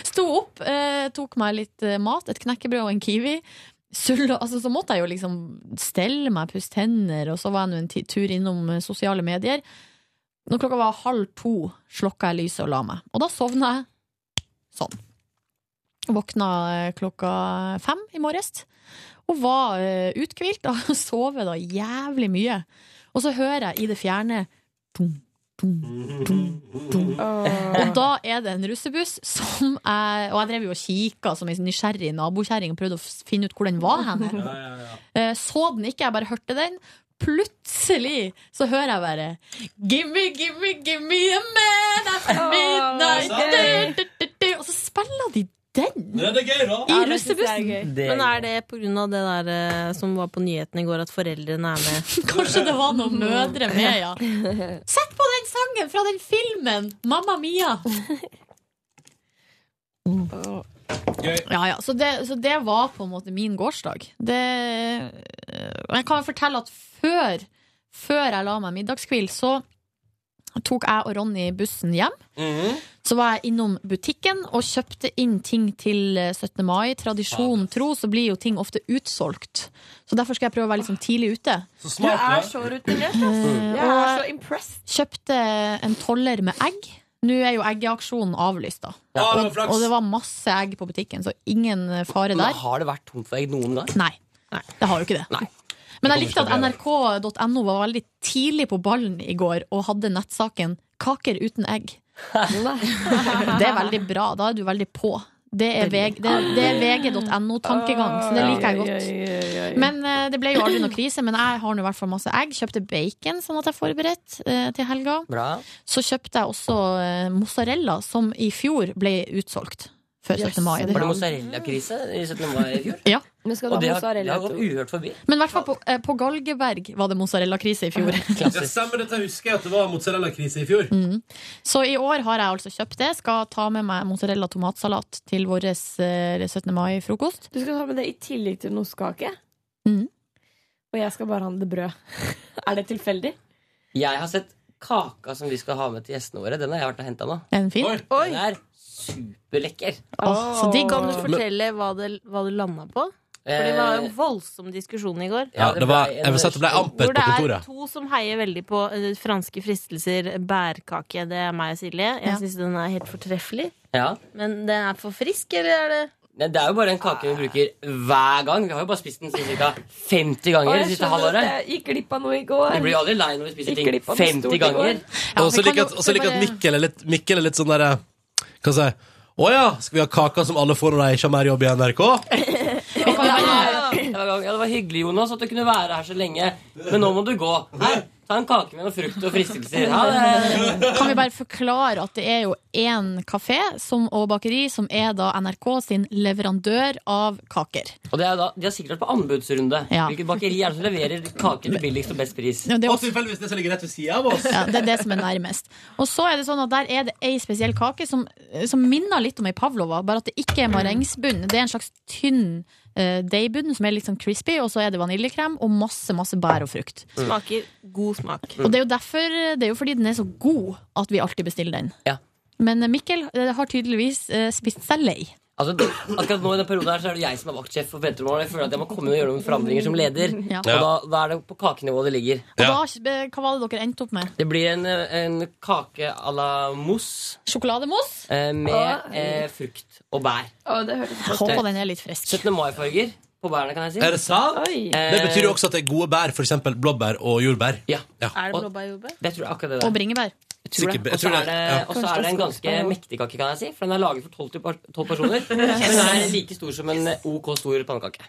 Speaker 3: Sto opp, eh, tok meg litt eh, mat, et knekkebrød og en kiwi. Sulla, altså, så måtte jeg jo liksom stelle meg, pusse tenner, og så var jeg nå en ti- tur innom eh, sosiale medier. Når klokka var halv to, slokka jeg lyset og la meg. Og da sovna jeg sånn. Våkna eh, klokka fem i morges og var eh, uthvilt og sovet da jævlig mye. Og så hører jeg i det fjerne Og da er det en russebuss som jeg Og jeg drev jo og kikka som ei nysgjerrig nabokjerring og prøvde å f- finne ut hvor den var hen. Eh, Så den ikke, jeg bare hørte den. Plutselig så hører jeg bare Gimme, gimme, gimme a man after
Speaker 11: Åh,
Speaker 3: midnight. Du, du, du, du. Og så spiller de den!
Speaker 2: Ja, det er gøy, da.
Speaker 11: Ja, det synes jeg
Speaker 3: I
Speaker 11: er gøy.
Speaker 3: russebussen.
Speaker 11: Men er det på grunn av det der eh, som var på nyheten i går, at foreldrene er med?
Speaker 3: Kanskje det var noen mødre med, ja. Sett på den sangen fra den filmen! Mamma Mia! Ja, ja. Så det, så det var på en måte min gårsdag. Det, og jeg kan fortelle at før, før jeg la meg middagskvill, så tok jeg og Ronny bussen hjem.
Speaker 2: Mhm.
Speaker 3: Så var jeg innom butikken og kjøpte inn ting til eh, 17. mai. Tradisjon tro, så blir jo ting ofte utsolgt. Så derfor skal jeg prøve å være litt sånn tidlig ute.
Speaker 9: eh,
Speaker 12: Du er så rutinert. ass.
Speaker 3: Mm.
Speaker 12: Jeg er så impressed.
Speaker 3: Kjøpte en toller med egg. Nå er jo eggeaksjonen avlyst, da.
Speaker 13: Ja,
Speaker 3: og,
Speaker 13: men flaks.
Speaker 3: og det var masse egg på butikken, så ingen eh, fare
Speaker 13: Men
Speaker 3: der.
Speaker 13: har det vært tomt for egg noen gang?
Speaker 3: Nei. Det har jo ikke det. Men jeg likte at nrk.no var veldig tidlig på ballen i går og hadde nettsaken 'Kaker uten egg'. det er veldig bra. Da er du veldig på. Det er, VG- det, det er vg.no-tankegang, så det liker jeg godt. Men eh, det ble jo aldri noe krise, men jeg har nå i hvert fall masse egg. Kjøpte bacon, sånn at jeg er forberedt eh, til helga.
Speaker 13: Bra.
Speaker 3: Så kjøpte jeg også eh, mozzarella, som i fjor ble utsolgt før 17. mai.
Speaker 13: Var det mozzarellakrise i 17. mai i fjor?
Speaker 3: Ja.
Speaker 13: Og det har, det har gått uhørt forbi.
Speaker 3: Men i hvert fall på, eh, på Galgeberg var det mozzarella-krise i fjor.
Speaker 2: Det stemmer, dette husker jeg at det var mozzarella-krise i fjor.
Speaker 3: Mm. Så i år har jeg altså kjøpt det. Skal ta med meg mozzarella tomatsalat til vår 17. mai-frokost.
Speaker 9: Du skal ta med det i tillegg til en ostekake. Og jeg skal bare handle brød. er det tilfeldig?
Speaker 13: Jeg har sett kaka som vi skal ha med til gjestene våre. Den har jeg vært og henta nå.
Speaker 3: Er den fin?
Speaker 13: Den er superlekker.
Speaker 11: så de kan du fortelle hva, det, hva du landa på? For det var en voldsom diskusjon i går.
Speaker 2: Eh. Ja, det var- jeg vil si at det ble ampert
Speaker 11: Hvor det
Speaker 2: på
Speaker 11: er
Speaker 2: kontoret.
Speaker 11: to som heier veldig på eh, franske fristelser, bærkake. Det er meg og Silje. Jeg syns den er helt fortreffelig.
Speaker 13: Ja.
Speaker 11: Men den er for frisk, eller er det
Speaker 13: Nei, Det er jo bare en kake vi bruker hver gang. Vi har jo bare spist den sånn ca. 50 ganger
Speaker 12: Å,
Speaker 13: det
Speaker 12: jeg
Speaker 13: siste
Speaker 12: skjønner at
Speaker 13: halvåret.
Speaker 12: jeg gikk glipp av noe i går.
Speaker 13: Vi blir jo aldri lei når vi spiser
Speaker 12: Gikk
Speaker 13: ting
Speaker 12: glipp av noe
Speaker 13: 50
Speaker 12: stort i går.
Speaker 13: ganger.
Speaker 2: Og så liker jeg at, også liker jeg at Mikkel, er litt, Mikkel er litt sånn derre Hva skal jeg si? Å ja, skal vi ha kaka som alle får når de ikke har mer jobb i NRK?
Speaker 13: Ja, ja, ja, det var hyggelig, Jonas, at du kunne være her så lenge. Men nå må du gå. Her, ta en kake med noe frukt og fristelser. Ha det.
Speaker 3: Kan vi bare forklare at det er jo én kafé som, og bakeri som er da NRK sin leverandør av kaker.
Speaker 13: Og det er jo da, De har sikkert vært på anbudsrunde.
Speaker 3: Ja.
Speaker 13: Hvilket bakeri er det som leverer kake til billigst og best pris?
Speaker 3: Ja, det er også-
Speaker 2: Og tilfeldigvis det som ligger rett ved sida av oss.
Speaker 3: Ja, det er det som er nærmest. Og så er det sånn at der er det ei spesiell kake som, som minner litt om ei pavlova, bare at det ikke er marengsbunn. Det er en slags tynn eh, deigbunn som er litt sånn crispy, og så er det vaniljekrem og masse, masse bær og frukt.
Speaker 2: Mm.
Speaker 11: Smaker god smak.
Speaker 3: Og det er jo derfor, det er jo fordi den er så god at vi alltid bestiller den.
Speaker 13: Ja.
Speaker 3: Men Mikkel eh, har tydeligvis eh, spist seg lei.
Speaker 13: Altså, det- akkurat nå i den perioden her så er det jeg som er vaktsjef for Petromorgen. Jeg føler at jeg må komme inn og gjøre noen forandringer som leder.
Speaker 3: Ja.
Speaker 13: Og da, da er det på kakenivå det ligger.
Speaker 3: Og da, eh, hva var det dere endte opp med?
Speaker 13: Det blir en, eh, en kake à la mousse
Speaker 3: Sjokolademos?
Speaker 13: eh, med
Speaker 3: Åh.
Speaker 13: eh, frukt og bær.
Speaker 3: Håper den er litt frisk.
Speaker 13: 17. mai-farger på bærene, kan jeg si. Eh,
Speaker 2: Er det sant? Det betyr jo også at det er gode bær, f.eks. blåbær og jordbær.
Speaker 13: Ja.
Speaker 11: Er det blåbærjordbær?
Speaker 13: Det tror jeg akkurat det
Speaker 3: Og bringebær.
Speaker 13: Tror det.
Speaker 2: Sikkert- jeg
Speaker 13: Og så
Speaker 2: tror
Speaker 13: er
Speaker 2: det-
Speaker 13: det,
Speaker 2: ja.
Speaker 13: og så er det en ganske mektig kake, kan jeg si. For den er laget for 12 til par- 12 personer. Men den er like stor som en OK stor pannekake.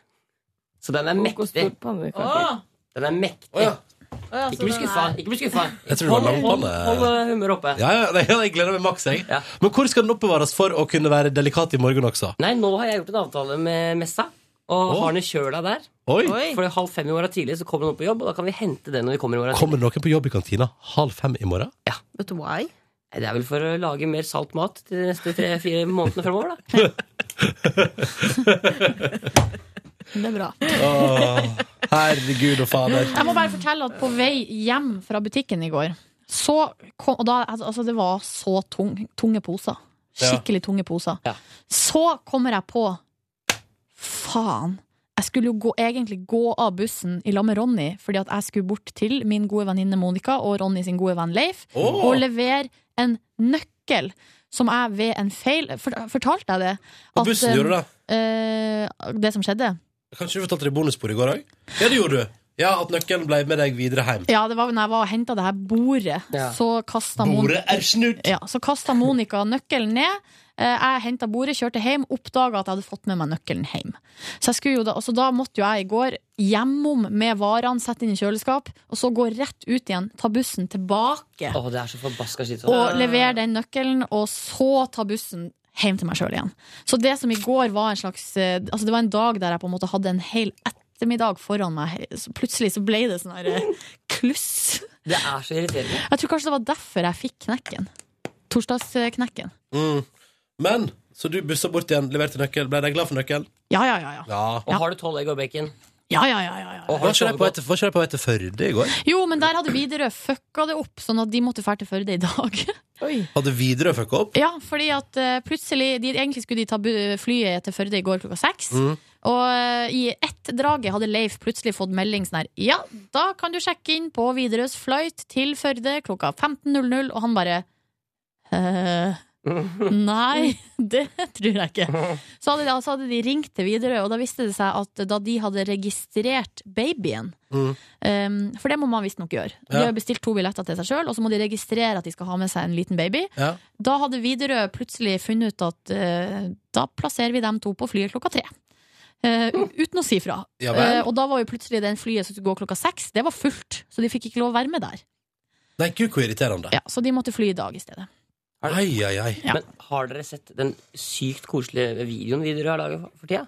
Speaker 13: Så den er mektig. Den er mektig. Ikke bli skuffa. Ikke bli skuffa.
Speaker 2: Jeg tror det var
Speaker 13: Hold,
Speaker 2: langpanne.
Speaker 13: hold eh, humøret oppe.
Speaker 2: Ja, ja, nei, jeg gleder meg maks, jeg. Men hvor skal den oppbevares for å kunne være delikat i morgen også?
Speaker 13: Nei, nå har jeg gjort en avtale med messa. Og har den i kjøla der.
Speaker 2: Oi.
Speaker 13: For halv fem i morgen tidlig så kommer den opp på jobb, og da kan vi hente den når vi kommer i morgen. tidlig.
Speaker 2: Kommer det noen på jobb i kantina halv fem i morgen?
Speaker 11: Vet du why?
Speaker 13: Nei, Det er vel for å lage mer salt mat til de neste tre-fire månedene framover, da.
Speaker 3: Det er bra.
Speaker 2: Åh, herregud og fader.
Speaker 3: Jeg må bare fortelle at på vei hjem fra butikken i går Så kom og da, Altså det var så tung, tunge poser Skikkelig tunge poser Så kommer jeg på Faen Jeg skulle jo gå, egentlig gå av bussen i lag med Ronny Fordi at jeg skulle bort til min gode venninne Monika Og Ronny sin gode venn Leif
Speaker 11: Åh.
Speaker 3: Og levere en nøkkel Som jeg ved en feil for, Fortalte jeg det
Speaker 2: På bussen
Speaker 3: eh,
Speaker 2: gjorde du det?
Speaker 3: eh, det som skjedde
Speaker 2: Kanskje du fortalte det i bonusbordet i går òg? Ja, det gjorde du. Ja, At nøkkelen ble med deg videre hjem.
Speaker 3: Ja, det var når jeg var og henta det her bordet,
Speaker 2: Ja.
Speaker 3: så kasta
Speaker 2: Bordet er snudd!
Speaker 3: Ja, så kasta Monica nøkkelen ned. Eh, Jeg henta bordet, kjørte hjem, oppdaga at jeg hadde fått med meg nøkkelen hjem. Så jeg skulle jo da, og så da måtte jo jeg i går hjemom med varene, sette inn i kjøleskap, og så gå rett ut igjen, ta bussen tilbake
Speaker 13: Åh, det er så forbaska slitsomt.
Speaker 3: og levere den nøkkelen, og så ta bussen hjem til meg sjøl igjen. Så det som i går var en slags eh, Altså det var en dag der jeg på en måte hadde en hel ettermiddag foran meg. Så plutselig så ble det sånn her eh, kluss.
Speaker 13: Det er så irriterende.
Speaker 3: Jeg tror kanskje det var derfor jeg fikk knekken. Torsdagsknekken.
Speaker 2: Mm. Men så du bussa bort igjen, leverte nøkkel. Ble de glad for nøkkel?
Speaker 3: Ja, ja, ja, ja.
Speaker 13: Og har du tolv egg og bacon?
Speaker 3: Ja, ja, ja, ja, ja.
Speaker 2: Og var ikke de på vei til- var ikke de på vei til Førde i går?
Speaker 3: Jo, men der hadde Widerøe fucka det opp, sånn at de måtte dra til Førde i dag.
Speaker 2: Hadde Widerøe fucka opp?
Speaker 3: Ja, fordi at eh, plutselig de, Egentlig skulle de ta bu- flyet til Førde i går klokka seks.
Speaker 2: Mm.
Speaker 3: Og eh, i ett draget hadde Leif plutselig fått melding sånn her Ja, da kan du sjekke inn på Widerøes flight til Førde klokka 15.00, og han bare «Eh, Nei, det tror jeg ikke. Så hadde, de, så hadde de ringt til Widerøe, og da viste det seg at da de hadde registrert babyen Um, for det må man visstnok gjøre. De
Speaker 11: Ja.
Speaker 3: har bestilt to billetter til seg sjøl, og så må de registrere at de skal ha med seg en liten baby.
Speaker 2: Ja.
Speaker 3: Da hadde Widerøe plutselig funnet ut at eh, da plasserer vi dem to på flyet klokka tre. Eh, uten å si fra.
Speaker 2: Ja vel.
Speaker 3: Eh, og da var jo plutselig den flyet som skulle gå klokka seks, det var fullt. Så de fikk ikke lov å være med der.
Speaker 2: Nei, gud, hvor irriterende.
Speaker 3: Ja, så de måtte fly i dag i stedet.
Speaker 2: Ai, ai, ai.
Speaker 13: Men har dere sett den sykt koselige videoen Widerøe har laget for tida?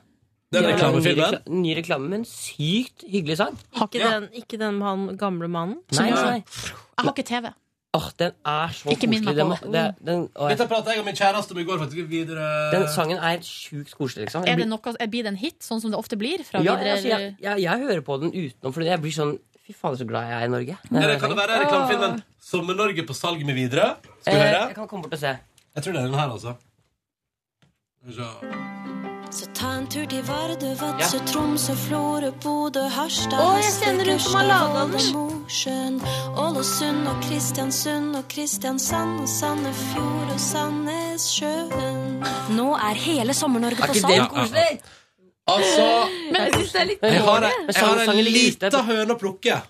Speaker 2: Den
Speaker 13: De har laget en ny
Speaker 2: reklamefilmen?
Speaker 13: rekla- Ny reklame med en sykt hyggelig sang.
Speaker 11: Har ikke, den, ikke den med han gamle mannen?
Speaker 13: Nei, nei, nei.
Speaker 3: Jeg har ikke TV.
Speaker 13: Åh, den er så
Speaker 11: Ikke minn meg på
Speaker 13: koselig. Den, må- det, den, åh, jeg-
Speaker 2: Dette pratet jeg og min kjæreste om i går. faktisk Widerøe
Speaker 13: den sangen er sjukt koselig, liksom. Jeg
Speaker 3: Er det
Speaker 13: blir-
Speaker 3: noe, er- blir det en hit, sånn som det ofte blir? Fra
Speaker 13: ja,
Speaker 3: Widerøe?
Speaker 13: altså, jeg, jeg, jeg hører på den utenom, for jeg blir sånn Fy faen, så glad jeg er i Norge.
Speaker 2: Eller kan det være reklamefilmen Sommer-Norge på salg med Widerøe? Skal vi
Speaker 13: Eh,
Speaker 2: høre?
Speaker 13: jeg kan komme bort og se.
Speaker 2: Jeg tror det er den her, altså. Skal vi se.
Speaker 15: Så ta en tur til Vardø, Vadsø, Tromsø, Florø, Bodø, Harstad
Speaker 11: Å, jeg kjenner hun som har laget den.
Speaker 15: Mosjøen, Ålesund og Kristiansund og Kristiansand og Sandefjord og Sandnessjøen. Nå er hele Sommer-Norge
Speaker 13: Er
Speaker 15: på
Speaker 13: ikke
Speaker 15: salg.
Speaker 13: det koselig?
Speaker 2: Altså
Speaker 13: Jeg synes det er litt
Speaker 2: Jeg har,
Speaker 13: dårlig.
Speaker 2: jeg har en
Speaker 13: Sjansen er lite.
Speaker 2: lita høne å plukke.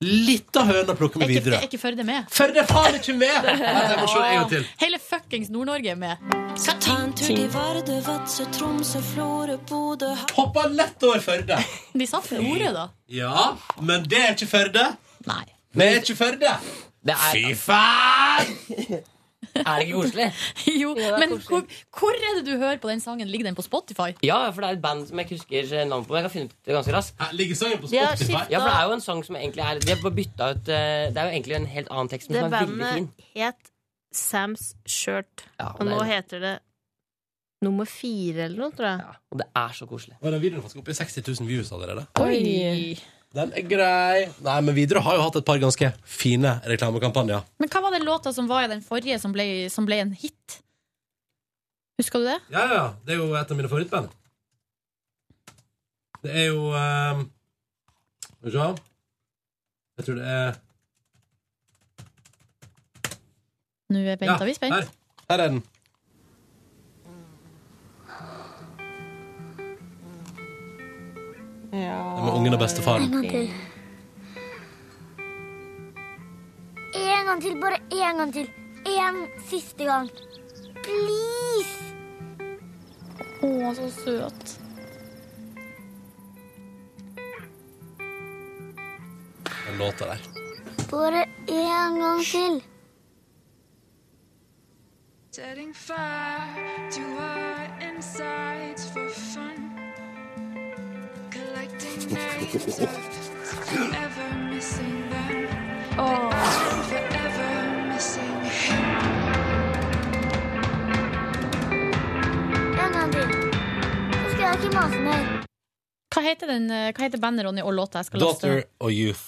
Speaker 2: Lita høne å plukke med
Speaker 3: Er ikke,
Speaker 2: Widerøe.
Speaker 3: er ikke Førde med?
Speaker 2: Førde er faen ikke med! Nei, jeg må se en gang til.
Speaker 3: Hele fuckings Nord-Norge er med.
Speaker 15: Skal ta en tur til Vardø, Vadsø, Tromsø, Florø, Bodø
Speaker 2: Hoppa lett over Førde.
Speaker 3: De sa Florø, da.
Speaker 2: Ja, men det er ikke Førde.
Speaker 3: Nei.
Speaker 2: Det er ikke Førde. Fy faen!
Speaker 13: Er det ikke koselig?
Speaker 3: Jo, men hvor, hvor er det du hører på den sangen? Ligger den på Spotify?
Speaker 13: Ja, for det er et band som jeg ikke husker eh, navnet på. Men jeg kan finne ut det ganske raskt.
Speaker 2: Ligger sangen
Speaker 3: på De har Spotify? skiftet-
Speaker 13: Ja, for det er jo en sang som egentlig er De har bare bytta ut eh, Det er jo egentlig en helt annen tekst, men
Speaker 11: Det
Speaker 13: som er veldig fin.
Speaker 11: bandet het Sam's Shirt, og
Speaker 13: det er
Speaker 11: nå
Speaker 13: det.
Speaker 11: heter det Nummer fire eller noe, tror jeg.
Speaker 13: Og det er så koselig.
Speaker 2: Og den videoen har faktisk opp i 60 000 views allerede.
Speaker 11: Oi.
Speaker 2: Den er grei. Nei, men Widerøe har jo hatt et par ganske fine reklamekampanjer.
Speaker 3: Men hva var den låta som var i den forrige som ble, som ble en hit? Husker du det?
Speaker 2: Ja, ja, ja. Det er jo et av mine favorittband. Det er jo ehm, Skal vi se Jeg tror det er
Speaker 3: Nå er Bent,
Speaker 2: Ja,
Speaker 3: ja, vi spent.
Speaker 2: her. Her er den. Det med ungen og bestefaren.
Speaker 16: En gang til. En gang til, bare en gang til. En siste gang. Please!
Speaker 3: Å, så søt.
Speaker 2: Den låta der.
Speaker 16: Bare en gang til.
Speaker 4: Setting fire to our insides for fun. Collecting names of forever missing them. But I'm forever missing him.
Speaker 16: En gang til. Så skal jeg ikke mase mer.
Speaker 3: Hva heter, den, eh, hva heter bandet, Ronny, og låta jeg skal laste?
Speaker 2: Daughter og Youth.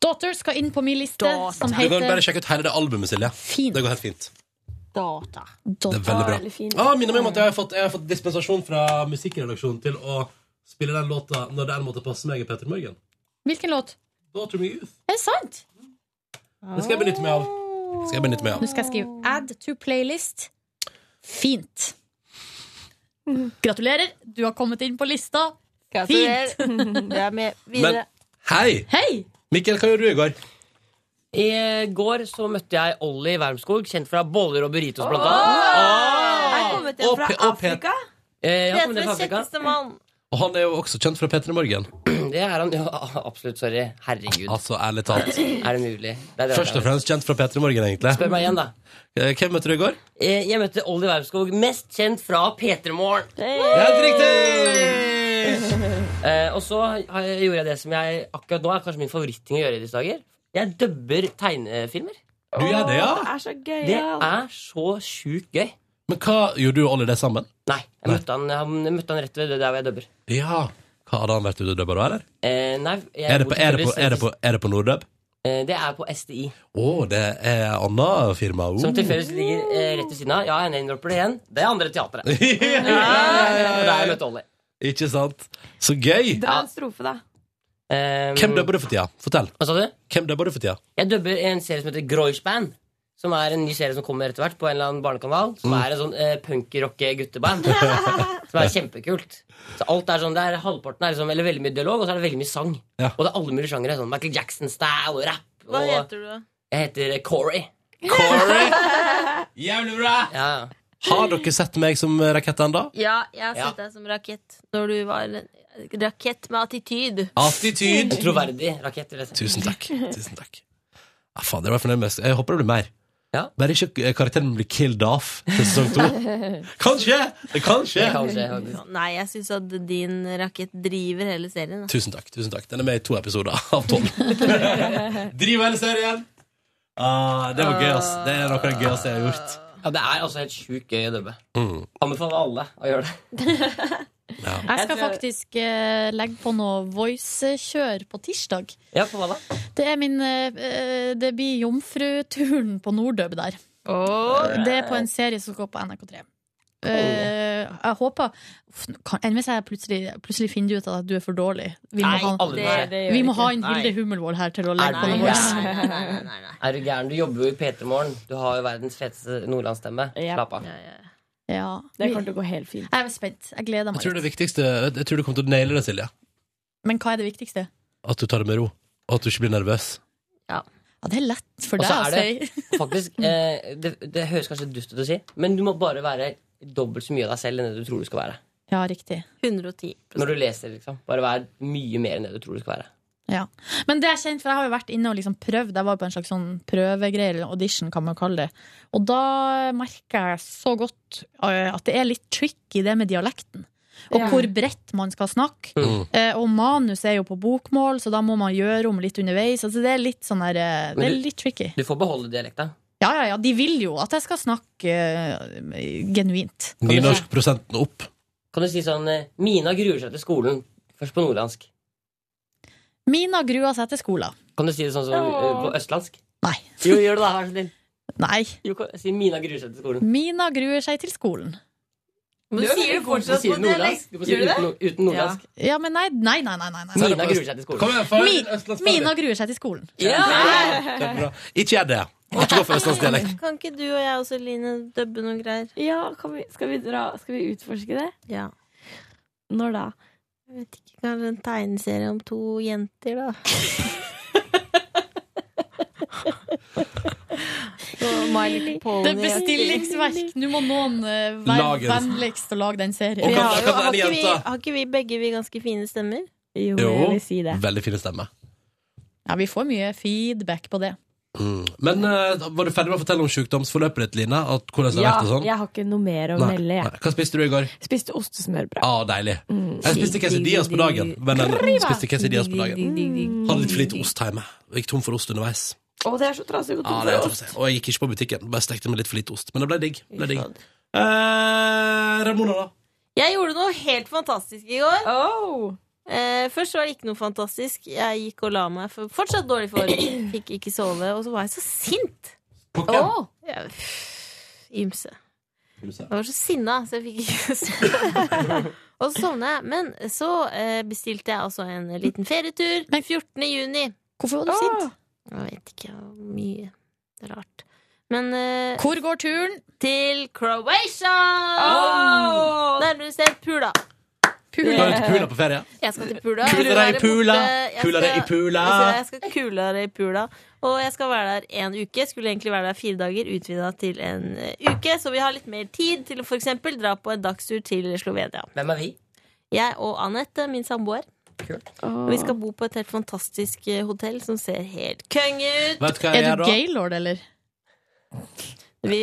Speaker 3: Daughter skal inn på min liste, som
Speaker 2: Du kan bare
Speaker 3: heter
Speaker 2: sjekke ut hele det albumet, Silje. Det går helt fint.
Speaker 3: Data.
Speaker 2: Det er veldig bra. Ah, minner meg om at jeg har, fått, jeg har fått dispensasjon fra musikkredaksjonen til å spille den låta når den måtte passe meg i Petter Morgen.
Speaker 3: Hvilken låt?
Speaker 2: Daughter of Youth.
Speaker 3: Er det sant?
Speaker 2: Det skal jeg benytte meg av. Det Skal jeg benytte meg
Speaker 3: Nå
Speaker 2: av.
Speaker 3: skal jeg skrive 'add to playlist'. Fint. Gratulerer, du har kommet inn på lista.
Speaker 11: Gratulerer.
Speaker 3: Fint!
Speaker 11: Du er med
Speaker 2: Men hei!
Speaker 3: Hei!
Speaker 2: Mikkel, hva gjorde du i går?
Speaker 13: I eh, går så møtte jeg Olli Wermskog, kjent fra boller og burritos, blant
Speaker 11: Åh!
Speaker 13: annet.
Speaker 11: Er kommet hjem
Speaker 2: Og
Speaker 11: fra
Speaker 2: Pe- og Pe-
Speaker 11: Afrika?
Speaker 13: Eh, ja,
Speaker 11: Peter
Speaker 13: men det
Speaker 11: den
Speaker 13: er fra Afrika.
Speaker 11: kjekkeste mann.
Speaker 2: Og han er jo også kjent fra Petter Morgen.
Speaker 13: Det er han. Ja, absolutt. Sorry. Herregud.
Speaker 2: Altså, ærlig talt.
Speaker 13: Er det mulig? Det er det
Speaker 2: Først og fremst kjent fra Petter Morgen, egentlig.
Speaker 13: Spør meg igjen, da.
Speaker 2: Eh, Hvem møtte du i går?
Speaker 13: Eh, Jeg møtte Olli Wermskog, mest kjent fra P3morgen.
Speaker 2: Helt riktig!
Speaker 13: Eh, og så har jeg- gjorde jeg det som jeg akkurat nå er kanskje min favoritting å gjøre i disse dager. Jeg dubber tegnefilmer.
Speaker 2: Du gjør det, ja?
Speaker 12: er så gøy.
Speaker 13: Det er så sjukt gøy.
Speaker 2: Men hva gjorde du og Olli det sammen?
Speaker 13: Nei, jeg møtte han, han, jeg møtte han rett ved det der hvor jeg dubber.
Speaker 2: Ja. Hva, hadde han vært ute og dubba da, eller?
Speaker 13: Eh, nei, jeg
Speaker 2: Er det
Speaker 13: bor
Speaker 2: på, er det på,
Speaker 13: tilfeldigvis-
Speaker 2: er det på, er det på Norddub?
Speaker 13: Eh, det er på SDI,
Speaker 2: Å, det er annet firma. Uh.
Speaker 13: som tilfeldigvis ligger eh, rett ved siden av. Ja, jeg name-dropper det igjen. Det er andre teatret.
Speaker 2: Ja, ja, ja, ja.
Speaker 13: Og der jeg møtte Olli.
Speaker 2: Uh, Ikke sant? Så gøy!
Speaker 13: Dra en
Speaker 12: strofe, da.
Speaker 13: Ehm,
Speaker 2: Hvem dubber du for tida? Fortell.
Speaker 13: Hva sa du?
Speaker 2: Hvem dubber du for tida?
Speaker 13: Jeg dubber en serie som heter Groysband. Som er en ny serie som kommer etter hvert på en eller annen barnekanal. Som
Speaker 2: Mm.
Speaker 13: er en sånn eh, punkrocke gutteband. som er kjempekult. Så alt er sånn, det er Halvparten er liksom, eller veldig mye dialog, og så er det veldig mye sang.
Speaker 2: Ja.
Speaker 13: Og det er alle mulige sjangere. Sånn Michael Jackson-style og rap.
Speaker 11: Hva
Speaker 13: Og
Speaker 11: heter du, da?
Speaker 13: jeg heter eh, Corey.
Speaker 2: Jævlig bra!
Speaker 13: Ja.
Speaker 2: Har dere sett meg som rakett ennå?
Speaker 11: Ja, jeg har
Speaker 13: Ja.
Speaker 11: sett deg som rakett når du var en rakett med attityd.
Speaker 2: Attityd.
Speaker 13: En troverdig rakett. vil jeg si.
Speaker 2: Tusen takk. Tusen takk. Ja, faen, det var Ah, jeg fornøyd med. Jeg håper det blir mer. Bare ikke eh, karakteren blir killed off til sesong to. Kanskje! Det kan skje!
Speaker 11: Nei, jeg syns at din rakett driver hele serien. da.
Speaker 2: Tusen takk. tusen takk Den er med i to episoder av tolv. Driver hele serien! Ah, det var gøy, ass. Det er noe av det gøyeste jeg har gjort.
Speaker 13: Ja, det er altså helt sjukt gøy å dubbe.
Speaker 2: Mm.
Speaker 13: Anbefaler alle å gjøre det.
Speaker 3: Jeg skal
Speaker 13: Jeg tror-
Speaker 3: faktisk eh, legge på noe voice-kjør på tirsdag.
Speaker 13: Ja, på hva da?
Speaker 3: Det, er min, eh, det blir jomfruturen på Nordøb der. Det er på
Speaker 13: Eh.
Speaker 3: en serie som går på NRK3. Eh, jeg håper Uff, kan, Enn hvis jeg plutselig, plutselig finner ut at du er for dårlig? Vi må
Speaker 13: Nei,
Speaker 3: ha,
Speaker 13: aldri. Nei, det gjør
Speaker 3: vi må
Speaker 13: ikke.
Speaker 3: ha en
Speaker 13: Nei.
Speaker 3: Hilde Hummelvold her til å
Speaker 13: Nei,
Speaker 3: legge på noe voice.
Speaker 13: nei, nei, nei, nei, nei. Er du gæren? Du jobber jo i P3 Morgen. Du har jo verdens feteste nordlandsstemme. Slapp av.
Speaker 3: Ja.
Speaker 12: Det kommer til å gå helt fint.
Speaker 3: Jeg er spent. Jeg gleder
Speaker 2: Jeg
Speaker 3: meg.
Speaker 2: tror det viktigste Jeg tror du kommer til å naile det, Silje.
Speaker 3: Men hva er det viktigste?
Speaker 2: At du tar det med ro. Og at du ikke blir nervøs.
Speaker 13: Ja.
Speaker 3: det er lett for
Speaker 13: Og
Speaker 3: deg
Speaker 13: så
Speaker 3: å
Speaker 13: er
Speaker 3: si.
Speaker 13: det faktisk eh, det, det høres kanskje dust ut å si, men du må bare være dobbelt så mye av deg selv enn det du tror du skal være.
Speaker 3: Ja, riktig.
Speaker 11: 110.
Speaker 13: Når du leser, liksom. Bare vær mye mer enn det du tror du skal være.
Speaker 3: Ja. Men det er kjent, for jeg har jo vært inne og liksom prøvd. Jeg var på en slags sånn prøvegreie, eller audition, kan man kalle det. Og da merker jeg så godt eh, at det er litt tricky, det med dialekten. Og
Speaker 12: Ja.
Speaker 3: hvor bredt man skal snakke.
Speaker 2: Mm.
Speaker 3: Eh, Og manus er jo på bokmål, så da må man gjøre om litt underveis. Altså det er litt sånn der eh, Det
Speaker 13: Men
Speaker 3: er
Speaker 13: du-
Speaker 3: litt tricky.
Speaker 13: Du får beholde dialekta.
Speaker 3: Ja, ja, ja. De vil jo at jeg skal snakke eh, genuint.
Speaker 2: Nynorskprosenten opp.
Speaker 13: Kan du si sånn eh, Mina gruer seg til skolen. Først på nordlandsk.
Speaker 3: Mina gruer seg til skolen.
Speaker 13: Kan du si det sånn som eh, på østlandsk?
Speaker 3: Nei.
Speaker 13: Jo, gjør det da, vær så snill.
Speaker 3: Nei.
Speaker 13: Jo, kan- si Mina gruer seg til skolen.
Speaker 3: Mina gruer seg til skolen.
Speaker 13: Men du Du er sier det veldig god fortsatt til å si på det nordlandsk. dialekt. Du må si Gjør du det? uten- uten nordlandsk.
Speaker 3: Ja. ja, men nei, nei, nei. nei, nei, nei.
Speaker 13: Mina gruer seg til skolen.
Speaker 2: Kom igjen, far.
Speaker 3: Mi-
Speaker 2: Østlandsdialekt.
Speaker 3: Mina gruer seg til skolen.
Speaker 2: Det er bra. Ikke gjør det. Ikke gå for østlandsdialekt.
Speaker 11: Kan ikke du og jeg også, Line, dubbe noen greier?
Speaker 12: Ja, kan vi, skal, vi dra, skal vi utforske det?
Speaker 11: Ja.
Speaker 12: Når da?
Speaker 11: Jeg vet ikke, kanskje en tegneserie om to jenter, da.
Speaker 3: Det er bestillingsverk. Nå må noen eh,
Speaker 11: Lage
Speaker 3: være
Speaker 11: det.
Speaker 3: vennligst og lage den serien.
Speaker 11: Vi har jo- har, ikke vi, har ikke vi begge vi ganske fine stemmer?
Speaker 12: Jo,
Speaker 2: Veldig fin stemme.
Speaker 3: Ja, vi får mye feedback på det.
Speaker 2: Mm. Men eh, var du ferdig med å fortelle om sykdomsforløpet ditt, Line? At hvordan det har
Speaker 12: Ja,
Speaker 2: vært og sånn?
Speaker 12: jeg har ikke noe mer å
Speaker 2: Nei,
Speaker 12: melde. Jeg
Speaker 2: nei. Hva spiste du i går?
Speaker 12: spiste ostesmørbrød.
Speaker 2: Ah, deilig.
Speaker 12: Mm.
Speaker 2: Jeg spiste quesadillas på dagen. Men jeg spiste quesadillas på dagen.
Speaker 12: Mm.
Speaker 2: Hadde litt for lite ost hjemme. Gikk tom for ost underveis.
Speaker 12: Å, det er så trasig. å gå
Speaker 2: Ah,
Speaker 12: tom
Speaker 2: det er
Speaker 12: for
Speaker 2: tøft å
Speaker 12: ost.
Speaker 2: si. og jeg gikk ikke på butikken, bare stekte med litt for lite ost. Men det ble digg. Ble digg. Eh, Ramona, da?
Speaker 11: Jeg gjorde noe helt fantastisk i går. Eh, først var det ikke noe fantastisk. Jeg gikk og la meg. For fortsatt dårlig form. Fikk ikke sove. Og så var jeg så sint. Åh! Ja, pff, Ymse. Jeg var så sinna, så jeg fikk ikke sove. og så sovna jeg. Men så eh, bestilte jeg altså en liten ferietur. 14. juni. Ah!
Speaker 3: Hvorfor var du sint?
Speaker 11: Jeg vet ikke. Mye rart. Men eh,
Speaker 3: Hvor går turen?
Speaker 11: Til Croatia!
Speaker 3: Åh!
Speaker 11: Nærmere bestemt Pula.
Speaker 2: Pula. Var du til pula på ferie?
Speaker 11: Jeg skal til Pula.
Speaker 2: Kula deg i pula! Kula deg i pula!
Speaker 11: Jeg skal kule deg i pula. Og jeg skal være der en uke. Skulle egentlig være der fire dager, utvida til en eh, uke. Så vi har litt mer tid til å for eksempel dra på en dagstur til Slovenia.
Speaker 13: Hvem er vi?
Speaker 11: Jeg og Anette, min samboer. Og vi skal bo på et helt fantastisk eh, hotell som ser helt konge ut.
Speaker 2: Vet du hva jeg Er du gjør da?
Speaker 3: gaylord, eller?
Speaker 11: Vi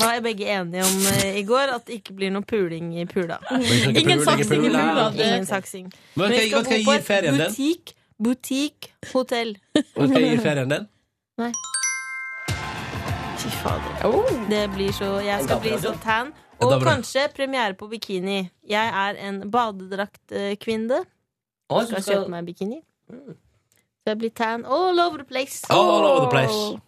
Speaker 11: var begge enige om eh, i går at det ikke blir noe puling i pula.
Speaker 2: Ingen Ingen puling i saksing i pula. pula, det-
Speaker 11: Ingen saksing.
Speaker 2: Men vet
Speaker 11: vi
Speaker 2: du hva- vet du hva
Speaker 11: skal
Speaker 2: jeg
Speaker 11: bo på
Speaker 2: gir
Speaker 11: et
Speaker 2: ferien din?
Speaker 11: Butikk, butikk, hotell.
Speaker 2: Vet du hva jeg gir ferien din?
Speaker 11: Nei. Fy fader.
Speaker 2: Oh.
Speaker 11: Det blir så Jeg
Speaker 12: En
Speaker 11: skal bli
Speaker 12: gammel
Speaker 11: så
Speaker 12: radio.
Speaker 11: tan.
Speaker 12: En
Speaker 11: Og
Speaker 12: gammel radio.
Speaker 11: kanskje premiere på bikini. Jeg er en badedraktkvinne.
Speaker 13: Oi, så
Speaker 11: Skal
Speaker 13: skal- Mm.
Speaker 11: kjøpe meg bikini. Så jeg blir tan all over the place.
Speaker 13: All over the place.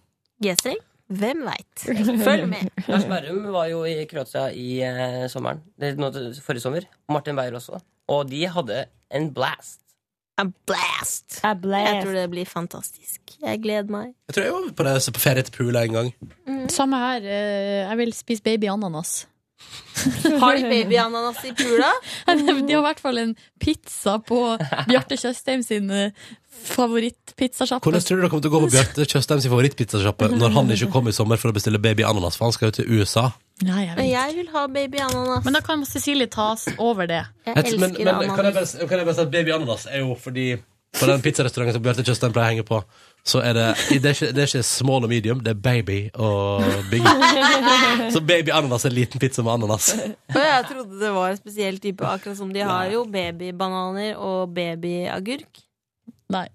Speaker 11: G-streng? Hvem veit? Følg med.
Speaker 13: Lars Berrum var jo i Kroatia i eh, sommeren. Det, er nå til- forrige sommer. Martin Beyer også. Og de hadde en blast.
Speaker 11: A blast. Jeg tror det blir fantastisk. Jeg gleder meg.
Speaker 2: Jeg tror jeg var på, det, på ferie til pula en gang.
Speaker 11: Mm.
Speaker 3: Samme her. eh, Jeg vil spise baby ananas.
Speaker 11: Har de babyananas i pula?
Speaker 3: De har i hvert fall en pizza på Bjarte Tjøstheim sin eh, favorittpizzasjappe.
Speaker 2: Hvordan tror du det kommer til å gå på Bjarte Tjøstheim sin favorittpizzasjappe når han ikke kom i sommer for å bestille baby ananas, for han skal jo til USA?
Speaker 3: Nei, jeg
Speaker 11: Men jeg vil ha babyananas.
Speaker 3: Men da kan Cecilie tas over det.
Speaker 2: Jeg tror- men, men, kan, jeg bare, s- kan jeg bare si at baby ananas er jo fordi På den pizzarestauranten som Bjarte Tjøstheim pleier å henge på, så er det det er, ikke, det er ikke small og medium, det er baby og big. Så baby ananas er en liten pizza med ananas.
Speaker 11: Og jeg trodde det var en spesiell type, akkurat som de har jo babybananer og babyagurk.
Speaker 3: Nei.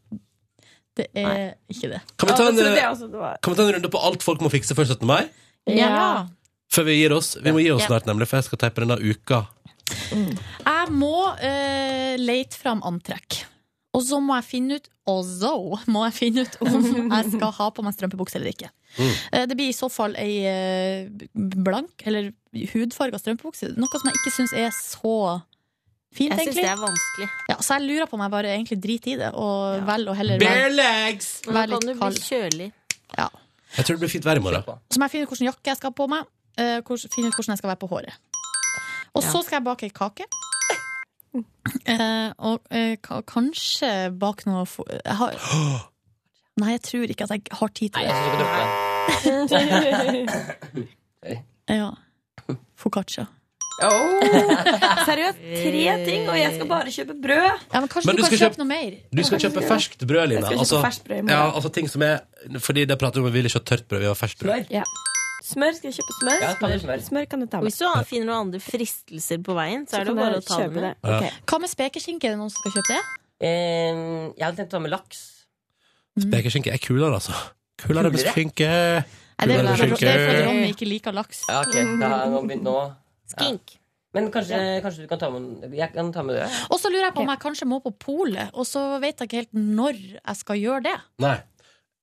Speaker 3: Det er ikke det.
Speaker 2: Kan vi ta en, kan vi ta en runde på alt folk må fikse før 17. mai?
Speaker 3: Ja.
Speaker 2: Før vi gir oss. Vi må gi oss
Speaker 3: Ja.
Speaker 2: snart, nemlig, for jeg skal teipe denne uka.
Speaker 3: Jeg må eh, lete fram antrekk. Og så må jeg finne ut Og så må jeg finne ut om jeg skal ha på meg strømpebukse eller ikke.
Speaker 2: mm.
Speaker 3: Eh, Det blir i så fall ei eh, blank eller hudfarga strømpebukse. Noe som jeg ikke syns er så fint,
Speaker 11: Jeg syns
Speaker 3: egentlig.
Speaker 11: det er vanskelig.
Speaker 3: Ja, så jeg lurer på om jeg bare egentlig driter i det, og velger å heller
Speaker 2: Bare
Speaker 3: være-
Speaker 2: legs!
Speaker 11: Men
Speaker 3: være
Speaker 11: da kan du
Speaker 3: litt
Speaker 11: bli
Speaker 3: kald.
Speaker 11: kjølig.
Speaker 2: Jeg tror det blir fint vær i morgen.
Speaker 3: Så må jeg finne ut hvilken jakke jeg skal ha på meg, eh, hvordan- finne ut hvordan jeg skal være på håret. Og så skal jeg bake ei kake. Mm. Eh, og eh, ka- kanskje bake noe fo- jeg har... Nei, jeg tror ikke at jeg har tid til det. ja. Foccaccia.
Speaker 12: Seriøst, tre ting, og jeg skal bare kjøpe brød.
Speaker 3: Ja, men kanskje
Speaker 2: Men
Speaker 3: du,
Speaker 2: du
Speaker 3: kan
Speaker 2: skal
Speaker 3: kjøpe noe mer?
Speaker 2: Du skal kjøpe ferskt brød, Line.
Speaker 12: Jeg skal kjøpe ferskt brød i morgen.
Speaker 2: ja, altså ting som er Fordi det prater vi om, vi vil ikke ha tørt brød, vi har ferskt brød.
Speaker 12: Ja.
Speaker 11: Smør? Skal jeg kjøpe smør?
Speaker 2: Ja, ta med smør.
Speaker 11: kan du ta med. Hvis du har- finner noen andre fristelser på veien, så,
Speaker 12: Så
Speaker 11: er det jo
Speaker 12: kan
Speaker 11: bare
Speaker 12: jeg
Speaker 11: å ta det
Speaker 12: kjøpe
Speaker 11: med.
Speaker 12: det. Ok. Ja.
Speaker 3: Hva med spekeskinke? Er det noen som skal kjøpe det?
Speaker 13: Eh, jeg hadde tenkt å ta med laks.
Speaker 2: Spekeskinke er kulere, altså. Kulere med
Speaker 13: Kulere?
Speaker 2: skinke.
Speaker 3: Nei, det er
Speaker 2: Kulere med
Speaker 3: fordi- det er fordi
Speaker 2: skinke.
Speaker 3: Ronny ikke liker laks.
Speaker 13: Ja, ok, da, nå, begyn- nå.
Speaker 3: Skink.
Speaker 13: Men kanskje, kanskje du kan ta med Jeg kan ta med det.
Speaker 3: Og så lurer jeg på om jeg kanskje må på polet, og så vet jeg ikke helt når jeg skal gjøre det.
Speaker 2: Nei.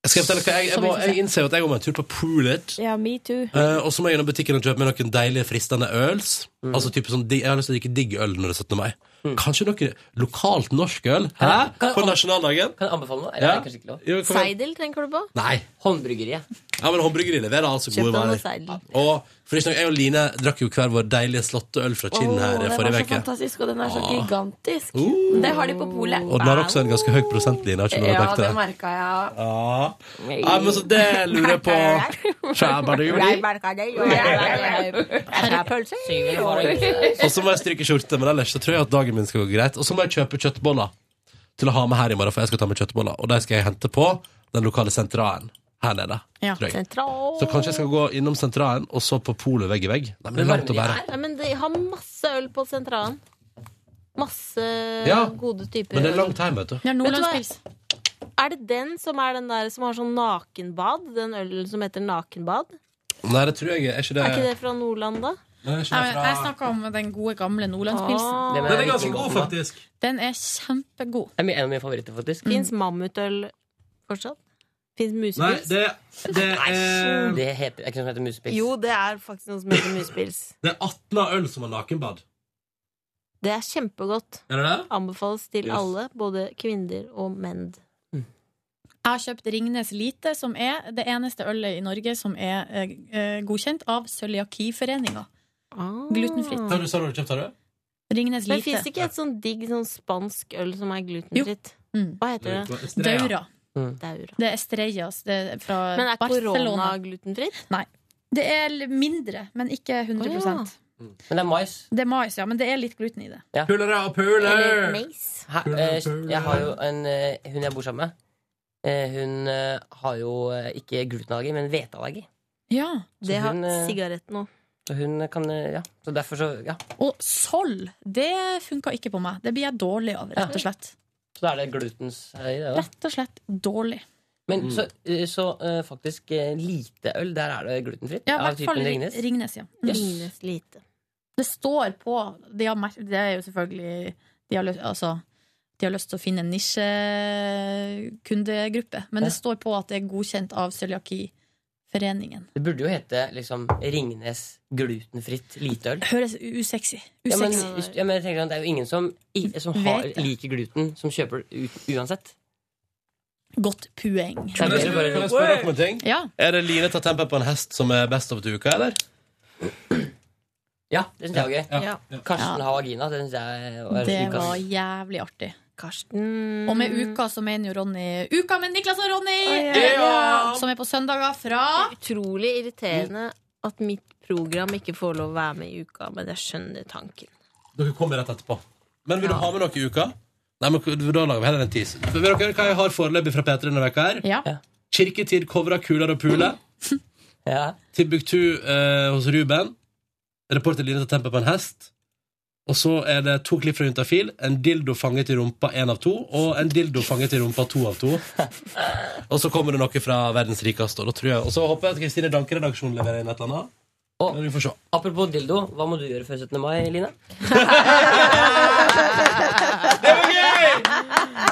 Speaker 2: Skal jeg fortelle hva jeg, jeg, må, jeg innser jo at jeg må en tur på poolet.
Speaker 3: Ja, me too.
Speaker 2: Eh, og så må jeg innom butikken og kjøpe meg noen deilige, fristende øls. Altså type sånn, digg- Jeg har lyst til å drikke digg øl når det er 17. mai. Kanskje noe lokalt norsk øl? Hæ?
Speaker 13: Kan jeg
Speaker 2: På
Speaker 13: an-
Speaker 2: nasjonaldagen?
Speaker 13: Kan jeg anbefale noe?
Speaker 2: Ja.
Speaker 13: Eller er det kanskje ikke lov?
Speaker 2: Jo, kom igjen.
Speaker 11: Seidel tenker du på?
Speaker 2: Nei.
Speaker 13: Håndbryggeriet.
Speaker 2: Ja, men håndbryggeriet leverer altså
Speaker 11: Kjøp
Speaker 2: gode
Speaker 11: deg noe
Speaker 2: varer.
Speaker 11: seidel.
Speaker 2: Og for ikke noe, jeg og Line drakk jo hver vår deilige slåtteøl fra Kinn her
Speaker 12: den var
Speaker 2: forrige
Speaker 12: så
Speaker 2: uke.
Speaker 12: fantastisk, og den er så
Speaker 2: Åh.
Speaker 12: gigantisk.
Speaker 2: Uh.
Speaker 12: Det har de på polet.
Speaker 2: Og den har også en ganske høy prosent, Line. Har ikke noe
Speaker 12: Ja,
Speaker 2: merket
Speaker 12: det
Speaker 2: det?
Speaker 12: merka jeg.
Speaker 2: Ja. ja, men så det lurer jeg på Skjæbaduri.
Speaker 12: merka det, jo. Jeg har pølse.
Speaker 2: Og så må jeg stryke skjorte, men ellers så tror jeg at dagen min skal gå greit. Og så må jeg kjøpe kjøttboller til å ha med her i morgen, for jeg skal ta med kjøttboller. Og de skal jeg hente på den lokale sentralen her nede.
Speaker 11: Ja.
Speaker 2: tror jeg. Så kanskje jeg skal gå innom sentralen, og så på polet vegg i vegg. Nei, men det er langt å bære.
Speaker 11: Nei, men de har masse øl på sentralen. Masse
Speaker 2: Ja,
Speaker 11: gode typer.
Speaker 2: Men det er langt hjem, vet du.
Speaker 11: Nordlandspils. Er det den som er den der som har sånn nakenbad? Den ølen som heter nakenbad?
Speaker 2: Nei, det tror jeg er ikke det.
Speaker 11: Er ikke det fra Nordland, da?
Speaker 2: Nei, det er ikke
Speaker 3: Nei,
Speaker 2: det
Speaker 3: men
Speaker 2: fra...
Speaker 3: jeg snakker om den gode, gamle nordlandspilsen.
Speaker 13: Ah.
Speaker 11: Den
Speaker 2: Den er ganske god, faktisk.
Speaker 3: Den er kjempegod.
Speaker 13: Det er en av mine favoritter, faktisk.
Speaker 11: Fins mammutøl fortsatt? Fins
Speaker 13: Nei,
Speaker 11: musepils?
Speaker 2: det,
Speaker 13: Nei, det heter, er ikke noe som heter musepils.
Speaker 11: Jo, det er faktisk noe som heter musepils.
Speaker 2: Det er Atla øl som har nakenbad.
Speaker 11: Det er kjempegodt.
Speaker 2: Er det det?
Speaker 11: Anbefales til
Speaker 2: Yes.
Speaker 11: alle, både kvinner og menn.
Speaker 3: Jeg har kjøpt Ringnes Lite, som er det eneste ølet i Norge som er eh, eh, godkjent av Cøliakiforeninga. Glutenfritt.
Speaker 2: Hva sa du har kjøpt, har du?
Speaker 3: Ringnes
Speaker 11: Ah. Men
Speaker 3: Lite.
Speaker 11: fins det ikke et sånn digg sånn spansk øl som er glutenfritt? Hva heter det?
Speaker 3: Estrella. Daura.
Speaker 11: Daura.
Speaker 3: Mm. Det er Estrellas det er fra
Speaker 11: Men er
Speaker 3: Barcelona.
Speaker 11: korona glutenfritt?
Speaker 3: Nei. Det er l- mindre, men ikke 100
Speaker 11: Å,
Speaker 13: Men det er mais.
Speaker 3: Det er mais, ja, men det er litt gluten i det.
Speaker 13: Ja.
Speaker 2: Pulere og puler!
Speaker 13: Eller Hæ? Eh, Jeg har jo en eh, Hun jeg bor sammen med, eh, hun eh, har jo eh, ikke glutenallergi, men hveteallergi.
Speaker 3: Ja,
Speaker 13: det har
Speaker 11: eh, sigaretten òg.
Speaker 13: Så hun kan eh, Ja, så derfor så Ja.
Speaker 3: Og Sol, det funka ikke på meg. Det blir jeg dårlig av, rett og slett.
Speaker 13: Så da er det glutens eh, i det, da.
Speaker 3: Rett og slett dårlig.
Speaker 13: Men
Speaker 2: Mm.
Speaker 13: så, eh, så eh, faktisk eh, lite øl, der er det glutenfritt?
Speaker 3: Ja, i
Speaker 13: av
Speaker 3: hvert fall
Speaker 13: typen
Speaker 3: Ringnes. Ringnes
Speaker 13: Ringnes?
Speaker 3: ja. Mm.
Speaker 11: Ringnes lite.
Speaker 3: Det står på de har mer Det er jo selvfølgelig De har lyst, altså, de har lyst til å finne en nisjekundegruppe, men det står på at det er godkjent av Cøliakiforeningen.
Speaker 13: Det burde jo hete liksom Ringnes glutenfritt liteøl.
Speaker 3: Høres usexy
Speaker 13: Ja, men,
Speaker 3: Usexy.
Speaker 13: hvis- ja, men jeg tenker at det er jo ingen som, i, som har,
Speaker 3: Vet det.
Speaker 13: liker gluten, som kjøper det u- uansett.
Speaker 3: Godt poeng.
Speaker 2: Kan jeg spørre, kan jeg spørre dere om en ting?
Speaker 3: Ja.
Speaker 2: Er det Line tar tempen på en hest som er best av til uka, eller?
Speaker 13: Ja, det syns jeg var gøy.
Speaker 2: Ja.
Speaker 13: Karsten har vagina. Det syns jeg var
Speaker 3: Det
Speaker 13: ukas.
Speaker 3: var jævlig artig. Og med uka så mener jo Ronny Uka med Niklas og Ronny!
Speaker 11: Å, ja. Ja.
Speaker 3: Som er på søndager fra
Speaker 11: Utrolig irriterende at mitt program ikke får lov å være med i uka, men jeg skjønner tanken.
Speaker 2: Dere kommer rett etterpå. Men vil du ha med noe i uka? Nei, men Da lager vi heller en tease. Vil dere høre hva jeg har foreløpig fra P3 denne uka her?
Speaker 3: Ja.
Speaker 2: Kirketid covra Kuler og Pule. Timbuktu eh, hos Ruben. Reporter Line tar tempen på en hest. Og så er det to klipp fra Juntafil. En dildo fanget i rumpa én av to, og en dildo fanget i rumpa to av to. Og så kommer det noe fra verdens rikeste. Og, da tror jeg, og så håper jeg at Kristine Danke-redaksjonen leverer inn et eller annet.
Speaker 13: Og,
Speaker 2: vi får se.
Speaker 13: Apropos dildo, hva må du gjøre før 17. mai, Line?
Speaker 4: Ah,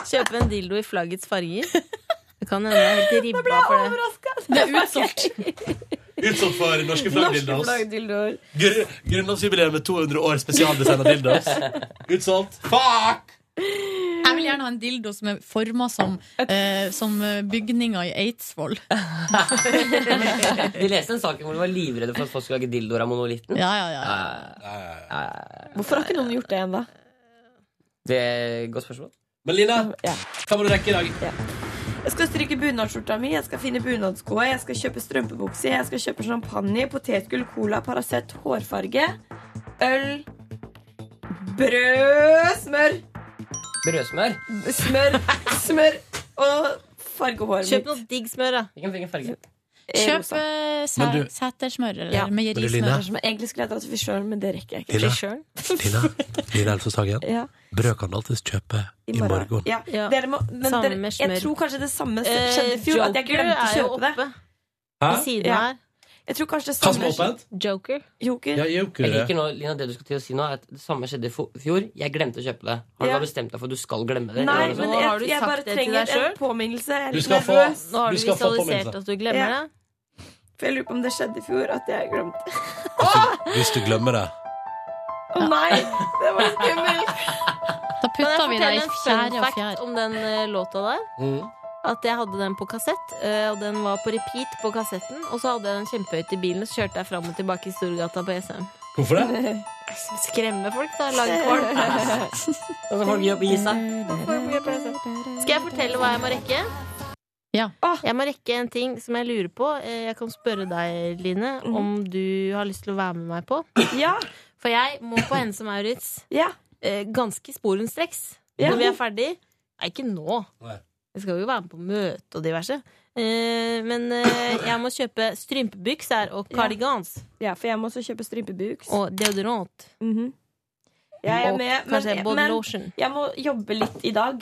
Speaker 11: Kjøpe en dildo i flaggets farger. Det kan hende jeg er helt ribba for det.
Speaker 3: Det er utsolgt.
Speaker 2: Utsolgt for norske
Speaker 11: Norske
Speaker 2: flaggdildos.
Speaker 11: flaggdildoer.
Speaker 2: Gr- Grunnlovsjubileum med 200 år spesialdesign av dildos. Utsolgt. Fuck!
Speaker 3: Jeg Jeg vil gjerne ha en dildo som er forma som, eh, som eh, bygninga i Eidsvoll.
Speaker 13: Vi leste en sak hvor de var livredde for at folk skulle lage dildoer av monolitten.
Speaker 3: Ja, ja, ja.
Speaker 9: Hvorfor har ikke noen gjort det ennå?
Speaker 13: Det er et godt spørsmål.
Speaker 2: Men Lina, hva må du rekke i dag?
Speaker 9: Jeg skal stryke bunadsskjorta mi, jeg skal finne bunadskoa, jeg skal kjøpe strømpebukse, jeg skal kjøpe champagne, potetgull, cola, Paracet, hårfarge, øl, brød, smør,
Speaker 13: Brødsmør.
Speaker 9: smør, smør og farge håret
Speaker 11: Kjøp
Speaker 9: mitt.
Speaker 11: noe digg smør, da.
Speaker 13: Hvilken farge?
Speaker 3: Kjøp eh, sæ
Speaker 9: Men du-
Speaker 3: setersmør eller
Speaker 9: Ja.
Speaker 3: meierismør.
Speaker 9: Men Egentlig skulle jeg dratt til frisøren, men det rekker jeg ikke.
Speaker 2: Lina. Lina, Lina Elfeshagen.
Speaker 9: Ja.
Speaker 2: Brød kan du alltids kjøpe i morgen.
Speaker 9: Ja. Dere må, men
Speaker 11: Samme
Speaker 9: dere,
Speaker 11: med smør.
Speaker 9: jeg tror kanskje det samme
Speaker 11: Eh,
Speaker 9: skjedde i fjor, at jeg
Speaker 11: Joker
Speaker 9: glemte å
Speaker 11: er jo
Speaker 9: kjøpe det.
Speaker 2: Hæ?
Speaker 11: Ved siden
Speaker 9: Ja.
Speaker 11: her.
Speaker 9: Jeg tror kanskje det
Speaker 13: Hva som
Speaker 9: samme
Speaker 13: er åpent?
Speaker 11: Joker.
Speaker 9: Joker.
Speaker 13: Jeg liker nå, Lina, det du skal til å si nå, er at det samme skjedde i fo- fjor. Jeg glemte å kjøpe det. Har du
Speaker 9: Ja.
Speaker 13: bare bestemt deg for at du skal glemme det?
Speaker 9: Nei,
Speaker 13: Eller
Speaker 9: men
Speaker 13: noe sånt?
Speaker 11: har
Speaker 9: jeg,
Speaker 11: du
Speaker 9: jeg
Speaker 11: sagt
Speaker 9: bare
Speaker 11: det til deg
Speaker 9: trenger en
Speaker 11: selv?
Speaker 9: påminnelse. Jeg er
Speaker 13: Du
Speaker 9: litt
Speaker 13: skal få-
Speaker 9: nervøs.
Speaker 11: Nå har du, visualisert at du glemmer
Speaker 9: Ja.
Speaker 11: det.
Speaker 9: For jeg lurer på om det skjedde i fjor, at jeg glemte.
Speaker 2: Hvis du glemmer det.
Speaker 9: Å nei! Det var skummelt.
Speaker 3: Da putta
Speaker 11: Kan
Speaker 3: vi
Speaker 11: jeg
Speaker 3: deg
Speaker 11: fortelle en
Speaker 3: i fjære
Speaker 11: fun
Speaker 3: og
Speaker 11: fact
Speaker 3: fjær.
Speaker 11: om den eh, låta der? At jeg hadde den på kassett, eh, og den var på repeat på kassetten. Og så hadde jeg den kjempehøyt i bilen, og så kjørte jeg fram og tilbake i Storgata på SM.
Speaker 2: Hvorfor det?
Speaker 11: Skremme folk, da. Lage folk.
Speaker 13: Altså, folk gir opp i seg.
Speaker 11: Skal jeg fortelle hva jeg må rekke?
Speaker 9: Åh,
Speaker 11: Jeg må rekke en ting som jeg lurer på. Eh, Jeg kan spørre deg, Line, om du har lyst til å være med meg på.
Speaker 9: Mhm. Ja.
Speaker 11: For jeg må på Hennes og Maurits
Speaker 9: ja.
Speaker 11: eh, ganske sporenstreks
Speaker 9: Ja.
Speaker 11: når vi er ferdig. Nei, ikke nå.
Speaker 2: Nei.
Speaker 11: Jeg skal jo være med på møte og diverse. Eh, Men eh, jeg må kjøpe strømpebykser og cardigans.
Speaker 9: ja, for jeg må også kjøpe strympebuks.
Speaker 11: Og deodorant.
Speaker 9: Jeg er
Speaker 11: Og
Speaker 9: med, men,
Speaker 11: kanskje body
Speaker 9: men
Speaker 11: lotion.
Speaker 9: jeg må jobbe litt i dag.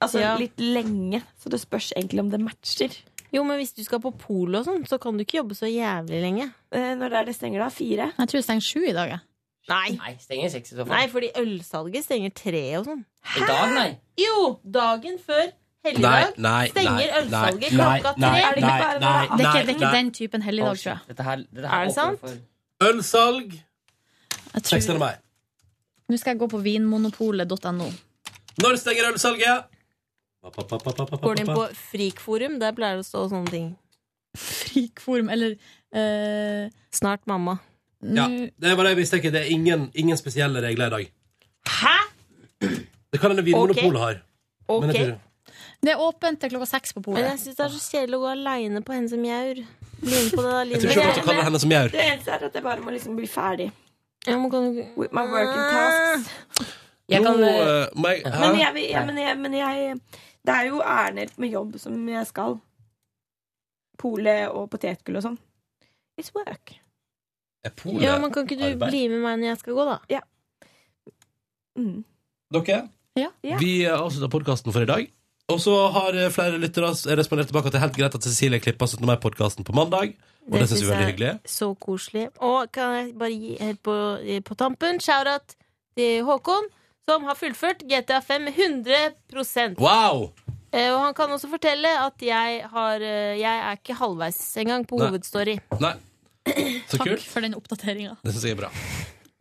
Speaker 9: Altså
Speaker 11: Ja.
Speaker 9: litt lenge, så det spørs egentlig om det matcher.
Speaker 11: Jo, men hvis du skal på polet og sånn, så kan du ikke jobbe så jævlig lenge.
Speaker 9: Eh, Når er det stenger, da? Fire?
Speaker 3: Jeg tror det stenger sju i dag, jeg.
Speaker 11: Nei.
Speaker 13: Nei, stenger seks i så fall.
Speaker 11: Nei, fordi ølsalget stenger tre og sånn.
Speaker 13: I dag, nei.
Speaker 11: Jo! Dagen før helligdag stenger ølsalget klokka tre.
Speaker 3: Er det ikke bare- Det er ikke- det er ikke den typen helligdag, tror jeg.
Speaker 13: Dette her, dette
Speaker 11: Er
Speaker 13: her
Speaker 11: det sant?
Speaker 13: åpner for-
Speaker 2: Ølsalg 16. mai.
Speaker 3: Nå skal jeg gå på vinmonopolet.no.
Speaker 2: Når stenger ølsalget?
Speaker 11: Går du inn på Frikforum, der pleier det å stå sånne ting.
Speaker 3: Frikforum, eller
Speaker 13: eh,
Speaker 11: Snart mamma.
Speaker 2: Ja, det var det jeg mistenker. Det er ingen, ingen spesielle regler i dag.
Speaker 11: Hæ?
Speaker 2: Det kan hende Vinmonopolet har. Men jeg tror ikke.
Speaker 3: Det er åpent til klokka seks på
Speaker 11: Men
Speaker 3: polet.
Speaker 11: jeg syns det er så kjedelig å gå aleine på henne som maur. Bli med på det da,
Speaker 2: Jeg tror ikke du kaller henne som maur.
Speaker 9: Det eneste er at jeg bare må liksom bli ferdig.
Speaker 11: With
Speaker 9: my working tasks.
Speaker 13: Jeg kan,
Speaker 2: Nå,
Speaker 13: eh,
Speaker 2: eh, må jeg-
Speaker 9: Men
Speaker 2: Hæ?
Speaker 9: jeg, vil- ja, men jeg, men jeg Det er jo ærender med jobb som jeg skal. Pole og potetgull og sånn. It's work.
Speaker 2: Er polet
Speaker 11: Ja, men kan ikke du
Speaker 2: arbeid?
Speaker 11: bli med meg når jeg skal gå, da?
Speaker 2: Dere,
Speaker 9: Ja.
Speaker 2: vi eh, avslutter podkasten for i dag. Og så har eh, flere lyttere s- respondert tilbake at det er helt greit at Cecilie klipper 17. mai-podkasten på mandag. Og det, synes vi er veldig hyggelig.
Speaker 11: Så koselig. Og kan jeg bare gi helt på, eh, på tampen shout-out til Håkon, som har fullført GTA 5 med 100
Speaker 2: Wow!
Speaker 11: Eh, Og han kan også fortelle at jeg, har, eh, jeg er ikke halvveis engang på
Speaker 2: Nei.
Speaker 11: hovedstory.
Speaker 2: Nei. Så
Speaker 3: Takk
Speaker 2: kult.
Speaker 3: for den oppdateringa.
Speaker 2: Det syns jeg er bra.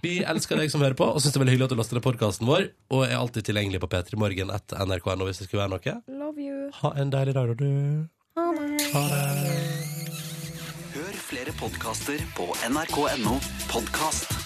Speaker 2: Vi elsker deg som hører på, og syns det er veldig hyggelig at du laster ned podkasten vår. Og er alltid tilgjengelig på P3 Morgen etter nrk.no hvis det skulle være noe.
Speaker 9: Love you.
Speaker 2: Ha en deilig dag, da, du. Ha det.
Speaker 6: Hør flere podkaster på nrk.no podkast.